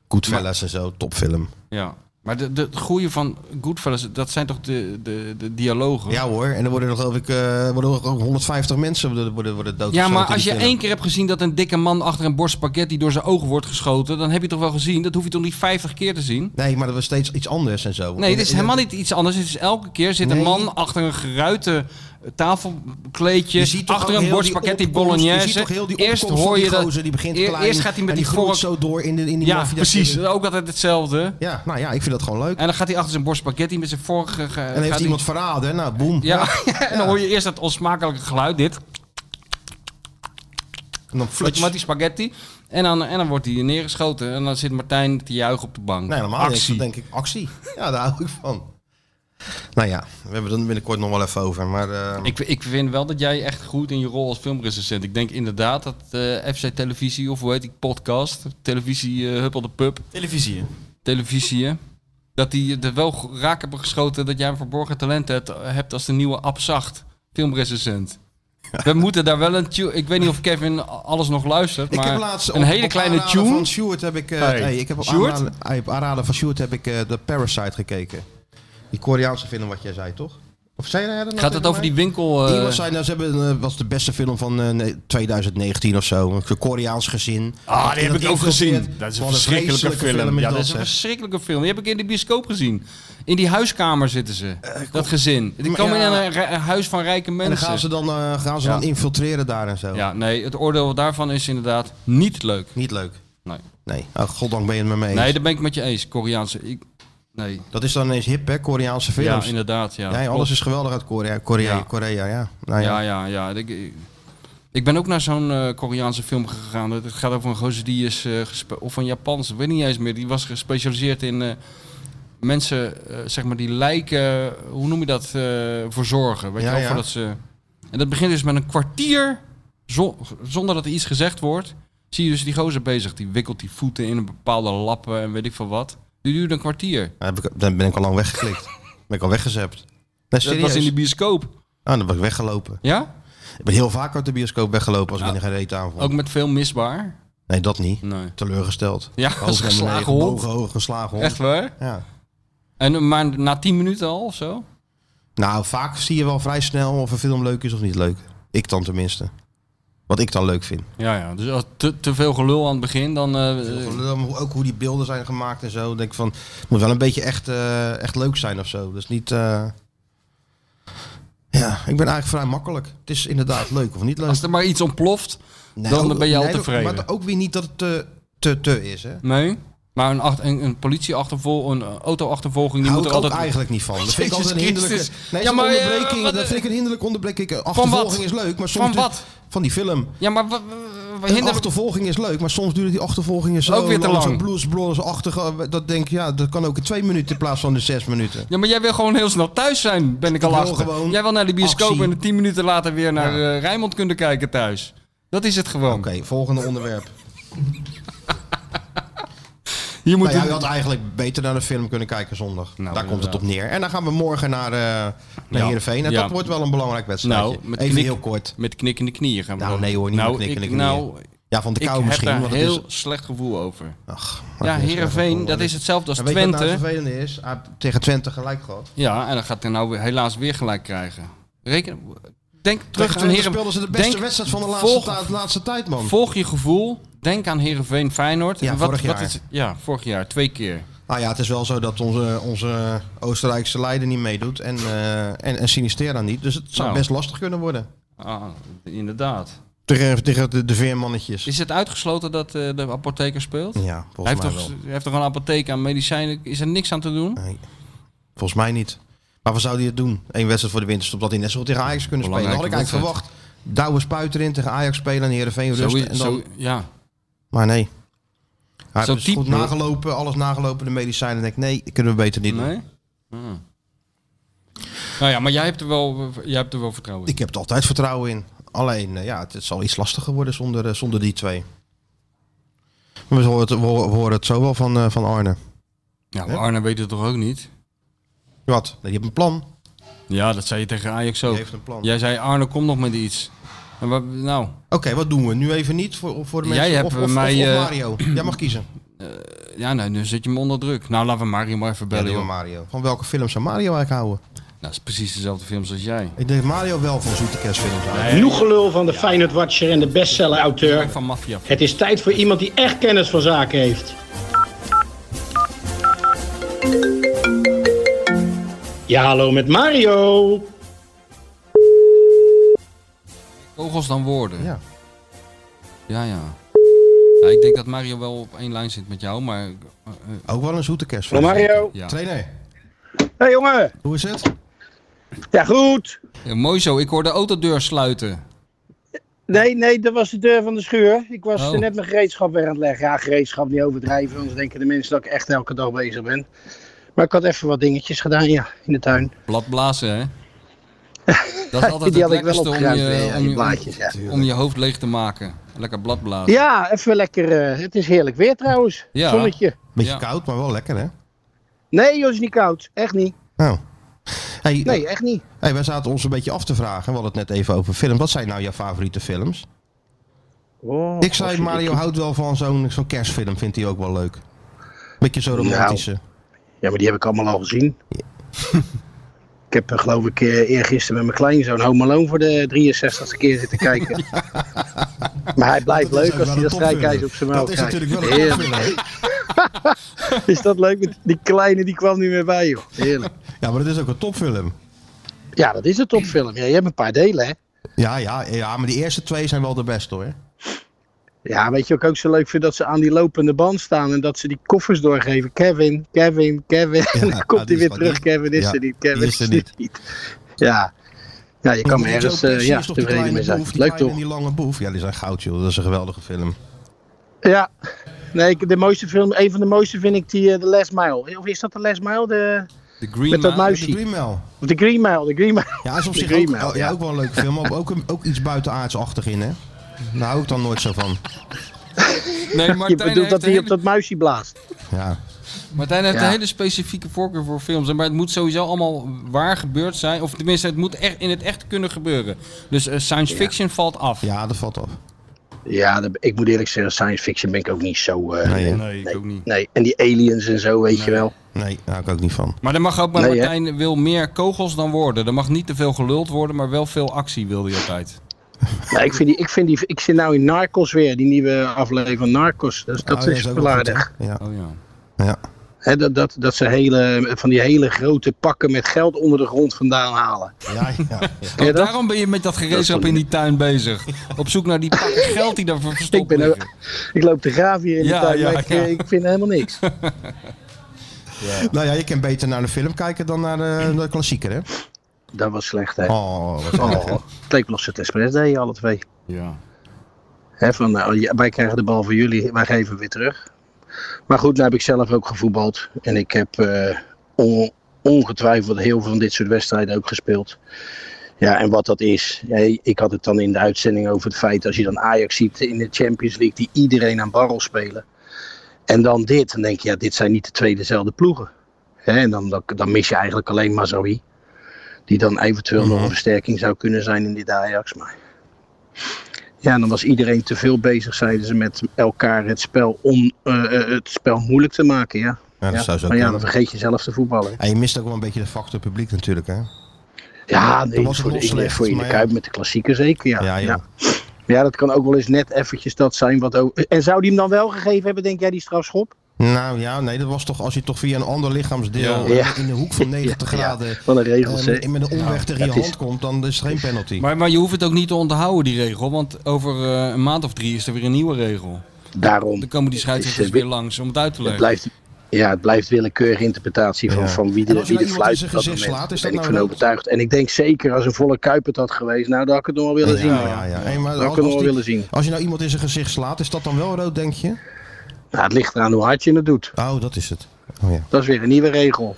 B: Goodfellas en zo, topfilm.
C: Ja. Maar de, de, het goede van Goodfellas, dat zijn toch de, de, de dialogen?
B: Ja hoor, en er worden nog geloof ik eh, worden nog 150 mensen worden, worden, worden
C: Ja,
B: doodgeschoten
C: maar
B: in die
C: als je
B: film.
C: één keer hebt gezien dat een dikke man achter een bord spaghetti door zijn ogen wordt geschoten, dan heb je toch wel gezien. Dat hoef je toch niet 50 keer te zien?
B: Nee, maar dat was steeds iets anders en zo.
C: Nee,
B: In-
C: het is
B: in-
C: helemaal niet iets anders. Het is elke keer zit een
B: Nee.
C: man achter een geruite
B: Je
C: tafelkleedje,
B: ziet toch
C: achter
B: ook
C: een
B: heel
C: bord
B: die
C: spaghetti
B: opkomst,
C: bolognese.
B: Je ziet toch heel die
C: eerst
B: opkomst
C: hoor
B: van
C: je
B: die
C: dat.
B: gozer, die begint
C: eer-
B: klein
C: eerst gaat hij met
B: en
C: die vork
B: groeit zo door in, de, in die
C: Ja,
B: maffia-
C: precies. Ook altijd hetzelfde.
B: Ja, nou ja, ik vind dat gewoon leuk.
C: En dan gaat hij achter zijn borst spaghetti met zijn vorige... En
B: En dan heeft iemand verraden, hè? nou boem.
C: Ja, en dan hoor je eerst dat onsmakelijke geluid, dit.
B: En dan
C: Weet je,
B: fluts.
C: Met die spaghetti. En dan, en dan wordt hij neergeschoten. En dan zit Martijn te juichen op de bank.
B: Nee, normaal
C: Actie.
B: denk ik, actie. Ja, daar hou ik van. Nou ja, we hebben het er binnenkort nog wel even over, maar... eh,
C: Ik, ik vind wel dat jij echt goed in je rol als filmrecensent. Ik denk inderdaad dat eh, FC Televisie, of hoe heet die podcast? Televisie eh, Huppel de Pub.
E: Televisie.
C: Televisie, hè? Dat die er wel g- raak hebben geschoten dat jij een verborgen talent hebt, hebt als de nieuwe Abzacht filmrecensent. We moeten daar wel een tune... Ik weet niet of Kevin a- alles nog luistert,
B: Ik
C: maar
B: heb laatst
C: een
B: op-
C: hele
B: op
C: kleine
B: aanraden
C: tune.
B: Van Sjoerd heb ik, eh,
C: Hey.
B: nee, ik heb op
C: Sjoerd?
B: aanraden, eh, op aanraden van Sjoerd heb ik eh, de Parasite gekeken. Die Koreaanse film wat jij zei, toch? Of zei jij dat nou
C: Gaat
B: tegen
C: het over
B: mij?
C: die winkel... eh,
B: Iemand zei, nou, ze hebben, eh, was de beste film van eh, nee, 2019 of zo. Een Koreaans gezin.
C: Ah,
B: Dat
C: die heb ik ook
B: infiltreert.
C: gezien. Dat is een
B: Wat
C: verschrikkelijke
B: vreselijke
C: film. Ja, dat
B: dat,
C: is een
B: zeg.
C: verschrikkelijke film. Die heb ik in de bioscoop gezien. In die huiskamer zitten ze. dat gezin. Die
B: Maar
C: komen
B: Eh, ja.
C: in een, ri- een huis van rijke
B: En dan
C: mensen.
B: gaan ze dan, eh, gaan ze
C: Ja.
B: dan infiltreren daar en zo.
C: Ja, nee, het oordeel daarvan is inderdaad niet leuk.
B: Niet leuk.
C: Nee,
B: Nee, oh, goddank ben je het met me eens.
C: nee daar ben ik met je eens. Koreaanse... Ik, nee,
B: Dat is dan ineens hip, hè? Koreaanse
C: ja,
B: films. Ja,
C: inderdaad. Ja,
B: alles is geweldig uit Korea. Korea,
C: Ja.
B: Korea ja. Nou,
C: Ja, ja, ja. Ik, ik- ik ben ook naar zo'n eh, Koreaanse film gegaan. Het gaat over een gozer die is... eh, gespe- of een Japans, ik weet niet eens meer. Die was gespecialiseerd in eh, mensen, eh, zeg maar, die lijken... Hoe noem je dat? eh, verzorgen. Weet
B: Ja,
C: je wel,
B: ja.
C: voordat ze... En dat begint dus met een kwartier, zo- zonder dat er iets gezegd wordt... Zie je dus die gozer bezig. Die wikkelt die voeten in een bepaalde lappen en weet ik veel wat. Die duurt een kwartier.
B: Dan, heb ik, dan ben ik al lang weggeklikt. ben ik al weggezept. Nee,
C: Dat
B: serieus.
C: was in de bioscoop.
B: Ah, dan ben ik weggelopen.
C: Ja?
B: Ik ben heel vaak uit de bioscoop weggelopen als ik
C: Ja.
B: in geen reet aan vond.
C: Ook met veel misbaar.
B: Nee, dat niet.
C: Nee.
B: Teleurgesteld.
C: Ja,
B: Hoofd
C: als
B: naar
C: geslagen
B: beneden,
C: hond.
B: bovenhoog, geslagen hond.
C: Echt waar?
B: Ja.
C: En, maar na 10 minuten al of zo?
B: Nou, vaak zie je wel vrij snel of een film leuk is of niet leuk. Ik dan tenminste. Wat ik dan leuk vind.
C: Ja, ja. Dus als te, te veel gelul aan het begin, dan... eh,
B: Hoe- Ook hoe die beelden zijn gemaakt en zo. Dan Denk ik van, het moet wel een beetje echt, eh, echt leuk zijn of zo. Dus niet... eh, Ja. Ja, ik ben eigenlijk vrij makkelijk. Het is inderdaad leuk of niet leuk.
C: Als er maar iets ontploft,
B: Nee,
C: dan
B: ook-
C: ben je al
B: nee,
C: tevreden.
B: Maar ook weer niet dat het te, te, te is, hè?
C: nee. Maar een, acht- een, een politieachtervol, een eh, auto-achtervolging, die
B: Hou
C: moet
B: ik
C: er
B: ook
C: altijd...
B: eigenlijk niet van. Dat vind ik
C: Jezus
B: altijd een hinderlijke...
C: Christus.
B: Nee,
C: Ja,
B: zo'n
C: maar, eh,
B: onderbreking,
C: wat-
B: dat vind ik een hinderlijke onderbreking. Achtervolging is leuk, maar soms...
C: Van
B: duurt-
C: wat?
B: Van die film.
C: Ja, maar wat
B: Een
C: hinder...
B: achtervolging is leuk, maar soms duurt die achtervolging zo...
C: Ook weer te lang.
B: Blues, blues, achter, dat denk ik, ja, dat kan ook in twee minuten in plaats van de zes minuten.
C: Ja, maar jij wil gewoon heel snel thuis zijn, ben ik al
B: wil
C: achter.
B: gewoon
C: Jij wil naar de bioscoop
B: actie.
C: en tien minuten later weer naar eh, Rijnmond kunnen kijken thuis. Dat is het gewoon.
B: Oké, volgende onderwerp.
C: Hier moet
B: Nou ja,
C: het-
B: je had eigenlijk beter naar de film kunnen kijken zondag.
C: Nou,
B: Daar komt het op
C: inderdaad.
B: neer. En dan gaan we morgen naar, eh naar
C: Ja.
B: Heerenveen. En
C: Ja.
B: dat wordt wel een belangrijk wedstrijdje.
C: Nou, met
B: Even
C: knik-
B: heel kort.
C: Met knikkende knieën gaan we
B: Nou,
C: dan.
B: nee hoor, niet
C: nou,
B: met knikkende
C: ik, Nou,
B: Ja, van de
C: ik
B: kou
C: heb
B: misschien.
C: daar
B: want het
C: heel
B: is,
C: slecht gevoel over.
B: ach, maar
C: Ja,
B: het is echt
C: Heerenveen,
B: een-
C: dat is hetzelfde als
B: En weet je wat nou het
C: Twente.
B: vervelende is? Hij heeft tegen Twente gelijk gehad.
C: Ja, en dan gaat hij nou weer- helaas weer gelijk krijgen. Reken, denk
B: Tegen
C: terug aan
B: Twente
C: Heeren,
B: speelden ze de beste
C: denk-
B: wedstrijd van de laatste,
C: volg-
B: tijd- laatste tijd, man.
C: Volg je gevoel. Denk aan Herenveen Feyenoord.
B: Ja,
C: En wat,
B: vorig
C: wat
B: jaar.
C: is- ja, vorig jaar. Twee keer.
B: Nou ja, het is wel zo dat onze, onze Oostenrijkse leider niet meedoet. En, eh, en, en Sinistera niet. Dus het zou
C: Nou.
B: best lastig kunnen worden.
C: Ah, inderdaad.
B: Tegen, tegen de, de veermannetjes.
C: Is het uitgesloten dat eh, de apotheker speelt?
B: Ja,
C: hij, heeft
B: volgens mij
C: toch,
B: wel.
C: hij heeft toch een apotheek aan medicijnen? Is er niks aan te doen?
B: Nee, volgens mij niet. Maar wat zou hij het doen? Eén wedstrijd voor de winterstop, dat hij net zo goed tegen Ajax kunnen spelen. Dat had ik
C: Belangrijke
B: eigenlijk verwacht. Douwe spuit erin tegen Ajax spelen en Heerenveen
C: Zo,
B: rust.
C: is-
B: en dan,
C: zo, ja.
B: Maar nee. Hij
C: Zo'n
B: heeft dus goed
C: type-
B: nagelopen, alles nagelopen, de medicijnen. En ik, nee, dat kunnen we beter niet doen.
C: Nee? Ah. Nou ja, maar jij hebt er wel, jij hebt er wel vertrouwen in.
B: Ik heb er altijd vertrouwen in. Alleen, eh, ja, het, het zal iets lastiger worden zonder, eh, zonder die twee. Maar we horen het, we horen het zo wel van, eh, van Arne.
C: Ja, maar Arne weet het toch ook niet?
B: Wat? Nee, Die heeft een plan.
C: Ja, dat zei je tegen Ajax
B: Die
C: ook.
B: heeft een plan.
C: Jij zei, Arne, kom nog met iets. En wat- nou,
B: Oké, wat doen we? Nu even niet voor, voor de
C: Jij
B: mensen.
C: hebt
B: of, of,
C: mij,
B: of- of
C: eh,
B: Mario. Jij mag kiezen.
C: ja, nee, nu zit je me onder druk. Nou, laten we Mario maar even
B: Ja,
C: bellen,
B: doe maar
C: joh.
B: Mario. Van welke film zou Mario eigenlijk houden?
C: Dat is precies dezelfde films als jij.
B: Ik denk Mario wel van zoete kerstfilms houdt.
F: Genoeg gelul van de Feyenoord-watcher en de bestseller-auteur.
C: Van Mafia.
F: Het is tijd voor iemand die echt kennis van zaken heeft. Ja, hallo met Mario.
C: Kogels dan woorden.
B: Ja.
C: Ja, ja. Ja, ik denk dat Mario wel op één lijn zit met jou, maar... eh, eh,
B: Ook wel een zoete kerstfilm.
G: Hallo Mario.
C: ja.
B: Trainer,
G: Hey jongen.
B: hoe is het?
G: Ja goed.
C: Ja, Eh, mooi zo, ik hoor de autodeur sluiten.
G: Nee, nee, dat was de deur van de schuur. Ik was
C: Oh.
G: eh, net mijn gereedschap weer aan het leggen. Ja, gereedschap niet overdrijven, anders denken de mensen dat ik echt elke dag bezig ben. Maar ik had even wat dingetjes gedaan, ja, in de tuin.
C: Blad blazen, hè? Dat is altijd
G: Die
C: het
G: had ik wel
C: lekkerste om
G: opgeruimd,
C: je,
G: ja,
C: om,
G: die
C: je,
G: blaadjes, ja.
C: om, je hoofd leeg te maken. Lekker blad blazen.
G: Ja, even lekker. eh, het is heerlijk weer trouwens.
C: Ja.
G: Zonnetje.
B: Beetje
C: Ja.
B: koud, maar wel lekker hè?
G: Nee, joh, het is niet koud. Echt niet.
B: Nou. Hey,
G: Nee, echt niet.
B: hey, wij zaten ons een beetje af te vragen. We hadden het net even over films. Wat zijn nou jouw favoriete films?
G: Oh,
B: ik zei, Mario houdt wel van zo'n zo'n kerstfilm. Vindt hij ook wel leuk. Beetje zo'n
G: Nou.
B: romantische.
G: Ja, maar die heb ik allemaal al gezien. ik heb eh, geloof ik eh, eergisteren met mijn kleinzoon Home Alone voor de 63ste keer zitten kijken. maar hij blijft
B: Dat is
G: leuk
B: ook
G: als
B: wel
G: hij
B: een
G: dat strijkijs
B: topfilm.
G: op zijn mouw
B: Dat is
G: krijgt.
B: natuurlijk wel een
G: Heerlijk.
B: topfilm. hè?
G: Is dat leuk? Met Die kleine die kwam niet meer bij, joh. Heerlijk.
B: Ja, maar dat is ook een topfilm.
G: Ja, dat is een topfilm. Ja, je hebt een paar delen, hè?
B: Ja, ja, ja, maar die eerste twee zijn wel de beste hoor.
G: Ja, weet je wat ik ook zo leuk vind? Dat ze aan die lopende band staan en dat ze die koffers doorgeven. Kevin, Kevin, Kevin. en
B: ja,
G: dan komt
B: die
G: hij
B: is
G: weer
B: van
G: terug.
B: niet.
G: Kevin is
B: Ja,
G: er niet. Kevin
B: is er niet.
G: Ja. ja, je kan er ergens
B: Joe
G: eh,
B: Pesci
G: ja,
B: is toch die
G: tevreden
B: kleine
G: mee zijn.
B: boef, die
G: Leuk
B: kleine
G: toch?
B: en Die lange boef. Ja, die zijn goud joh. Dat is een geweldige film.
G: Ja, nee, ik- de mooiste film, een van de mooiste vind ik die eh, The Last Mile. Of is dat The Last Mile? De,
C: De Green
G: met dat
B: De
C: Mile.
G: muisje.
B: Green Mile.
G: Of The Green Mile, The Green Mile.
B: Ja, is op
G: De
B: zich
G: Green
B: ook,
G: Mile,
B: oh, ja,
G: ja.
B: ook wel een leuke film, maar ook, een- ook iets buitenaardsachtig in, hè? Daar hou ik dan nooit zo van.
C: Nee,
G: Je
C: Martijn
G: bedoelt
C: heeft,
G: dat
C: een
G: hij
C: hele,
G: op dat muisje blaast.
B: Ja.
C: Martijn heeft
G: Ja.
C: een hele specifieke voorkeur voor films. Maar het moet sowieso allemaal waar gebeurd zijn. Of tenminste, het moet echt in het echt kunnen gebeuren. Dus eh, science fiction valt af.
B: ja, dat valt af.
G: Ja, dat- ik moet eerlijk zeggen, science fiction ben ik ook niet zo... eh,
B: Nee, hè?
C: Nee, ik ook niet.
G: Nee, en die aliens en zo, weet je wel.
B: nee, daar hou ik ook niet van.
C: Maar, er mag ook, maar
G: Nee, hè?
C: Martijn wil meer kogels dan worden. Er mag niet te veel geluld worden, maar wel veel actie wilde hij altijd.
G: Nee, ik, vind die, ik, vind die, ik zit nou in Narcos weer, die nieuwe aflevering van Narcos. Dus dat
B: Oh, ja,
G: is
B: ook wel goed,
G: verlaardig.
B: hè? Ja.
C: Oh ja.
B: ja.
G: Hè, dat, dat, dat ze hele, van die hele grote pakken met geld onder de grond vandaan halen.
B: Ja, ja.
G: Ken je dat?
C: Daarom ben je met dat gereedschap in die tuin bezig. Op zoek naar die pakken geld die daarvoor verstopt
G: Ik, ben,
C: liggen.
G: ik loop te graven hier in
C: Ja,
G: de tuin,
C: ja,
G: maar ik,
C: ja.
G: ik vind helemaal niks.
B: Nou ja, je kan beter naar de film kijken dan naar de, de klassieker, hè?
G: Dat was slecht, hè.
B: Oh, wat erg,
G: Oh,
B: hè?
G: het leek wel of ze het expres deden, alle twee.
C: Ja.
G: Hè, van, nou, ja, wij krijgen de bal van jullie, wij geven hem weer terug. Maar goed, nou heb ik zelf ook gevoetbald. En ik heb eh, on- ongetwijfeld heel veel van dit soort wedstrijden ook gespeeld. Ja, en wat dat is. Ja, ik had het dan in de uitzending over het feit... als je dan Ajax ziet in de Champions League... die iedereen aan barrel spelen. En dan dit. Dan denk je, ja, dit zijn niet de twee dezelfde ploegen. Hè, en dan, dan, dan mis je eigenlijk alleen Mazoui. Die dan eventueel nog een versterking zou kunnen zijn in dit Ajax. Maar ja, en dan was iedereen te veel bezig, zeiden ze, met elkaar het spel, on, eh, eh, het spel moeilijk te maken. Ja.
B: Ja, dat
G: Ja,
B: zou zo
G: maar ja,
B: kunnen.
G: dan vergeet je zelf te voetballen.
B: En je mist ook wel een beetje de factor publiek natuurlijk, hè?
G: Ja, nee,
B: was het
G: voor, de,
B: nog slecht,
G: voor in de
B: maar ja.
G: Kuip met de klassieker zeker. Ja.
B: Ja, joh.
G: ja. Ja, dat kan ook wel eens net eventjes dat zijn. Wat ook... En zou die hem dan wel gegeven hebben, denk jij, die strafschop?
B: Nou ja, nee, dat was toch als je toch via een ander lichaamsdeel
G: Ja.
B: eh, in de hoek van 90
G: Ja,
B: graden
G: Van de regels,
B: eh,
G: hè?
B: met- met een omweg tegen je
G: het is-
B: hand komt, dan is het geen penalty.
C: Maar, maar je hoeft het ook niet te onthouden, die regel. Want over eh, een maand of drie is er weer een nieuwe regel.
G: Daarom.
C: Dan komen die scheidsrechters
G: Het is, eh,
C: weer langs om het uit te
G: Het
C: leggen.
G: blijft, ja, het blijft willekeurige interpretatie van,
B: Ja.
G: van wie
B: En
G: de,
B: als je
G: wie
B: nou
G: de
B: iemand in
G: fluit
B: zijn
G: op dat
B: gezicht
G: moment.
B: slaat, is
G: Daar ben
B: dat
G: ik
B: nou
G: van overtuigd. En ik denk zeker als een volle Kuip het had geweest, nou, dan had ik het nog wel willen
B: ja,
G: zien.
B: ja, ja, Hey, maar
G: Dat had
B: als,
G: ik het nog
B: als
G: wel
B: die-
G: willen zien.
B: als je nou iemand in zijn gezicht slaat, is dat dan wel rood, denk je?
G: Nou, het ligt eraan hoe hard je het doet.
B: Oh, dat is het. Oh, ja.
G: Dat is weer een nieuwe regel.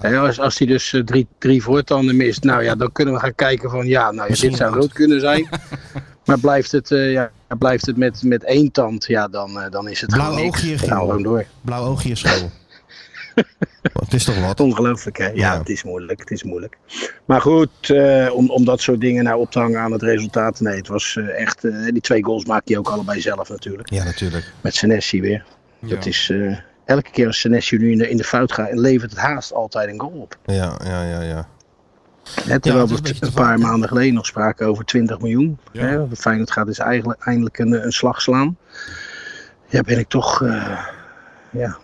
G: Hè, als, als hij dus eh, drie, drie voortanden mist, nou ja, dan kunnen we gaan kijken van ja, nou ja, dit zou rood kunnen zijn. maar blijft het, eh, ja, blijft het met, met één tand, ja, dan, eh, dan is het
B: Blauw
G: gewoon niks.
B: oogje,
G: Dan
B: Giel.
G: gaan we gewoon door.
B: Blauw oogje is school. het is toch wat?
G: Ongelooflijk, hè? Ja,
B: Ja.
G: het is moeilijk. Het is moeilijk. Maar goed, eh, om, om dat soort dingen nou op te hangen aan het resultaat. Nee, het was eh, echt. eh, die twee goals maak je ook allebei zelf natuurlijk.
B: Ja, natuurlijk.
G: Met Senesi weer. Dat is. eh, elke keer als Senesi nu in de, in de fout gaat, levert het haast altijd een goal op.
B: Ja, ja, ja, ja.
G: Hè, terwijl
B: is een
G: we
B: beetje
G: een,
B: te
G: paar
B: vaak, hè?
G: maanden geleden nog spraken over 20 miljoen. Hè? Feyenoord gaat dus eigenlijk eindelijk een, een slag slaan. Ja, ben ik toch eh, ja,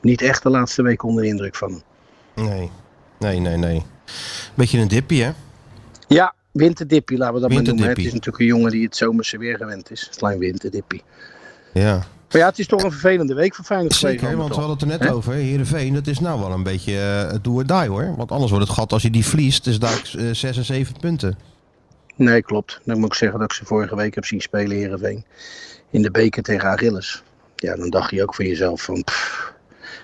G: niet echt de laatste week onder de indruk van hem.
B: Nee. Nee, nee, nee. Beetje een dippie, hè?
G: Ja, winterdippie, laten we dat maar noemen. hè. Het
B: Winterdippie.
G: is natuurlijk een jongen die het zomerse weer gewend is. Een klein winterdippie.
B: Ja.
G: Maar ja, het is toch een vervelende week voor Feyenoord geweest.
B: Zeker, want we
G: allemaal
B: hadden het er net
G: Hè?
B: over. Heerenveen, dat is nou wel een beetje eh, het do or die, hoor. Want anders wordt het gat, als je die verliest, is daar eh, 6 en 7 punten.
G: toch? Nee, klopt. Dan moet ik zeggen dat ik ze vorige week heb zien spelen, Heerenveen. In de beker tegen Achilles. Ja, dan dacht je ook van jezelf van... pff,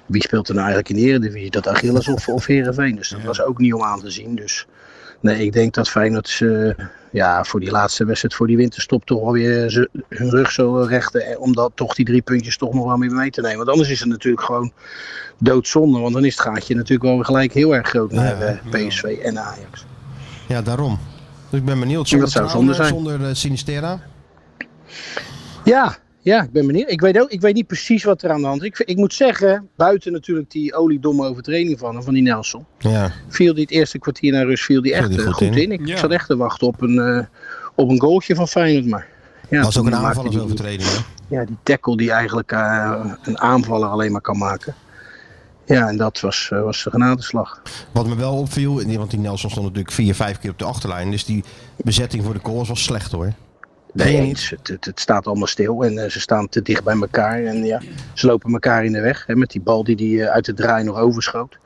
G: wie speelt er nou eigenlijk in de Eredivisie? Dat Achilles of, of Heerenveen? Dus dat was ook niet om aan te zien. Dus nee, ik denk dat Feyenoord eh, ja, voor die laatste wedstrijd, voor die winterstop... toch alweer ze- hun rug zo rechten. eh, Om dat, toch die drie puntjes toch nog wel mee mee te nemen. Want anders is het natuurlijk gewoon doodzonde. Want dan is het gaatje natuurlijk wel weer gelijk heel erg groot naar eh, PSV en Ajax.
B: Ja, daarom. Dus ik ben benieuwd.
G: Dat zou zonde zijn.
B: Zonder eh, Sinistera.
G: Ja, ja, ik ben benieuwd. Ik weet, ook, ik weet niet precies wat er aan de hand is. Ik, ik moet zeggen, buiten natuurlijk die oliedomme overtreding van hem, van die Nelson.
B: Ja.
G: Viel die het eerste kwartier naar rust, viel die echt
B: Viel die
G: eh,
B: goed
G: goed,
B: in.
G: in. Ik
C: Ja.
G: zat echt te wachten op een, eh, op een goaltje van Feyenoord. Maar, ja,
B: Dat was ook
G: toen
B: een
G: maakte die-
B: aanvallersovertreding, hè?
G: Ja, die tackle die eigenlijk eh, een aanvaller alleen maar kan maken. Ja, en dat was, eh, was de genadeslag.
B: Wat me wel opviel, en die- want die Nelson stond natuurlijk vier, vijf keer op de achterlijn. Dus die bezetting voor de goals was slecht hoor.
G: Nee,
B: je
G: eens. Het, het, het staat allemaal stil en eh, ze staan te dicht bij elkaar. En ja, ze lopen elkaar in de weg. Hè, met die bal die, die eh, uit de draai nog overschoot.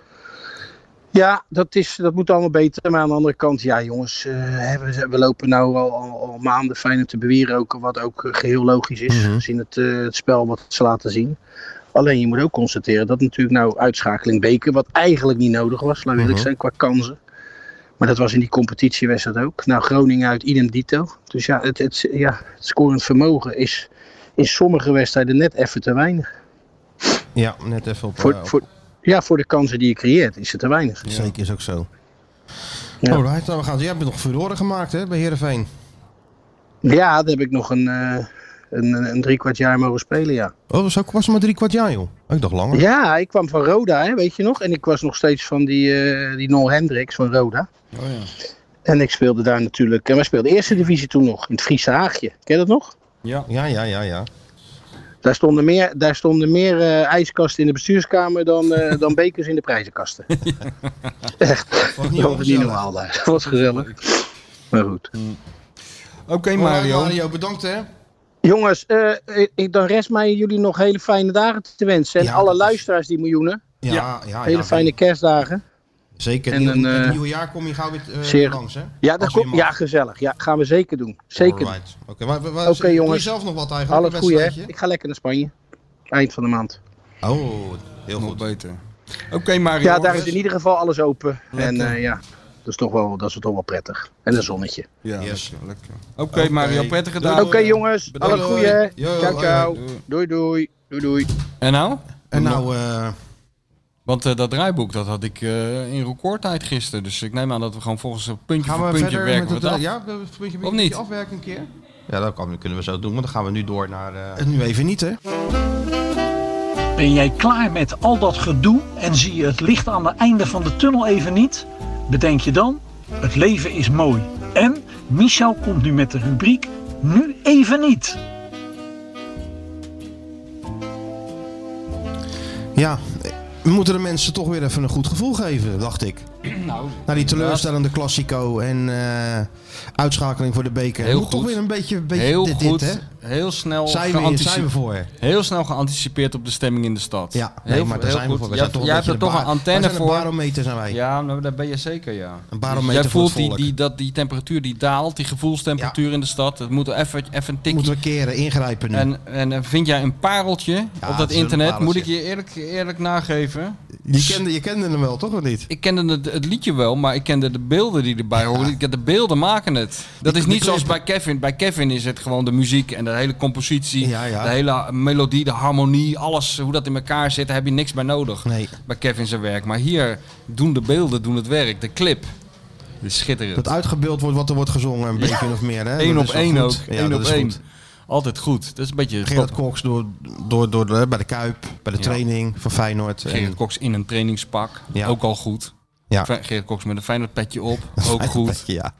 G: Ja, dat, is, dat moet allemaal beter. Maar aan de andere kant, ja jongens, eh, hè, we, we lopen nu al, al, al maanden fijn te beweren. Ook, wat ook eh, geheel logisch is, gezien het, eh, het spel wat ze laten zien. Alleen je moet ook constateren dat natuurlijk nou uitschakeling Beker, wat eigenlijk niet nodig was, laat ik eerlijk zijn, qua kansen. Maar dat was in die competitiewedstrijd ook. Nou, Groningen uit idem dito. Dus ja, het, het, ja, het scorend vermogen is in sommige wedstrijden net even te weinig.
B: Ja, net even op.
G: Voor,
B: eh, op-
G: voor, ja, voor de kansen die je creëert is het te weinig.
B: Zeker is ook zo.
G: Ja.
B: Alright, nou, we gaan, jij hebt nog furoren gemaakt hè, bij Heerenveen.
G: Ja, daar heb ik nog een, eh een, een een driekwart jaar mogen spelen, ja.
B: Oh, zo was het maar drie kwart jaar joh. Oh, ik dacht langer.
G: Ja, ik kwam van Roda, hè, weet je nog. En ik was nog steeds van die, eh, die Nol Hendricks van Roda.
C: Oh ja.
G: En ik speelde daar natuurlijk... En wij speelden eerste divisie toen nog, in het Friese Haagje. Ken je dat nog?
B: Ja, ja, ja, ja.
G: Daar stonden meer, daar stonden meer eh, ijskasten in de bestuurskamer dan, eh, dan bekers in de prijzenkasten. Echt.
B: Was
G: Dat was niet normaal daar. Dat was gezellig. Maar goed.
B: Oké Mario. Mario, bedankt hè.
G: Jongens, eh, ik, dan rest mij jullie nog hele fijne dagen te wensen. En
B: Ja,
G: alle
B: dat is-
G: luisteraars die miljoenen.
B: Ja, ja, ja,
G: hele fijne kerstdagen.
B: Zeker.
G: en
B: In
G: een,
B: het
G: eh,
B: nieuwe jaar kom je gauw weer eh,
G: zeer-
B: langs hè.
G: Ja, dat
B: Als weer
G: komt-
B: mag.
G: ja, gezellig. Ja, gaan we zeker doen. Zeker. doen.
B: Alright. Oké, maar- maar- maar-
G: Oké,
B: doe
G: jongens.
B: je zelf nog wat eigenlijk?
G: Alles
B: een
G: goed, hè?
B: wedstrijdje?
G: Ik ga lekker naar Spanje. Eind van de maand.
B: Oh, heel
C: Nog
B: goed.
C: beter. Oké Mario.
G: Ja, daar is
B: dus-
G: in ieder geval alles open. En
B: Lekker.
G: eh, ja, dat is, toch wel, dat is toch wel prettig. En een zonnetje.
C: Ja,
B: Yes.
C: lekker, lekker. Oké Mario, prettige
B: Doei.
G: Oké
C: dagen.
G: jongens,
B: Bedankt.
G: alle goeie. hè?
B: Yo,
G: ciao,
B: hoi,
G: ciao.
C: hoi.
G: Doei, doei. Doei, doei.
C: En nou?
B: En nou, eh,
C: Want eh, dat draaiboek dat had ik eh, in recordtijd gisteren. Dus ik neem aan dat we gewoon volgens een puntje
B: gaan
C: voor
B: we
C: puntje
B: verder
C: werken.
B: met het...
C: we het af.
B: ja, we- we- puntje-
C: Of
B: puntje
C: niet?
B: afwerken een keer? Ja, dat kan, kunnen we zo doen, want dan gaan we nu door naar... eh, En nu even niet, hè?
H: Ben jij klaar met al dat gedoe en zie je het licht aan het einde van de tunnel even niet? Bedenk je dan, het leven is mooi. En Michel komt nu met de rubriek Nu even niet.
B: Ja, we moeten de mensen toch weer even een goed gevoel geven, dacht ik.
C: Nou.
B: Na die teleurstellende Classico en eh, uitschakeling voor de beker.
C: Heel
B: Moet toch
C: goed.
B: weer een beetje, een beetje
C: Heel
B: dit,
C: goed,
B: dit, hè?
C: heel snel
B: Zijn we,
C: geanticipeerd.
B: zijn we voor.
C: Heel snel geanticipeerd op de stemming in de stad.
B: Ja,
C: heel
B: nee, maar daar
C: heel
B: zijn we voor.
C: goed.
B: We
C: Jij,
B: zijn toch
C: jij hebt
B: beetje
C: er toch
B: de
C: een
B: ba-
C: antenne
B: wij zijn Een
C: voor.
B: barometer zijn wij.
C: Ja, nou, daar ben je zeker, ja.
B: Een barometer
C: jij
B: voor
C: voelt
B: het volk.
C: Die, die, dat, die temperatuur die daalt, die gevoelstemperatuur in de stad. Het moet even, even een tikje.
B: Moeten we keren, ingrijpen nu.
C: En, en eh, vind jij een pareltje
B: Ja,
C: op
B: het
C: dat
B: is een
C: internet? Moet
B: pareltje.
C: ik je eerlijk, eerlijk nageven?
B: je, kende, je kende hem wel, toch of niet?
C: Ik kende het, het liedje wel, maar ik kende de beelden die erbij horen. Ik- De beelden maken het. Dat is
B: die
C: niet zoals
B: clip.
C: bij Kevin. Bij Kevin is het gewoon de muziek en de hele compositie,
B: Ja, ja.
C: de hele melodie, de harmonie, alles hoe dat in elkaar zit. Daar heb je niks bij nodig
B: Nee.
C: bij Kevin zijn werk. Maar hier doen de beelden, doen het werk. De clip. Dit is schitterend.
B: Dat uitgebeeld wordt wat er wordt gezongen, een beetje of meer. Hè?
C: Eén
B: Dat
C: op
B: is wel
C: één
B: goed.
C: ook.
B: Ja,
C: Eén
B: dat
C: op
B: is
C: één.
B: goed.
C: Altijd goed. Dat is een beetje
B: Gerard Koks door, door, door de, bij de Kuip, bij de
C: Ja.
B: training van Feyenoord. En-
C: Gerrit Koks in een trainingspak.
B: Ja.
C: Ook al goed.
B: Ja.
C: Fe- Gerrit Koks met een Feyenoord petje op. Ook goed.
B: Ja,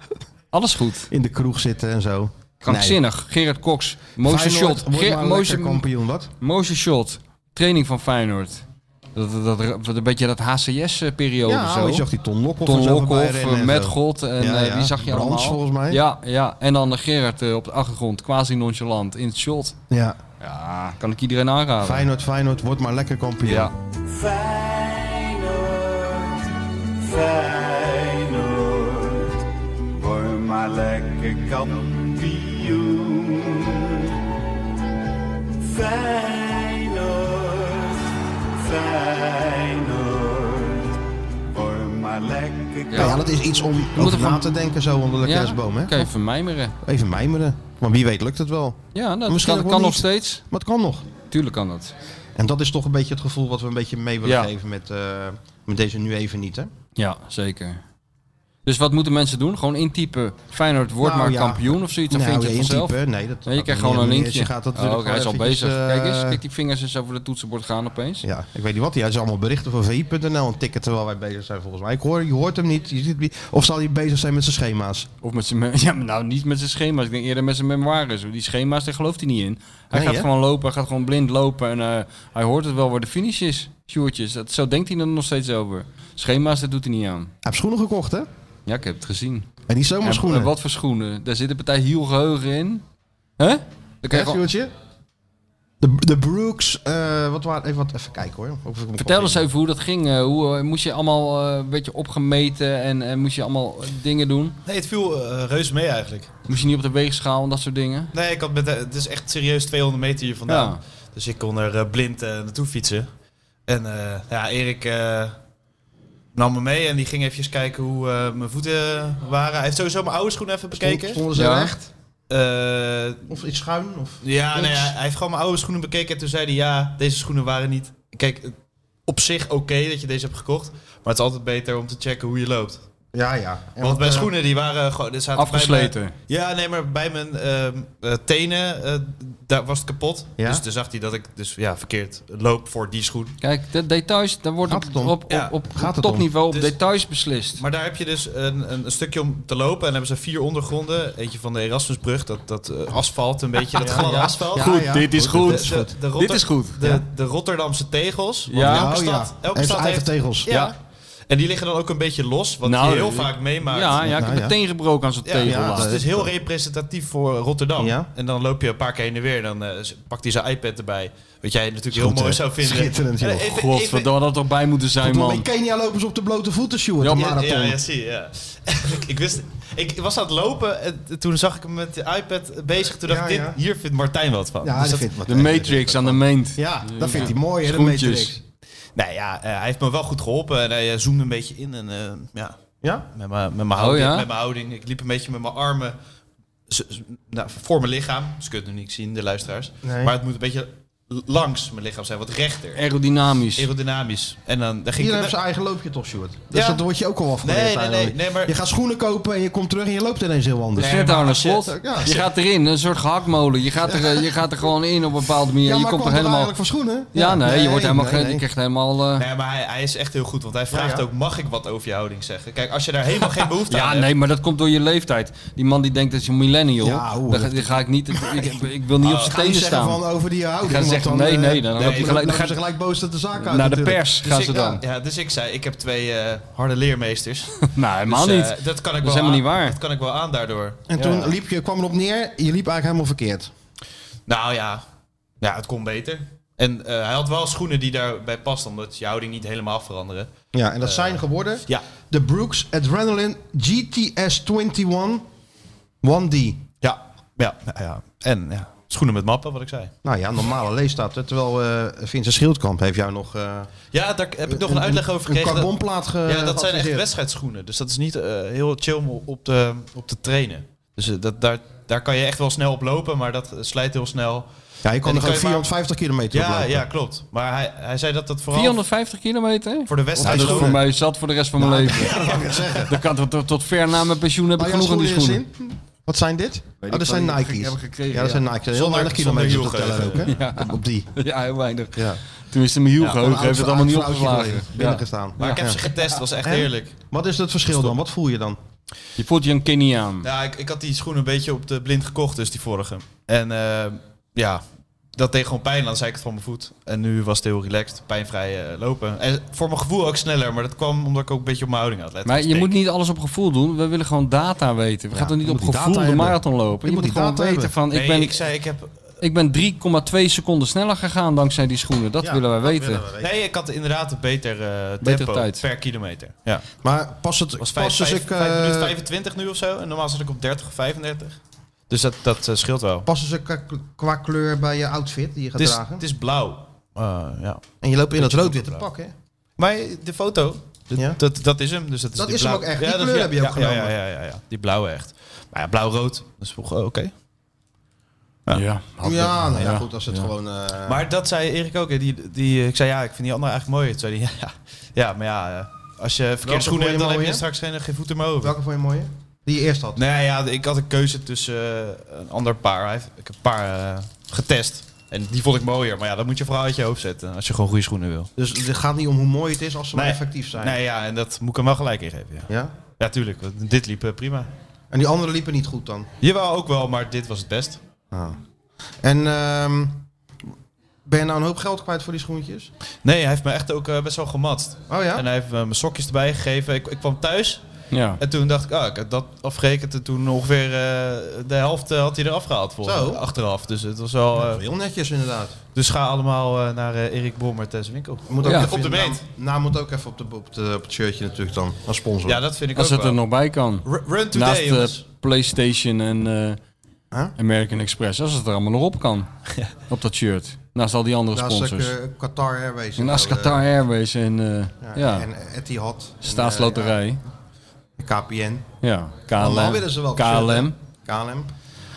C: Alles goed.
B: in de kroeg zitten en zo.
C: Krankzinnig. Gerrit Koks. Mooiste
B: Feyenoord
C: shot.
B: wordt
C: Ge-
B: maar
C: mooiste-
B: lekker kampioen, wat?
C: mooiste shot. Training van Feyenoord. Dat, dat, dat, dat- een beetje dat HCS-periode
B: Ja,
C: eh,
B: oh,
C: zo.
B: je zag die Ton Lokhoff
C: Ton
B: en zo voorbij
C: Lokhoff,
B: rennen en
C: Met
B: zo.
C: God en
B: Ja,
C: eh,
B: ja.
C: die zag je
B: Brands,
C: allemaal.
B: volgens mij.
C: Ja, ja, en dan Gerrit eh, op de achtergrond, quasi nonchalant in het shot.
B: Ja,
C: Ja, kan ik iedereen aanraden.
B: Feyenoord, Feyenoord, wordt maar lekker kampioen.
C: Ja.
B: Nou ja, dat is iets om over
C: er
B: na
C: gewoon-
B: te denken zo onder de kerstboom, hè?
C: Kan je vermijmeren.
B: Even mijmeren. Want wie weet lukt het wel.
C: Ja, nou, dat
B: Misschien ook
C: kan,
B: wel
C: kan nog
B: niet.
C: steeds.
B: Maar het kan nog.
C: Tuurlijk kan dat.
B: En dat is toch een beetje het gevoel wat we een beetje mee willen
C: Ja.
B: geven met, eh, met deze nu even niet, hè?
C: Ja, zeker. Dus wat moeten mensen doen? Gewoon intypen Feyenoord wordt
B: Nou,
C: maar
B: ja.
C: kampioen of zoiets? Dan
B: Nou,
C: vind je het
B: intypen, Nee,
C: vanzelf.
B: dat
C: Nee, je
B: gaat niet
C: krijgt gewoon een
B: helemaal niet.
C: linkje.
B: Je gaat dat
C: Oh,
B: natuurlijk
C: oké, hij is al
B: gewoon
C: bezig.
B: eventjes,
C: Kijk eens,
B: eh,
C: kijk die vingers eens over het toetsenbord gaan opeens.
B: Ja, ik weet niet wat. Hij is allemaal berichten van VI.nl en tikken terwijl wij bezig zijn volgens mij. Ik hoor, je hoort hem niet. Je ziet, hem niet. of zal hij bezig zijn met zijn schema's?
C: Of met zijn, me- ja, maar nou niet met zijn schema's. Ik denk eerder met zijn memoires. Die schema's, daar gelooft hij niet in. Hij
B: Nee,
C: gaat
B: hè?
C: gewoon lopen, hij gaat gewoon blind lopen. En eh, hij hoort het wel waar de finish is. Sjoertjes, dat, zo denkt hij er nog steeds over. Schema's, dat doet hij niet aan.
B: Hij heeft schoenen gekocht, hè?
C: Ja, ik heb het gezien.
B: En niet zomaar
C: En-
B: schoenen.
C: en wat voor schoenen? Daar zit een partij hielgeheugen in. Hè? Huh? Dan kan je
B: Echt,
C: gewoon-
B: Joertje? De, de Brooks, eh, wat waren, even, wat, even kijken hoor. Of ik hem
C: Vertel
B: kan
C: eens
B: vinden.
C: even hoe dat ging. eh, Hoe eh, moest je allemaal eh, een beetje opgemeten en, en moest je allemaal eh, dingen doen?
E: Nee, het viel eh, reuze mee eigenlijk.
C: Moest je niet op de weegschaal en dat soort dingen?
E: Nee, ik had met, eh, het is echt serieus 200 meter hier vandaan.
C: Ja.
E: Dus ik kon er eh, blind eh, naartoe fietsen. En eh, ja, Erik eh, nam me mee en die ging even kijken hoe eh, mijn voeten waren. Hij heeft sowieso mijn oude schoenen even bekeken.
B: Stonden ze
C: Ja.
B: recht?
E: Eh,
B: Of iets schuin? Of...
E: ja, nee,
B: Niks.
E: hij hij heeft gewoon mijn oude schoenen bekeken en toen zei hij ja, deze schoenen waren niet... Kijk, eh, op zich oké dat je deze hebt gekocht, maar het is altijd beter om te checken hoe je loopt.
B: Ja, ja. En
E: Want mijn
B: eh,
E: schoenen die waren gewoon... er zaten bij
C: Afgesleten.
E: mijn- ja, nee, maar bij mijn ehm, eh, tenen eh, daar was het kapot.
B: Ja?
E: Dus toen zag hij dat ik dus ja, verkeerd loop voor die schoen.
C: Kijk, de details, daar wordt
B: Gaat
C: op,
B: het om?
C: op,
E: Ja,
C: op, op
B: gaat het om?
C: topniveau op
E: Dus-
C: details beslist.
E: Maar daar heb je dus een, een, een stukje om te lopen. En dan hebben ze vier ondergronden. Eentje van de Erasmusbrug, dat, dat eh, asfalt een beetje, dat gladde
B: ja.
E: asfalt.
B: Ja, Goed, ja. dit
C: is
E: De- de- de Rotter-
C: Dit is goed.
E: De, de Rotterdamse tegels. Want
C: Ja.
E: elke
B: Oh, ja.
E: stad, elke
B: Heeft
E: stad
B: eigen
E: heeft
B: tegels.
E: Ja.
C: Ja.
E: En die liggen dan ook een beetje los, wat
C: Nou,
E: je heel
C: eh,
E: vaak meemaakt.
C: Ja, ja, ik
B: Nou,
C: heb
B: ja.
C: mijn teen gebroken aan zo'n
E: Ja,
C: tegel.
E: ja,
B: laat.
E: dus
C: laatst.
E: het is heel representatief voor Rotterdam.
B: Ja.
E: En dan loop je een paar keer heen en weer. En dan eh, pakt hij zijn iPad erbij. Wat jij natuurlijk heel
B: Goed,
E: mooi
B: hè?
E: zou vinden.
B: Schitterend, joh.
E: En even- even-
C: Godverdomme, dat had erbij moeten zijn,
B: Verdomme, in
C: man.
B: Kenia lopen ze op de blote voeten, Sjoerd.
C: Ja,
B: Ja,
C: maar-
B: marathon.
E: Ja, ja, zie je, ja. ik, ik wist... Ik was aan het lopen en t- toen zag ik hem met de iPad bezig. Toen dacht ik,
B: Ja,
E: dit-
B: ja.
E: hier vindt Martijn wat van.
B: Ja,
E: Dus
B: dat
E: dat-
B: vindt wat.
C: De Matrix aan de meent.
B: Ja, dat vindt hij mooi, hè, de
C: Schoentjes.
B: Matrix.
E: Nou ja, eh, hij heeft me wel goed geholpen. En hij eh, zoomde een beetje in. En eh, ja,
B: Ja?
E: Met mijn, met, mijn houding,
C: Oh, ja?
E: met mijn houding. Ik liep een beetje met mijn armen z- z- nou, voor mijn lichaam. Dus je kunt het nu niet zien, de luisteraars.
B: Nee.
E: Maar het moet een beetje l- langs mijn lichaam zijn, wat rechter.
C: Aerodynamisch.
E: Aerodynamisch. En dan, dan ging
B: Iedereen
E: ik...
B: heeft zijn eigen loopje toch, Sjoerd? Dus
E: Ja.
B: dat word je ook al afgeleerd
E: Nee, nee, nee,
B: eigenlijk.
E: nee, maar-
B: Je gaat schoenen kopen en je komt terug en je loopt ineens heel anders.
E: Nee,
C: Zet
E: maar
C: Dus daar naar
E: als je-
C: slot.
B: ja.
C: Je gaat erin, een soort gehaktmolen. Je gaat er, eh, je gaat er gewoon in op een bepaalde manier.
B: Ja,
C: je
B: maar
C: komt er
B: kwam er
C: helemaal...
B: eigenlijk van schoenen?
C: Ja, nee, je wordt helemaal...
B: nee,
C: ge-
B: nee.
C: Je krijgt helemaal... eh,
E: Nee, maar hij, hij is echt heel goed, want hij vraagt
B: Ja, ja.
E: ook, mag ik wat over je houding zeggen? Kijk, als je daar helemaal geen behoefte aan
C: Ja,
E: hebt...
C: nee, maar dat komt door je leeftijd. Die man die denkt dat je een millennial.
B: Ja, oeh,
C: dan, ga,
B: dat-
C: dan ga ik niet. Ik, ik wil niet op zijn
B: Ga niet
C: tenen
B: zeggen
C: staan.
B: van over die houding.
C: Gaan
B: want
C: zeggen,
B: dan,
C: nee,
B: eh,
C: nee, dan loop je
B: dan
C: gelijk-
B: lopen
C: dan
B: ze gelijk boos dat de zaak uit
C: Naar de
B: natuurlijk.
C: pers
E: Dus
C: gaan
E: ik-
C: ze dan.
E: Ja, dus ik zei, ik heb twee eh, harde leermeesters.
C: Nou, helemaal
E: Dus, eh,
C: niet.
E: Dat kan ik
C: is
E: wel
C: helemaal
E: aan-
C: niet waar.
E: Dat kan ik wel aan daardoor.
B: En toen liep je, kwam erop neer, je liep eigenlijk helemaal verkeerd.
E: Nou ja, ja het kon beter. En eh, hij had wel schoenen die daarbij past, omdat je houding niet helemaal veranderen.
B: Ja, en
C: Eh,
B: dat zijn geworden
E: Ja.
B: de Brooks Adrenaline GTS 21 1D.
E: Ja, ja, ja, ja. En ja, schoenen met mappen, wat ik zei.
B: Nou ja, normale leefstaat. hè, Terwijl eh Vincent Schildkamp heeft jou nog... eh,
E: Ja, daar heb ik nog een, uitleg over gekregen.
B: Een
E: dat-
B: carbonplaat ge
E: ja, dat zijn echt
B: geadviseerd.
E: wedstrijdschoenen. Dus dat is niet eh, heel chill om op te, op te trainen. Dus eh, dat, daar, daar kan je echt wel snel op lopen, maar dat eh, slijt heel snel.
B: Ja, je
E: En
B: kan nog
E: die
B: ook
E: kan je maar-
B: 450 kilometer op
E: Ja,
B: lopen.
E: ja, klopt. Maar hij, hij zei dat dat vooral
C: 450 kilometer?
E: voor de
C: Ja, dat is voor
E: wedstrijdschoenen...
C: mij zat voor de rest van mijn leven. Dat kan tot, tot, tot ver na mijn pensioen heb ik
B: Maar jouw
C: genoeg aan die
B: schoenen
C: schoenen.
B: in zin? Wat zijn dit? Oh, dat zijn
C: die heb ik-
B: Nike's.
C: heb ik gekregen,
B: ja, dat
C: ja.
B: zijn Nike's. Heel
E: Zonder-
B: weinig
E: zonder
B: kilometers op de teller ook,
E: wielgeheugen.
B: hè? Op die.
C: Ja, heel weinig.
B: Ja.
C: Tenminste, mijn hielgeheugen heeft het allemaal niet
B: Oud vrouwtje
C: opgeslagen.
B: geleden,
C: Ja.
B: Binnengestaan.
E: Maar ik heb
B: Ja.
E: ze getest, was echt
B: En?
E: heerlijk.
B: Wat is het verschil dan? Wat voel je dan?
C: Je voelt je een kinnie aan.
E: Ja, ik, ik had die schoen een beetje op de blind gekocht, dus die vorige. En eh, ja, dat deed gewoon pijn aan de zijkant van mijn voet. En nu was het heel relaxed, pijnvrij eh, lopen. En voor mijn gevoel ook sneller, maar dat kwam omdat ik ook een beetje op mijn houding had Dus letten.
C: Maar je
E: Steek.
C: moet niet alles op gevoel doen. We willen gewoon data weten. We gaan toch niet
B: je
C: op
B: moet die
C: gevoel
B: data
C: de
B: hebben.
C: marathon lopen.
B: Je
C: Je,
B: moet die
C: moet gewoon
B: data
C: weten
B: hebben.
C: van...
E: Nee,
C: Ik ben,
E: ik zei, ik heb...
C: ik ben 3,2 seconden sneller gegaan dankzij die schoenen. Dat willen wij weten.
E: Nee, ik had inderdaad een beter eh, tempo
C: Betere tijd.
E: per kilometer. Ja.
B: Maar pas het...
E: was
B: pas
E: 5,
B: dus
E: 5,
B: ik,
E: 5 minuten
B: eh,
E: 25 nu of zo. En normaal zat ik op 30 of 35. Dus dat, dat eh, scheelt wel.
B: Passen ze qua- qua kleur bij je outfit die je gaat
E: Het is,
B: dragen?
E: het is blauw. Eh, ja.
B: en je loopt in dat rood-witte pak, hè?
E: Maar de foto, dat,
B: Ja.
E: dat, dat is hem. Dus dat is,
B: Dat
E: die
B: is hem
E: blauwe-
B: ook echt. Die
E: dat-
B: kleur heb je ook
E: Ja,
B: genomen.
E: ja, ja, ja, ja. die blauwe echt. Maar ja, blauw-rood, dat is toch oké.
C: Ja,
B: Ja, nou ja, goed, als het gewoon... eh,
E: Maar dat zei Erik ook. hè. Die, die, ik zei ja, ik vind die andere eigenlijk mooier. Toen zei hij ja, ja maar ja, eh, als je verkeerde
B: Welke
E: schoenen
B: vond je
E: hebt, dan heb je
B: mooier?
E: straks geen, geen voeten meer over.
B: Welke vond je mooier? Die je eerst had?
E: Nee, ja, ik had een keuze tussen eh, een ander paar. Hij heeft- Ik heb een paar eh, getest. En die vond ik mooier. Maar ja, dat moet je vooral uit je hoofd zetten. Als je gewoon goede schoenen wil.
B: Dus het gaat niet om hoe mooi het is als ze maar
E: Nee.
B: effectief zijn.
E: Nee, ja, en dat moet ik hem wel gelijk ingeven. Ja,
B: Ja?
E: ja tuurlijk. want Dit liep eh, prima.
B: En die andere liepen niet goed dan? Ah.
E: Jawel, ook wel, maar dit was het best.
B: En ehm, ben je nou een hoop geld kwijt voor die schoentjes?
E: Nee, hij heeft me echt ook eh, best wel gematst.
B: Oh ja?
E: En hij heeft me mijn sokjes erbij gegeven. Ik, ik kwam thuis
C: Ja.
E: en toen dacht ik, ah, ik had dat afgerekend. En toen ongeveer eh, de helft eh, had hij eraf gehaald voor
B: Zo.
E: achteraf. Dus het was wel. eh,
B: Heel netjes inderdaad.
E: dus ga allemaal eh, naar eh, Erik Bommert en zijn winkel.
B: Moet
C: Ja.
B: even
E: Op de
B: in-
E: meet.
B: Naam, naam moet ook even op, de, op, de, op het shirtje natuurlijk dan. Als sponsor.
E: Ja, dat vind ik
C: Als
E: ook
C: het
E: wel.
C: er nog bij kan.
E: Ru- Run today,
C: Naast eh,
E: jongens.
C: PlayStation en eh,
B: Huh?
C: American Express. Als het er allemaal nog op kan. Op dat shirt. Naast al die andere
B: Naast ook,
C: sponsors.
B: eh, Qatar Airways.
C: en naast
B: zo, eh,
C: Qatar Airways en, eh, ja,
B: ja, En Etihad.
C: Staatsloterij.
B: En, eh, ja, KPN.
C: Ja,
B: Allemaal
C: KLM.
B: willen ze wel.
C: KLM.
B: KLM.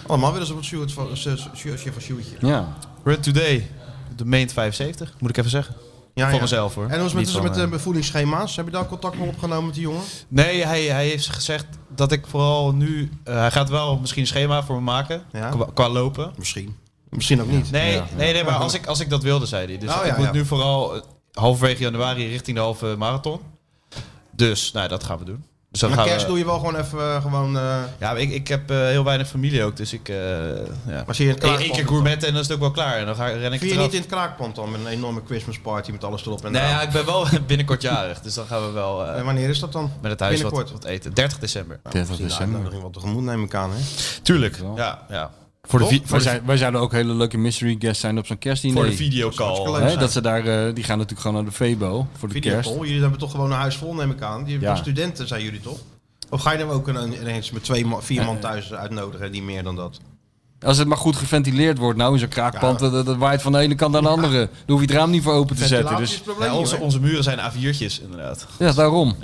B: Allemaal willen ze wat shirt van, eh, shirtje van Sjoerdje.
C: Ja.
E: Run today. De main 75, moet ik even zeggen.
B: Ja,
E: Voor
B: ja.
E: mezelf hoor.
B: En hoe is het
E: Niet
B: met, dus
E: van,
B: met
E: eh,
B: de bevoedingsschema's? Heb je daar contact mee opgenomen met die jongen?
E: Nee, hij, hij heeft gezegd dat ik vooral nu... eh, hij gaat wel misschien een schema voor me maken.
B: Ja.
E: Qua, qua lopen.
B: Misschien. Misschien ook niet.
E: Nee, nee, nee, maar als ik, als ik dat wilde, zei hij. Dus
B: Oh,
E: ik
B: ja,
E: moet
B: ja.
E: nu vooral eh, halverwege januari richting de halve marathon. Dus, nou, dat gaan we doen. Dus dan
B: Maar
E: gaan
B: kerst
E: we...
B: doe je wel gewoon even eh, gewoon... eh
E: Ja, maar ik, ik heb eh, heel weinig familie ook, dus ik... eh ja.
B: als je in het
E: Eén één
B: kraakpand
E: keer gourmet en dan is het ook wel klaar. En dan ga, ren ik
B: Vind je
E: eraf.
B: niet in het kraakpand dan met een enorme Christmas party met alles erop en
E: Nee,
B: eraan?
E: ja, ik ben wel binnenkort jarig, dus dan gaan we wel eh,
B: En wanneer is dat dan?
E: met het huis wat,
B: binnenkort.
E: wat eten. 30 december.
C: 30
B: Nou,
C: december.
B: uitnodiging wat tegemoet neem ik aan, hè?
E: Tuurlijk. Ja, ja.
C: Voor de,
B: Toch?
C: vi- wij, zijn, wij zouden ook hele leuke mystery guests zijn op zo'n kerstdiner.
E: Voor de videocall.
B: hartstikke leuk.
C: Hè, dat ze daar, eh, die gaan natuurlijk gewoon naar de Febo voor de kerst.
B: Videocall, jullie hebben toch gewoon een huis vol, neem ik aan. Die
C: Ja.
B: studenten zijn jullie toch? Of ga je dan ook een- ineens met twee, man- vier man thuis uitnodigen, niet meer dan dat?
C: Als het maar goed geventileerd wordt, nou in zo'n kraakpand,
B: Ja.
C: dat, dat waait van de ene kant naar de andere. Dan hoef je het raam niet voor open te zetten. Dus,
B: Ventilatieprobleem,
E: Ja, onze,
B: hoor.
E: onze muren zijn A4'tjes, inderdaad.
C: ja, daarom.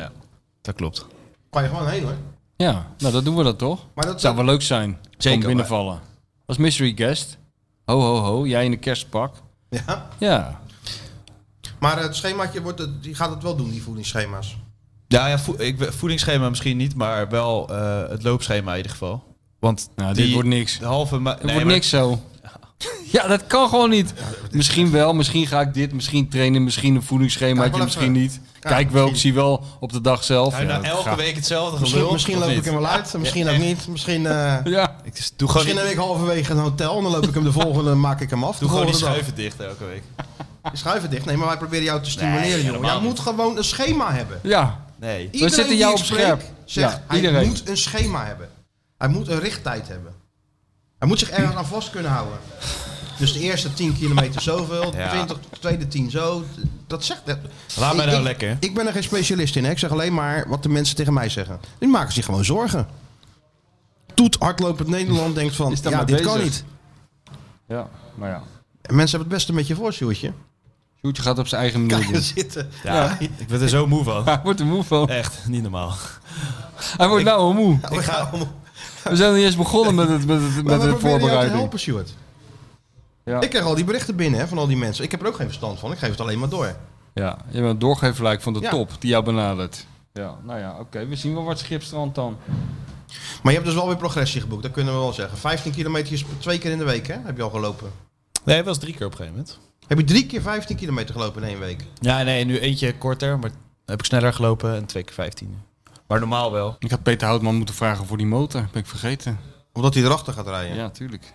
E: Dat klopt.
B: Kan je gewoon heen, hoor.
C: Ja, nou dat doen we dat toch?
B: Maar dat
C: Zou wel leuk zijn.
E: Zeker,
C: Zeker. binnenvallen. Als mystery guest. Ho, ho, ho. Jij in een kerstpak.
B: Ja.
C: Ja.
B: Maar het schemaatje wordt, het- die gaat het wel doen, die voedingsschema's.
E: Ja, ja vo- ik, ben- voedingsschema misschien niet, maar wel eh, het loopschema in ieder geval. Want
C: Nou,
E: die,
C: dit wordt niks.
E: de halve ma-
C: Het
E: nee,
C: wordt
E: maar-
C: niks zo. Ja, dat kan gewoon niet. Misschien wel, misschien ga ik dit, misschien trainen, misschien een
B: Kijk
C: voedingsschemaatje,
B: wel
C: misschien
B: even.
C: niet.
B: Kijk,
C: Kijk wel, ik
B: misschien.
C: zie wel op de dag zelf.
E: Nou,
C: Ja,
E: nou,
C: dat
E: elke
C: gaat-
E: week hetzelfde
B: Misschien,
E: gelul.
B: misschien
E: of
B: loop ik
E: niet?
B: hem wel uit, misschien ook niet. Misschien, eh,
C: Ja,
E: Ik doe gewoon,
B: misschien een
E: die-
B: week halverwege een hotel en dan loop ik hem de volgende, maak ik hem af.
E: doe
B: de
E: gewoon die
B: volgende dag.
E: schuiven dicht elke week.
B: Die schuiven dicht. Nee, maar wij proberen jou te stimuleren, jongen.
E: helemaal
B: Jij moet
E: niet.
B: gewoon een schema hebben.
C: ja.
E: Nee.
B: Iedereen
C: zitten
B: die
C: jou
B: ik
C: op
B: spreek
C: scherp.
B: Zegt,
C: Ja,
B: hij
C: iedereen.
B: moet een schema hebben. Hij moet een richttijd hebben. Hij moet zich ergens aan vast kunnen houden. Dus de eerste 10 kilometer zoveel,
E: Ja.
B: 20, de tweede 10 zo. Dat zegt... Dat.
E: Laat mij
B: Ik-
E: nou
B: ik-
E: lekker.
B: Ik ben er geen specialist in. Hè. Ik zeg alleen maar wat de mensen tegen mij zeggen. Die maken zich gewoon zorgen. Toet hardlopend Nederland denkt van,
C: Is daar
B: ja,
C: maar
B: dit kan
C: bezig.
B: niet.
C: Ja, maar nou ja.
B: En mensen hebben het beste met je voor, Sjoerdje.
C: Sjoerdje gaat op zijn eigen manier
B: Ga je
C: doen.
B: zitten.
E: Ja, ik ben er zo moe van.
C: Hij wordt er moe van.
E: Echt, niet normaal.
C: Hij wordt nou al moe.
B: Ik ga om.
C: We zijn niet eens begonnen met, het, met, het,
B: Maar
C: met
B: we
C: de
B: proberen jou te
C: voorbereiding.
B: helpen, Sjoerd.
C: Ja.
B: Ik krijg al die berichten binnen hè, van al die mensen. Ik heb er ook geen verstand van. Ik geef het alleen maar door.
C: Ja, je bent een doorgeefluik van de
B: Ja.
C: top die jou benadert. Ja, nou ja, oké. We zien wel wat schipstrand dan.
B: Maar je hebt dus wel weer progressie geboekt. Dat kunnen we wel zeggen. 15 kilometer twee keer in de week hè? heb je al gelopen.
E: Nee, het was drie keer op een gegeven moment.
B: Heb je drie keer 15 kilometer gelopen in één week?
E: Ja, nee, nu eentje korter, maar heb ik sneller gelopen en twee keer 15. Maar normaal wel.
C: Ik had Peter Houtman moeten vragen voor die motor. Ben ik vergeten.
B: Omdat hij erachter gaat rijden.
C: Ja, tuurlijk.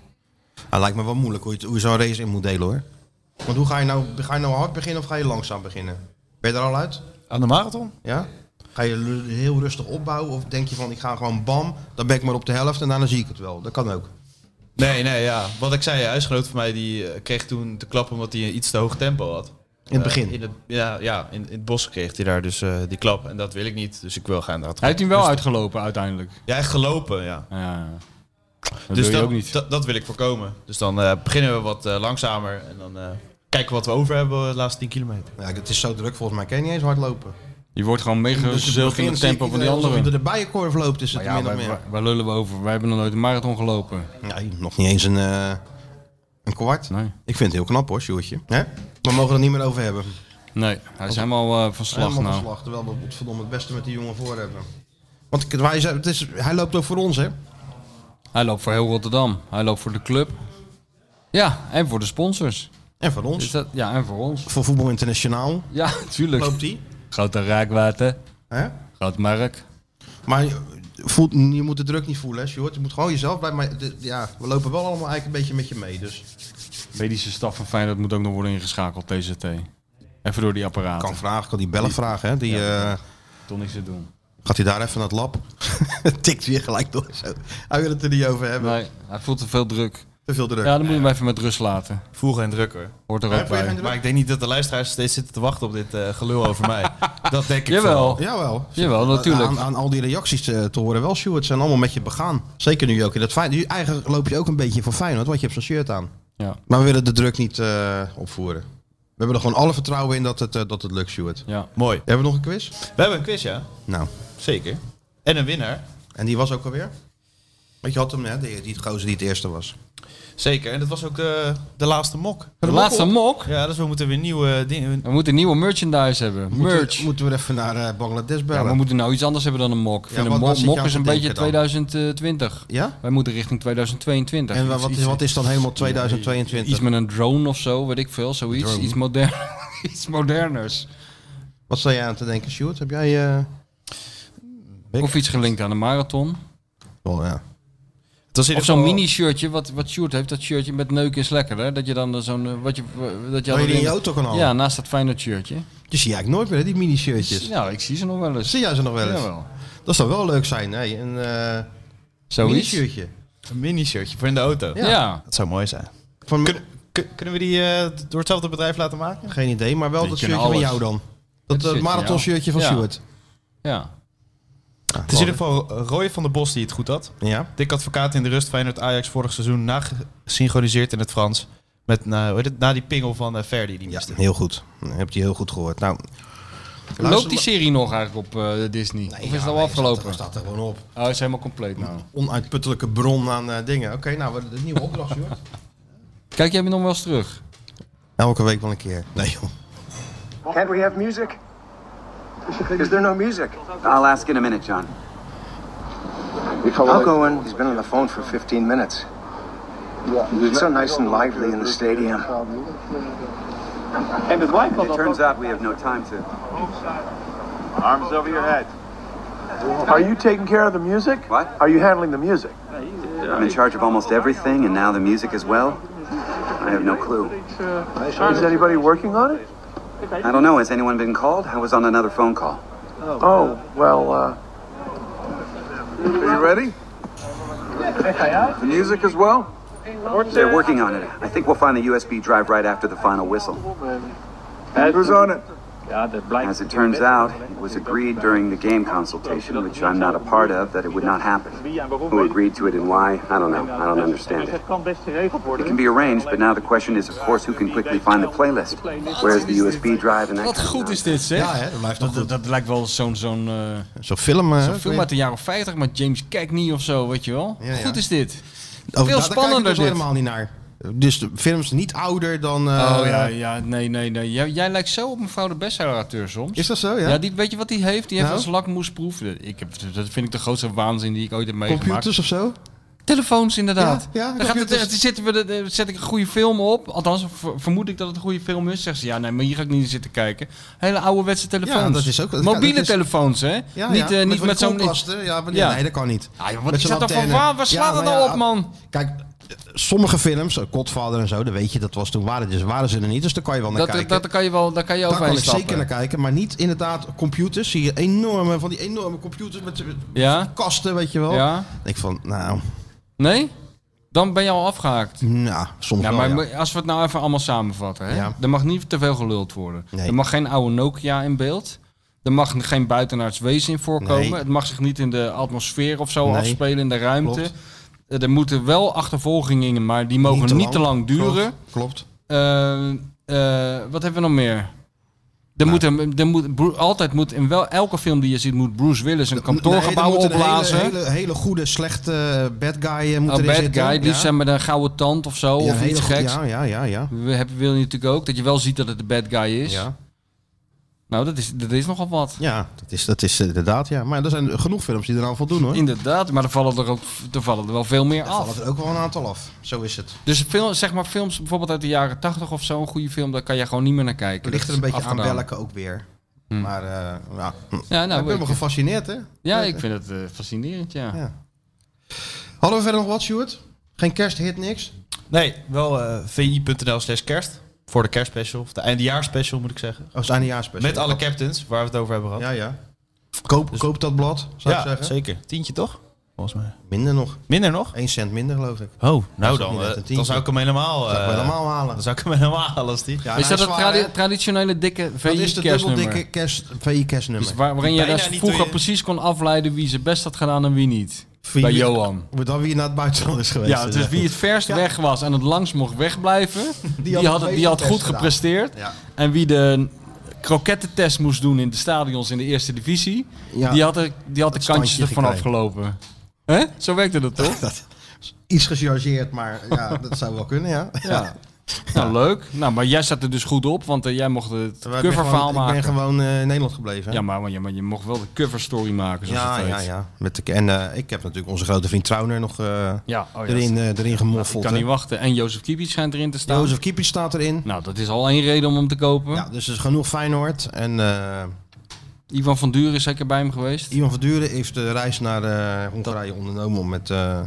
B: Ah, lijkt me wel moeilijk hoe je, het- hoe je zo'n race in moet delen hoor. Want hoe ga je nou, ga je nou hard beginnen of ga je langzaam beginnen? Ben je er al uit?
E: Aan de marathon?
B: Ja? Ga je lu- heel rustig opbouwen of denk je van ik ga gewoon bam, dan ben ik maar op de helft en daarna zie ik het wel. Dat kan ook.
E: Nee, nee, ja. Wat ik zei, een huisgenoot van mij die eh, kreeg toen te klap omdat hij een iets te hoog tempo had.
B: In het
E: Eh,
B: begin.
E: in het, ja, ja in, in het bos kreeg hij daar dus eh, die klap. En dat wil ik niet, dus ik wil gaan. Dat
C: Hij heeft hem wel uitgelopen uiteindelijk.
E: Ja, echt gelopen, ja.
C: Ja. Dat
E: dus
C: wil
E: dat,
C: je ook niet.
E: Dat, dat wil ik voorkomen. Dus dan eh, beginnen we wat eh, langzamer en dan eh, kijken wat we over hebben de laatste 10 kilometer.
B: Ja, het is zo druk volgens mij. Kan je niet eens hardlopen.
C: Je wordt gewoon meegezild in
B: begin
C: het
B: zie ik
C: tempo van
B: iedereen
C: die
B: alsof
C: anderen.
B: je door de bijenkorf loopt is het
C: Maar ja,
B: min
C: waar,
B: of meer.
C: waar- waar lullen we over? Wij hebben nog nooit een marathon gelopen.
B: Nee, nog niet eens een, eh, een kwart.
C: Nee.
B: Ik vind het heel knap hoor, Sjoerdje. Hè? We mogen er niet meer over hebben.
C: Nee, hij is helemaal eh, van slag
B: Helemaal
C: nou.
B: verslag, terwijl we godverdomme het beste met die jongen voor hebben. Want ik- wij zijn- het is, hij loopt ook voor ons, hè?
C: Hij loopt voor heel Rotterdam. Hij loopt voor de club. Ja, en voor de sponsors.
B: En voor ons.
C: Dus dat, ja, en voor ons.
B: Voor Voetbal Internationaal
C: Ja, tuurlijk.
B: loopt hij.
C: Grote raakwater.
B: Hè?
C: Groot merk.
B: Maar je, voelt, je moet de druk niet voelen, hè, Sjoerd. Je moet gewoon jezelf blijven. Maar de- ja, we lopen wel allemaal eigenlijk een beetje met je mee. Dus
C: Medische staf van Feyenoord moet ook nog worden ingeschakeld, TZT. Even door die apparaten.
B: kan vragen, kan die bellen vragen, hè? Die, eh,
C: Toch niks te doen.
B: gaat hij daar even naar het lab? Tikt weer gelijk door. Zo. Hij wil het er niet over hebben.
C: Nee, hij voelt te veel druk.
B: Te veel druk.
C: Ja, dan moet je hem even met rust laten.
E: Voel geen druk hoor.
C: Hoort
B: Hè,
C: er ook
B: voel je geen
C: bij.
B: druk?
E: Maar ik denk niet dat de luisteraars steeds zitten te wachten op dit eh, gelul over mij. Dat denk ik vooral.
C: Jawel.
B: Jawel.
C: Jawel, natuurlijk.
B: Aan, aan al die reacties eh, te, te horen wel, Sjoerd. Zijn allemaal met je begaan. Zeker nu ook in dat Feyenoord. Nu Eigenlijk loop je ook een beetje voor Feyenoord, want je hebt zo'n shirt aan.
C: Ja.
B: Maar we willen de druk niet eh, opvoeren. We hebben er gewoon alle vertrouwen in dat het, eh, dat het lukt, Sjoerd.
C: Ja.
E: Mooi.
B: Hebben we nog een quiz?
E: We hebben een quiz, ja.
B: Nou.
E: Zeker. En een winnaar.
B: En die was ook alweer? Want je had hem, hè, die, die gozer die het eerste was.
E: Zeker, en dat was ook de, de laatste mok.
C: De laatste mok.
E: Ja, dus we moeten weer nieuwe dingen...
C: We moeten nieuwe merchandise hebben. Merch.
B: Moeten, moeten we even naar eh, Bangladesh
C: Ja,
B: bellen?
C: we
B: Ja,
C: moeten nou iets anders hebben dan een mok. Ik
B: Ja,
C: vind
B: wat-
C: een
B: wat
C: mok,
B: zit je
C: mok
B: aan
C: is
B: te
C: een beetje
B: denken
C: 2020. Wij moeten richting 2022.
B: En wa-
C: Iets-
B: wat is,
C: iets-
B: wat is dan helemaal 2022?
C: Iets met een drone of zo, weet ik veel. Zoiets.
B: Drone.
C: Iets, modern, iets moderners.
B: Wat sta jij aan te denken, Sjoerd? Heb jij... eh, Ik-
C: Of iets gelinkt aan een marathon.
B: Wel, Oh, ja.
E: Het was
C: Of
E: in ieder
C: zo'n
E: geval-
C: mini-shirtje, wat, wat Sjoerd heeft. Dat shirtje met neuk is lekker, hè? Dat je dan eh, zo'n... eh, Wat je, dat je
B: Dat je
C: altijd
B: die in je
C: in-
B: auto kan halen.
C: Ja, naast dat fijne shirtje.
B: Die zie je eigenlijk nooit meer, hè, die mini-shirtjes.
C: Nou, ik zie ze nog wel eens.
B: Zie jij ze nog wel eens?
C: Jawel.
B: Dat zou wel leuk zijn, hè? Een eh,
C: Zoiets.
B: mini-shirtje.
E: Een mini-shirtje voor in de auto.
C: Ja.
E: Dat zou mooi zijn.
B: Van,
E: Kun- kunnen we die eh, door hetzelfde bedrijf laten maken?
B: geen idee, maar wel
C: Die
B: dat
C: kunnen
B: shirtje van
C: alles.
B: jou dan. Dat
C: shirtje
B: eh,
C: van
B: marathon-shirtje van
C: jou. Ja.
B: Sjoerd.
C: ja.
E: Het is in ieder geval Roy van der Bos die het goed had.
B: Ja.
E: Dick Advocaat in de rust Feyenoord Ajax vorig seizoen nagesynchroniseerd in het Frans. Met na, hoe heet het, na die pingel van eh, Verdi die
B: ja,
E: miste.
B: heel goed. Dan Heb je heel goed gehoord. Nou,
C: Loopt die serie nog eigenlijk op eh, Disney? of is het al afgelopen?
B: Dat staat er gewoon op.
C: Oh, is helemaal compleet nou.
B: Onuitputtelijke bron aan eh, dingen. Oké, nou, we- de nieuwe opdracht, Sjoerd.
C: Kijk jij me nog wel eens terug?
B: Elke week wel een keer. Nee, joh.
I: Can't we have music? Is there no music? I'll ask in a minute, John. I'll go in. He's been on the phone for 15 minutes. It's so nice and lively in the stadium.
J: And his wife
I: It turns out we have no time to.
J: Arms over your head.
I: Are you taking care of the music? What? Are you handling the music?
J: I'm
I: I'm in charge of almost everything, and now the music as well. I have no clue. Is anybody working on it?
J: I
I: I don't know. Has anyone been called? I was on another phone call.
J: Oh,
I: well, uh. Are you ready? The music as well?
J: They're
I: They're
J: working.
I: working on it. I think we'll find the USB drive right after the final whistle.
J: Who's on it?
I: As it turns out, it was agreed during the game consultation, which I'm not a part of, that it would not happen. Who agreed to it and why, I don't know. I don't understand it. It can be arranged, but now the question is, of course, who can quickly find the playlist? Where's the USB drive and that
C: Wat
I: kind of
C: goed is
I: nonsense?
C: dit, zeg?
B: Ja, hè, dat blijft toch
C: dat,
B: goed.
C: dat, dat lijkt wel zo'n zo'n eh,
B: Zo'n film. eh,
C: zo'n
B: weet
C: film
B: je.
C: uit de jaren 50 met James Cagney of zo, weet je wel?
B: Ja, ja.
C: Goed is dit.
B: Over-
C: Veel
B: daar- daar kijk ik
C: spannender
B: dus
C: dit.
B: helemaal niet naar. Dus de films niet ouder dan... eh,
C: Oh ja, ja, nee, nee, nee. Jij, jij lijkt zo op mevrouw de bestseller-auteur soms.
B: Is dat zo,
C: ja,
B: ja?
C: die, weet je wat die heeft? Die heeft
B: Nou?
C: als lakmoesproef. Ik heb, dat vind ik de grootste waanzin die ik ooit heb meegemaakt.
B: Computers of zo?
C: Telefoons inderdaad.
B: Ja, ja,
C: dan gaat het,
B: computers.
C: dan zitten we, de- de- zet ik een goede film op. Althans, ver- vermoed ik dat het een goede film is. Zeggen ze, ja, nee, maar hier ga ik niet zitten kijken. Hele ouderwetse telefoons.
B: Ja, dat is ook- dat-
C: Mobiele
B: dat is-
C: telefoons, hè?
B: Ja,
C: niet
B: ja,
C: eh, niet
B: van
C: met,
B: die
C: zo'n...
B: koelkasten. Ja, maar nee,
C: Ja.
B: nee, dat kan niet.
C: Ah, joh,
B: Met
C: wat is
B: zo'n
C: dat dan voor
B: antenne.
C: waar? Waar
B: Ja,
C: slaat het
B: maar
C: nou
B: ja,
C: op, man?
B: Kijk, sommige films, eh, Godfather en zo, dat weet je, dat was toen waren, dus waren ze er niet. Dus daar kan je wel naar
C: Dat, dat,
B: kijken.
C: dat kan je wel daar kan je
B: daar kan
C: overheen
B: ik
C: stappen.
B: zeker naar kijken, maar niet inderdaad computers. Zie je enorme, van die enorme computers met met
C: Ja?
B: kasten, weet je wel.
C: Ja?
B: Ik van, nou,
C: Nee? Dan ben je al afgehaakt.
B: nou soms
C: Ja,
B: wel,
C: maar
B: ja.
C: mo- als we het nou even allemaal samenvatten. Hè?
B: Ja.
C: Er mag niet te veel geluld worden.
B: Nee.
C: Er mag geen oude Nokia in beeld. Er mag geen buitenaards wezen in voorkomen.
B: Nee.
C: Het mag zich niet in de atmosfeer of zo
B: Nee.
C: afspelen, in de ruimte.
B: Klopt.
C: Eh, Er moeten wel achtervolgingen in, maar die mogen niet te lang, duren.
B: Klopt. klopt.
C: Eh, eh, wat hebben we nog meer?
B: Nou.
C: Er moet, een- er moet, Bru- altijd moet in wel, elke film die je ziet, moet Bruce Willis een kantoorgebouw
B: Nee, er moet een
C: opblazen.
B: Hele, hele, hele goede, slechte eh, bad guy eh, moet
C: een
B: erin
C: bad
B: zitten.
C: guy, liefst
B: ja.
C: zijn met een gouden tand of zo,
B: Ja,
C: of
B: hele
C: iets
B: goe-
C: geks.
B: Ja, ja, ja, ja.
C: We hebben, wil je natuurlijk ook dat je wel ziet dat het de bad guy is.
B: Ja.
C: Nou, dat is, dat is nogal wat.
B: Ja, dat is, dat is eh, inderdaad, ja. Maar er zijn genoeg films die er aan voldoen, hoor.
C: Inderdaad, maar er vallen er, ook, er vallen er wel veel meer
B: Er vallen
C: af.
B: er ook wel een aantal af. Zo is het.
C: Dus film, zeg maar films bijvoorbeeld uit de jaren 80 of zo, een goede film, daar kan je gewoon niet meer naar kijken.
B: Het ligt er
C: Dat
B: een
C: is
B: beetje aan
C: afgedaan.
B: welke ook weer. Maar eh, ja,
C: Ja,
B: ik
C: nou,
B: ben me
C: ik,
B: gefascineerd, hè?
C: ja, ik vind het eh, fascinerend, ja.
B: Ja. Hadden we verder nog wat, Stuart? Geen kersthit, niks?
E: Nee, wel eh, vi.nl slash kerst. Voor de kerstspecial, of de eindejaarsspecial moet ik zeggen.
B: Oh, zijn jaarspecial.
E: Met alle captains, waar we het over hebben gehad.
B: Ja, ja. Koop, koop dat blad, zou ik zeggen.
E: zeker. Tientje toch? Volgens mij.
B: Minder nog.
E: Minder nog?
B: 1 cent minder, geloof ik.
E: Oh, nou
B: niet
E: dan.
B: net
E: eh,
B: een tientje.
E: dan zou ik hem helemaal...
B: Dat
E: eh,
B: we helemaal halen.
E: Dan zou ik hem helemaal halen als die.
B: Ja, nou,
C: is dat het
B: zwaar, hè?
C: tradi- traditionele dikke
B: Dat is de dubbeldikke
C: VI-kerstnummer?
B: kerst, VI-kerstnummer.
C: Dus waar, waarin je
E: Bijna
C: dus
E: niet
C: vroeger
E: door je-
C: precies kon afleiden wie zijn best had gedaan en wie niet. Bij Johan.
B: Wordt dan wie naar het buitenland is geweest.
C: Ja, dus wie het verst weg was en het langst mocht wegblijven, die had,
B: had
C: het-
B: het
C: die had
B: best
C: goed
B: gedaan.
C: gepresteerd.
B: Ja.
C: En wie de krokettentest moest doen in de stadions in de eerste divisie,
B: Ja.
C: die had, er, die had de
B: standje
C: kantjes ervan
B: gekregen.
C: afgelopen. Hè? Zo werkte dat toch?
B: Dat, Iets gechargeerd, maar ja, dat zou wel kunnen, ja.
C: Ja. Nou, leuk. Nou, maar jij staat er dus goed op, want eh, jij mocht het
B: Maar ik ben
C: coververhaal
B: gewoon-
C: maken.
B: Ik ben gewoon eh, in Nederland gebleven. hè?
C: Ja, maar, maar, ja, maar je mocht wel de coverstory maken, zoals
B: ja,
C: het
B: ja,
C: heet.
B: ja. Met de, en eh, ik heb natuurlijk onze grote vriend Trauner nog eh,
C: Ja, oh ja,
B: erin,
C: dat-
B: eh, erin gemoffeld.
C: Ik kan niet
B: hè.
C: wachten. En Jozef Kiepic schijnt erin te staan.
B: Jozef Kiepic staat erin.
C: Nou, dat is al één reden om hem te kopen.
B: Ja, dus er is genoeg Feyenoord. En eh
C: Ivan van Duren is zeker bij hem geweest.
B: Ivan van Duren heeft de reis naar eh, Hongarije ondernomen om met eh,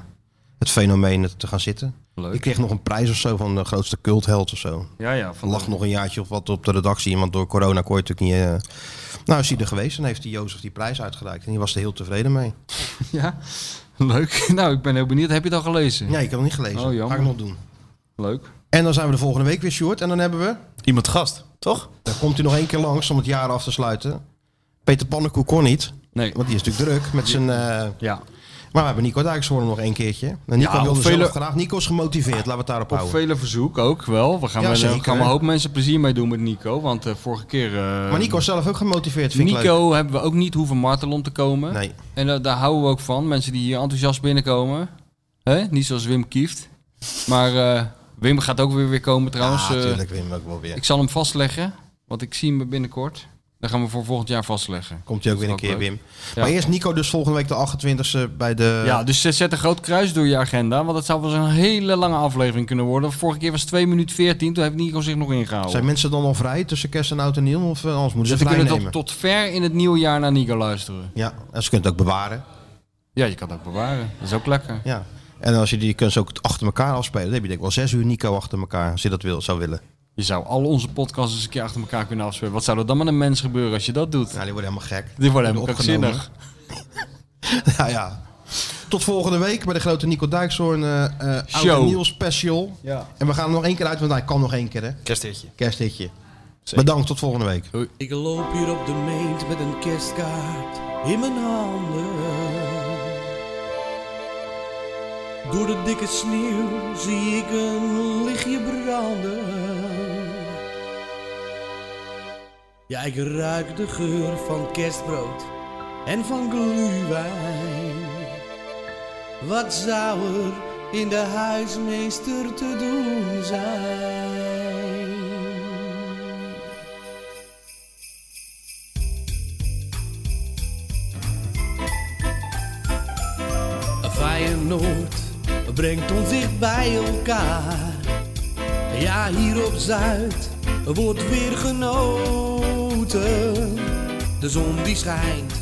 B: het fenomeen te gaan zitten.
C: Leuk.
B: Ik kreeg nog een prijs of zo van de grootste cultheld of zo.
C: Ja, ja. Van
B: lag nog een jaartje of wat op de redactie, want door corona kon je natuurlijk niet... eh, Nou, is hij er geweest en heeft die Jozef die prijs uitgereikt. En die was er heel tevreden mee.
C: Ja, leuk. Nou, ik ben heel benieuwd. Heb je dat al gelezen?
B: Nee, ik heb hem niet gelezen.
C: Oh, jammer.
B: Ga ik nog doen.
C: Leuk.
B: En dan zijn we de volgende week weer, Sjoerd. En dan hebben we...
E: Iemand gast, toch?
B: Dan komt hij nog één keer langs om het jaar af te sluiten. Peter Pannenkoek kon niet,
C: Nee.
B: want die is natuurlijk druk met zijn... eh,
C: Ja.
B: Maar we hebben Nico Dijkshoorn nog één keertje. En Nico
C: Ja,
B: wilde
C: op vele-
B: zelf graag. Nico is gemotiveerd, laten we het daarop
C: Op
B: houden.
C: vele verzoek ook wel. We gaan,
B: Ja,
C: wel-
B: zeker,
C: we gaan wel
B: hè?
C: een hoop mensen plezier mee doen met Nico. Want eh, vorige keer... eh,
B: Maar Nico is zelf ook gemotiveerd, vind ik leuk.
C: Nico hebben we ook niet hoeven martelen om te komen.
B: Nee.
C: En eh, daar houden we ook van. Mensen die hier enthousiast binnenkomen. hè? Niet zoals Wim Kieft. Maar eh, Wim gaat ook weer, weer komen trouwens.
B: Ja,
C: Eh,
B: natuurlijk Ah, Wim ook wel weer.
C: ik zal hem vastleggen. Want ik zie hem binnenkort. Dan gaan we voor volgend jaar vastleggen.
B: Komt hij ook weer een
C: Dat is
B: keer,
C: ook leuk.
B: Wim.
C: Ja.
B: Maar eerst Nico dus volgende week de 28e bij de...
C: Ja, dus eh, zet een groot kruis door je agenda. Want dat zou wel eens een hele lange aflevering kunnen worden. Vorige keer was het 2 minuten 14. Toen heeft Nico zich nog ingehouden.
B: Zijn mensen dan al vrij tussen kerst en oud en nieuw? Of eh, anders moeten
C: dus
B: ze
C: we
B: vrij
C: kunnen
B: nemen?
C: tot, tot ver in het nieuwe jaar naar Nico luisteren.
B: Ja, en ze kunnen het ook bewaren.
C: Ja, je kan het ook bewaren. Dat is ook lekker.
B: Ja. En als je die kunt ze ook achter elkaar afspelen. Dan heb je denk ik wel zes uur Nico achter elkaar, als je dat wil, zou willen.
C: Je zou al onze podcasts eens een keer achter elkaar kunnen afspelen. Wat zou er dan met een mens gebeuren als je dat doet?
B: Nou, die worden helemaal gek.
C: Dit wordt helemaal
B: opgenomen.
C: krankzinnig.
B: Nou ja. Tot volgende week bij de grote Nico Dijkshoorn eh eh, oud
C: Show.
B: en nieuw special.
E: Ja.
B: En we gaan er nog één keer uit, want hij kan nog één keer hè.
E: Kerstditje.
B: Kersthitje. Bedankt, tot volgende week.
A: Ik loop hier op de meent met een kerstkaart in mijn handen. Door de dikke sneeuw zie ik een lichtje branden. Ja, ik ruik de geur van kerstbrood en van glühwijn. Wat zou er in de huismeester te doen zijn? Feyenoord brengt ons dicht bij elkaar. Ja, hier op Zuid wordt weer genoten. De zon die schijnt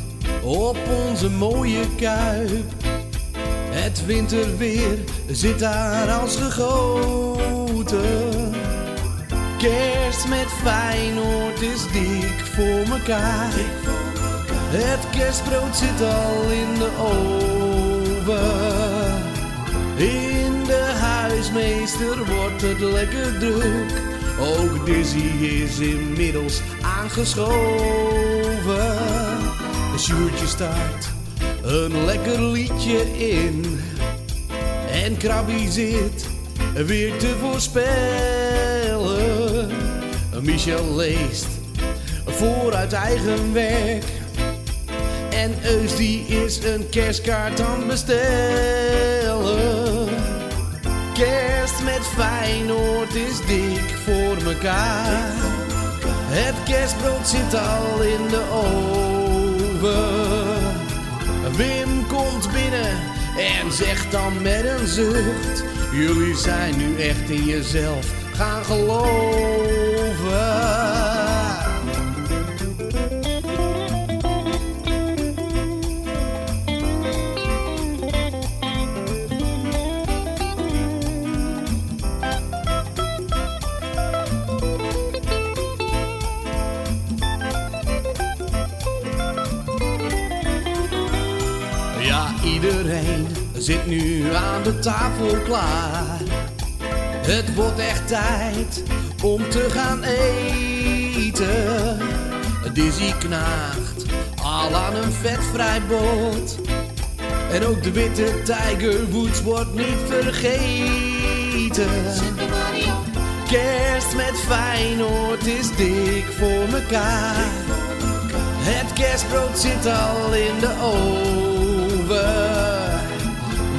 A: op onze mooie kuip. Het winterweer zit daar als gegoten. Kerst met Feyenoord is dik voor mekaar. Het kerstbrood zit al in de oven. In de huismeester wordt het lekker druk. Ook Dizzy is inmiddels aangeschoven. Sjoertje staat een lekker liedje in. En Krabby zit weer te voorspellen. Michel leest vooruit eigen werk. En Eus die is een kerstkaart aan het bestellen. Kerst met Feyenoord is dik voor mekaar. Het kerstbrood zit al in de oven. Wim komt binnen en zegt dan met een zucht: Jullie zijn nu echt in jezelf gaan geloven. Ja, iedereen zit nu aan de tafel klaar. Het wordt echt tijd om te gaan eten. Dizzy knaagt al aan een vetvrij bot. En ook de witte Tiger Woods wordt niet vergeten. Kerst met Feyenoord is dik voor mekaar. Het kerstbrood zit al in de oven.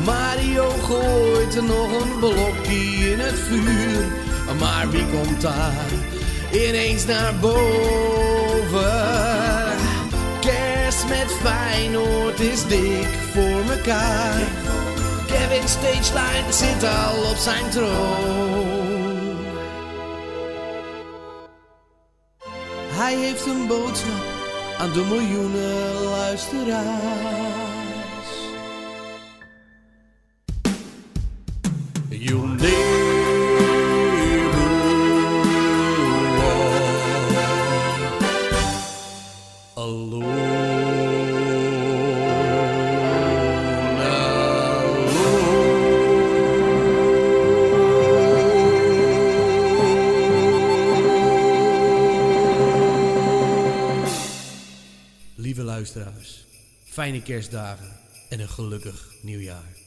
A: Mario gooit er nog een blokje in het vuur. Maar wie komt daar ineens naar boven? Kerst met Feyenoord is dik voor mekaar. Kevin Stageline zit al op zijn troon. Hij heeft een boodschap aan de miljoenen luisteraars. You'll never walk alone, alone. Lieve luisteraars, fijne kerstdagen en een gelukkig nieuwjaar.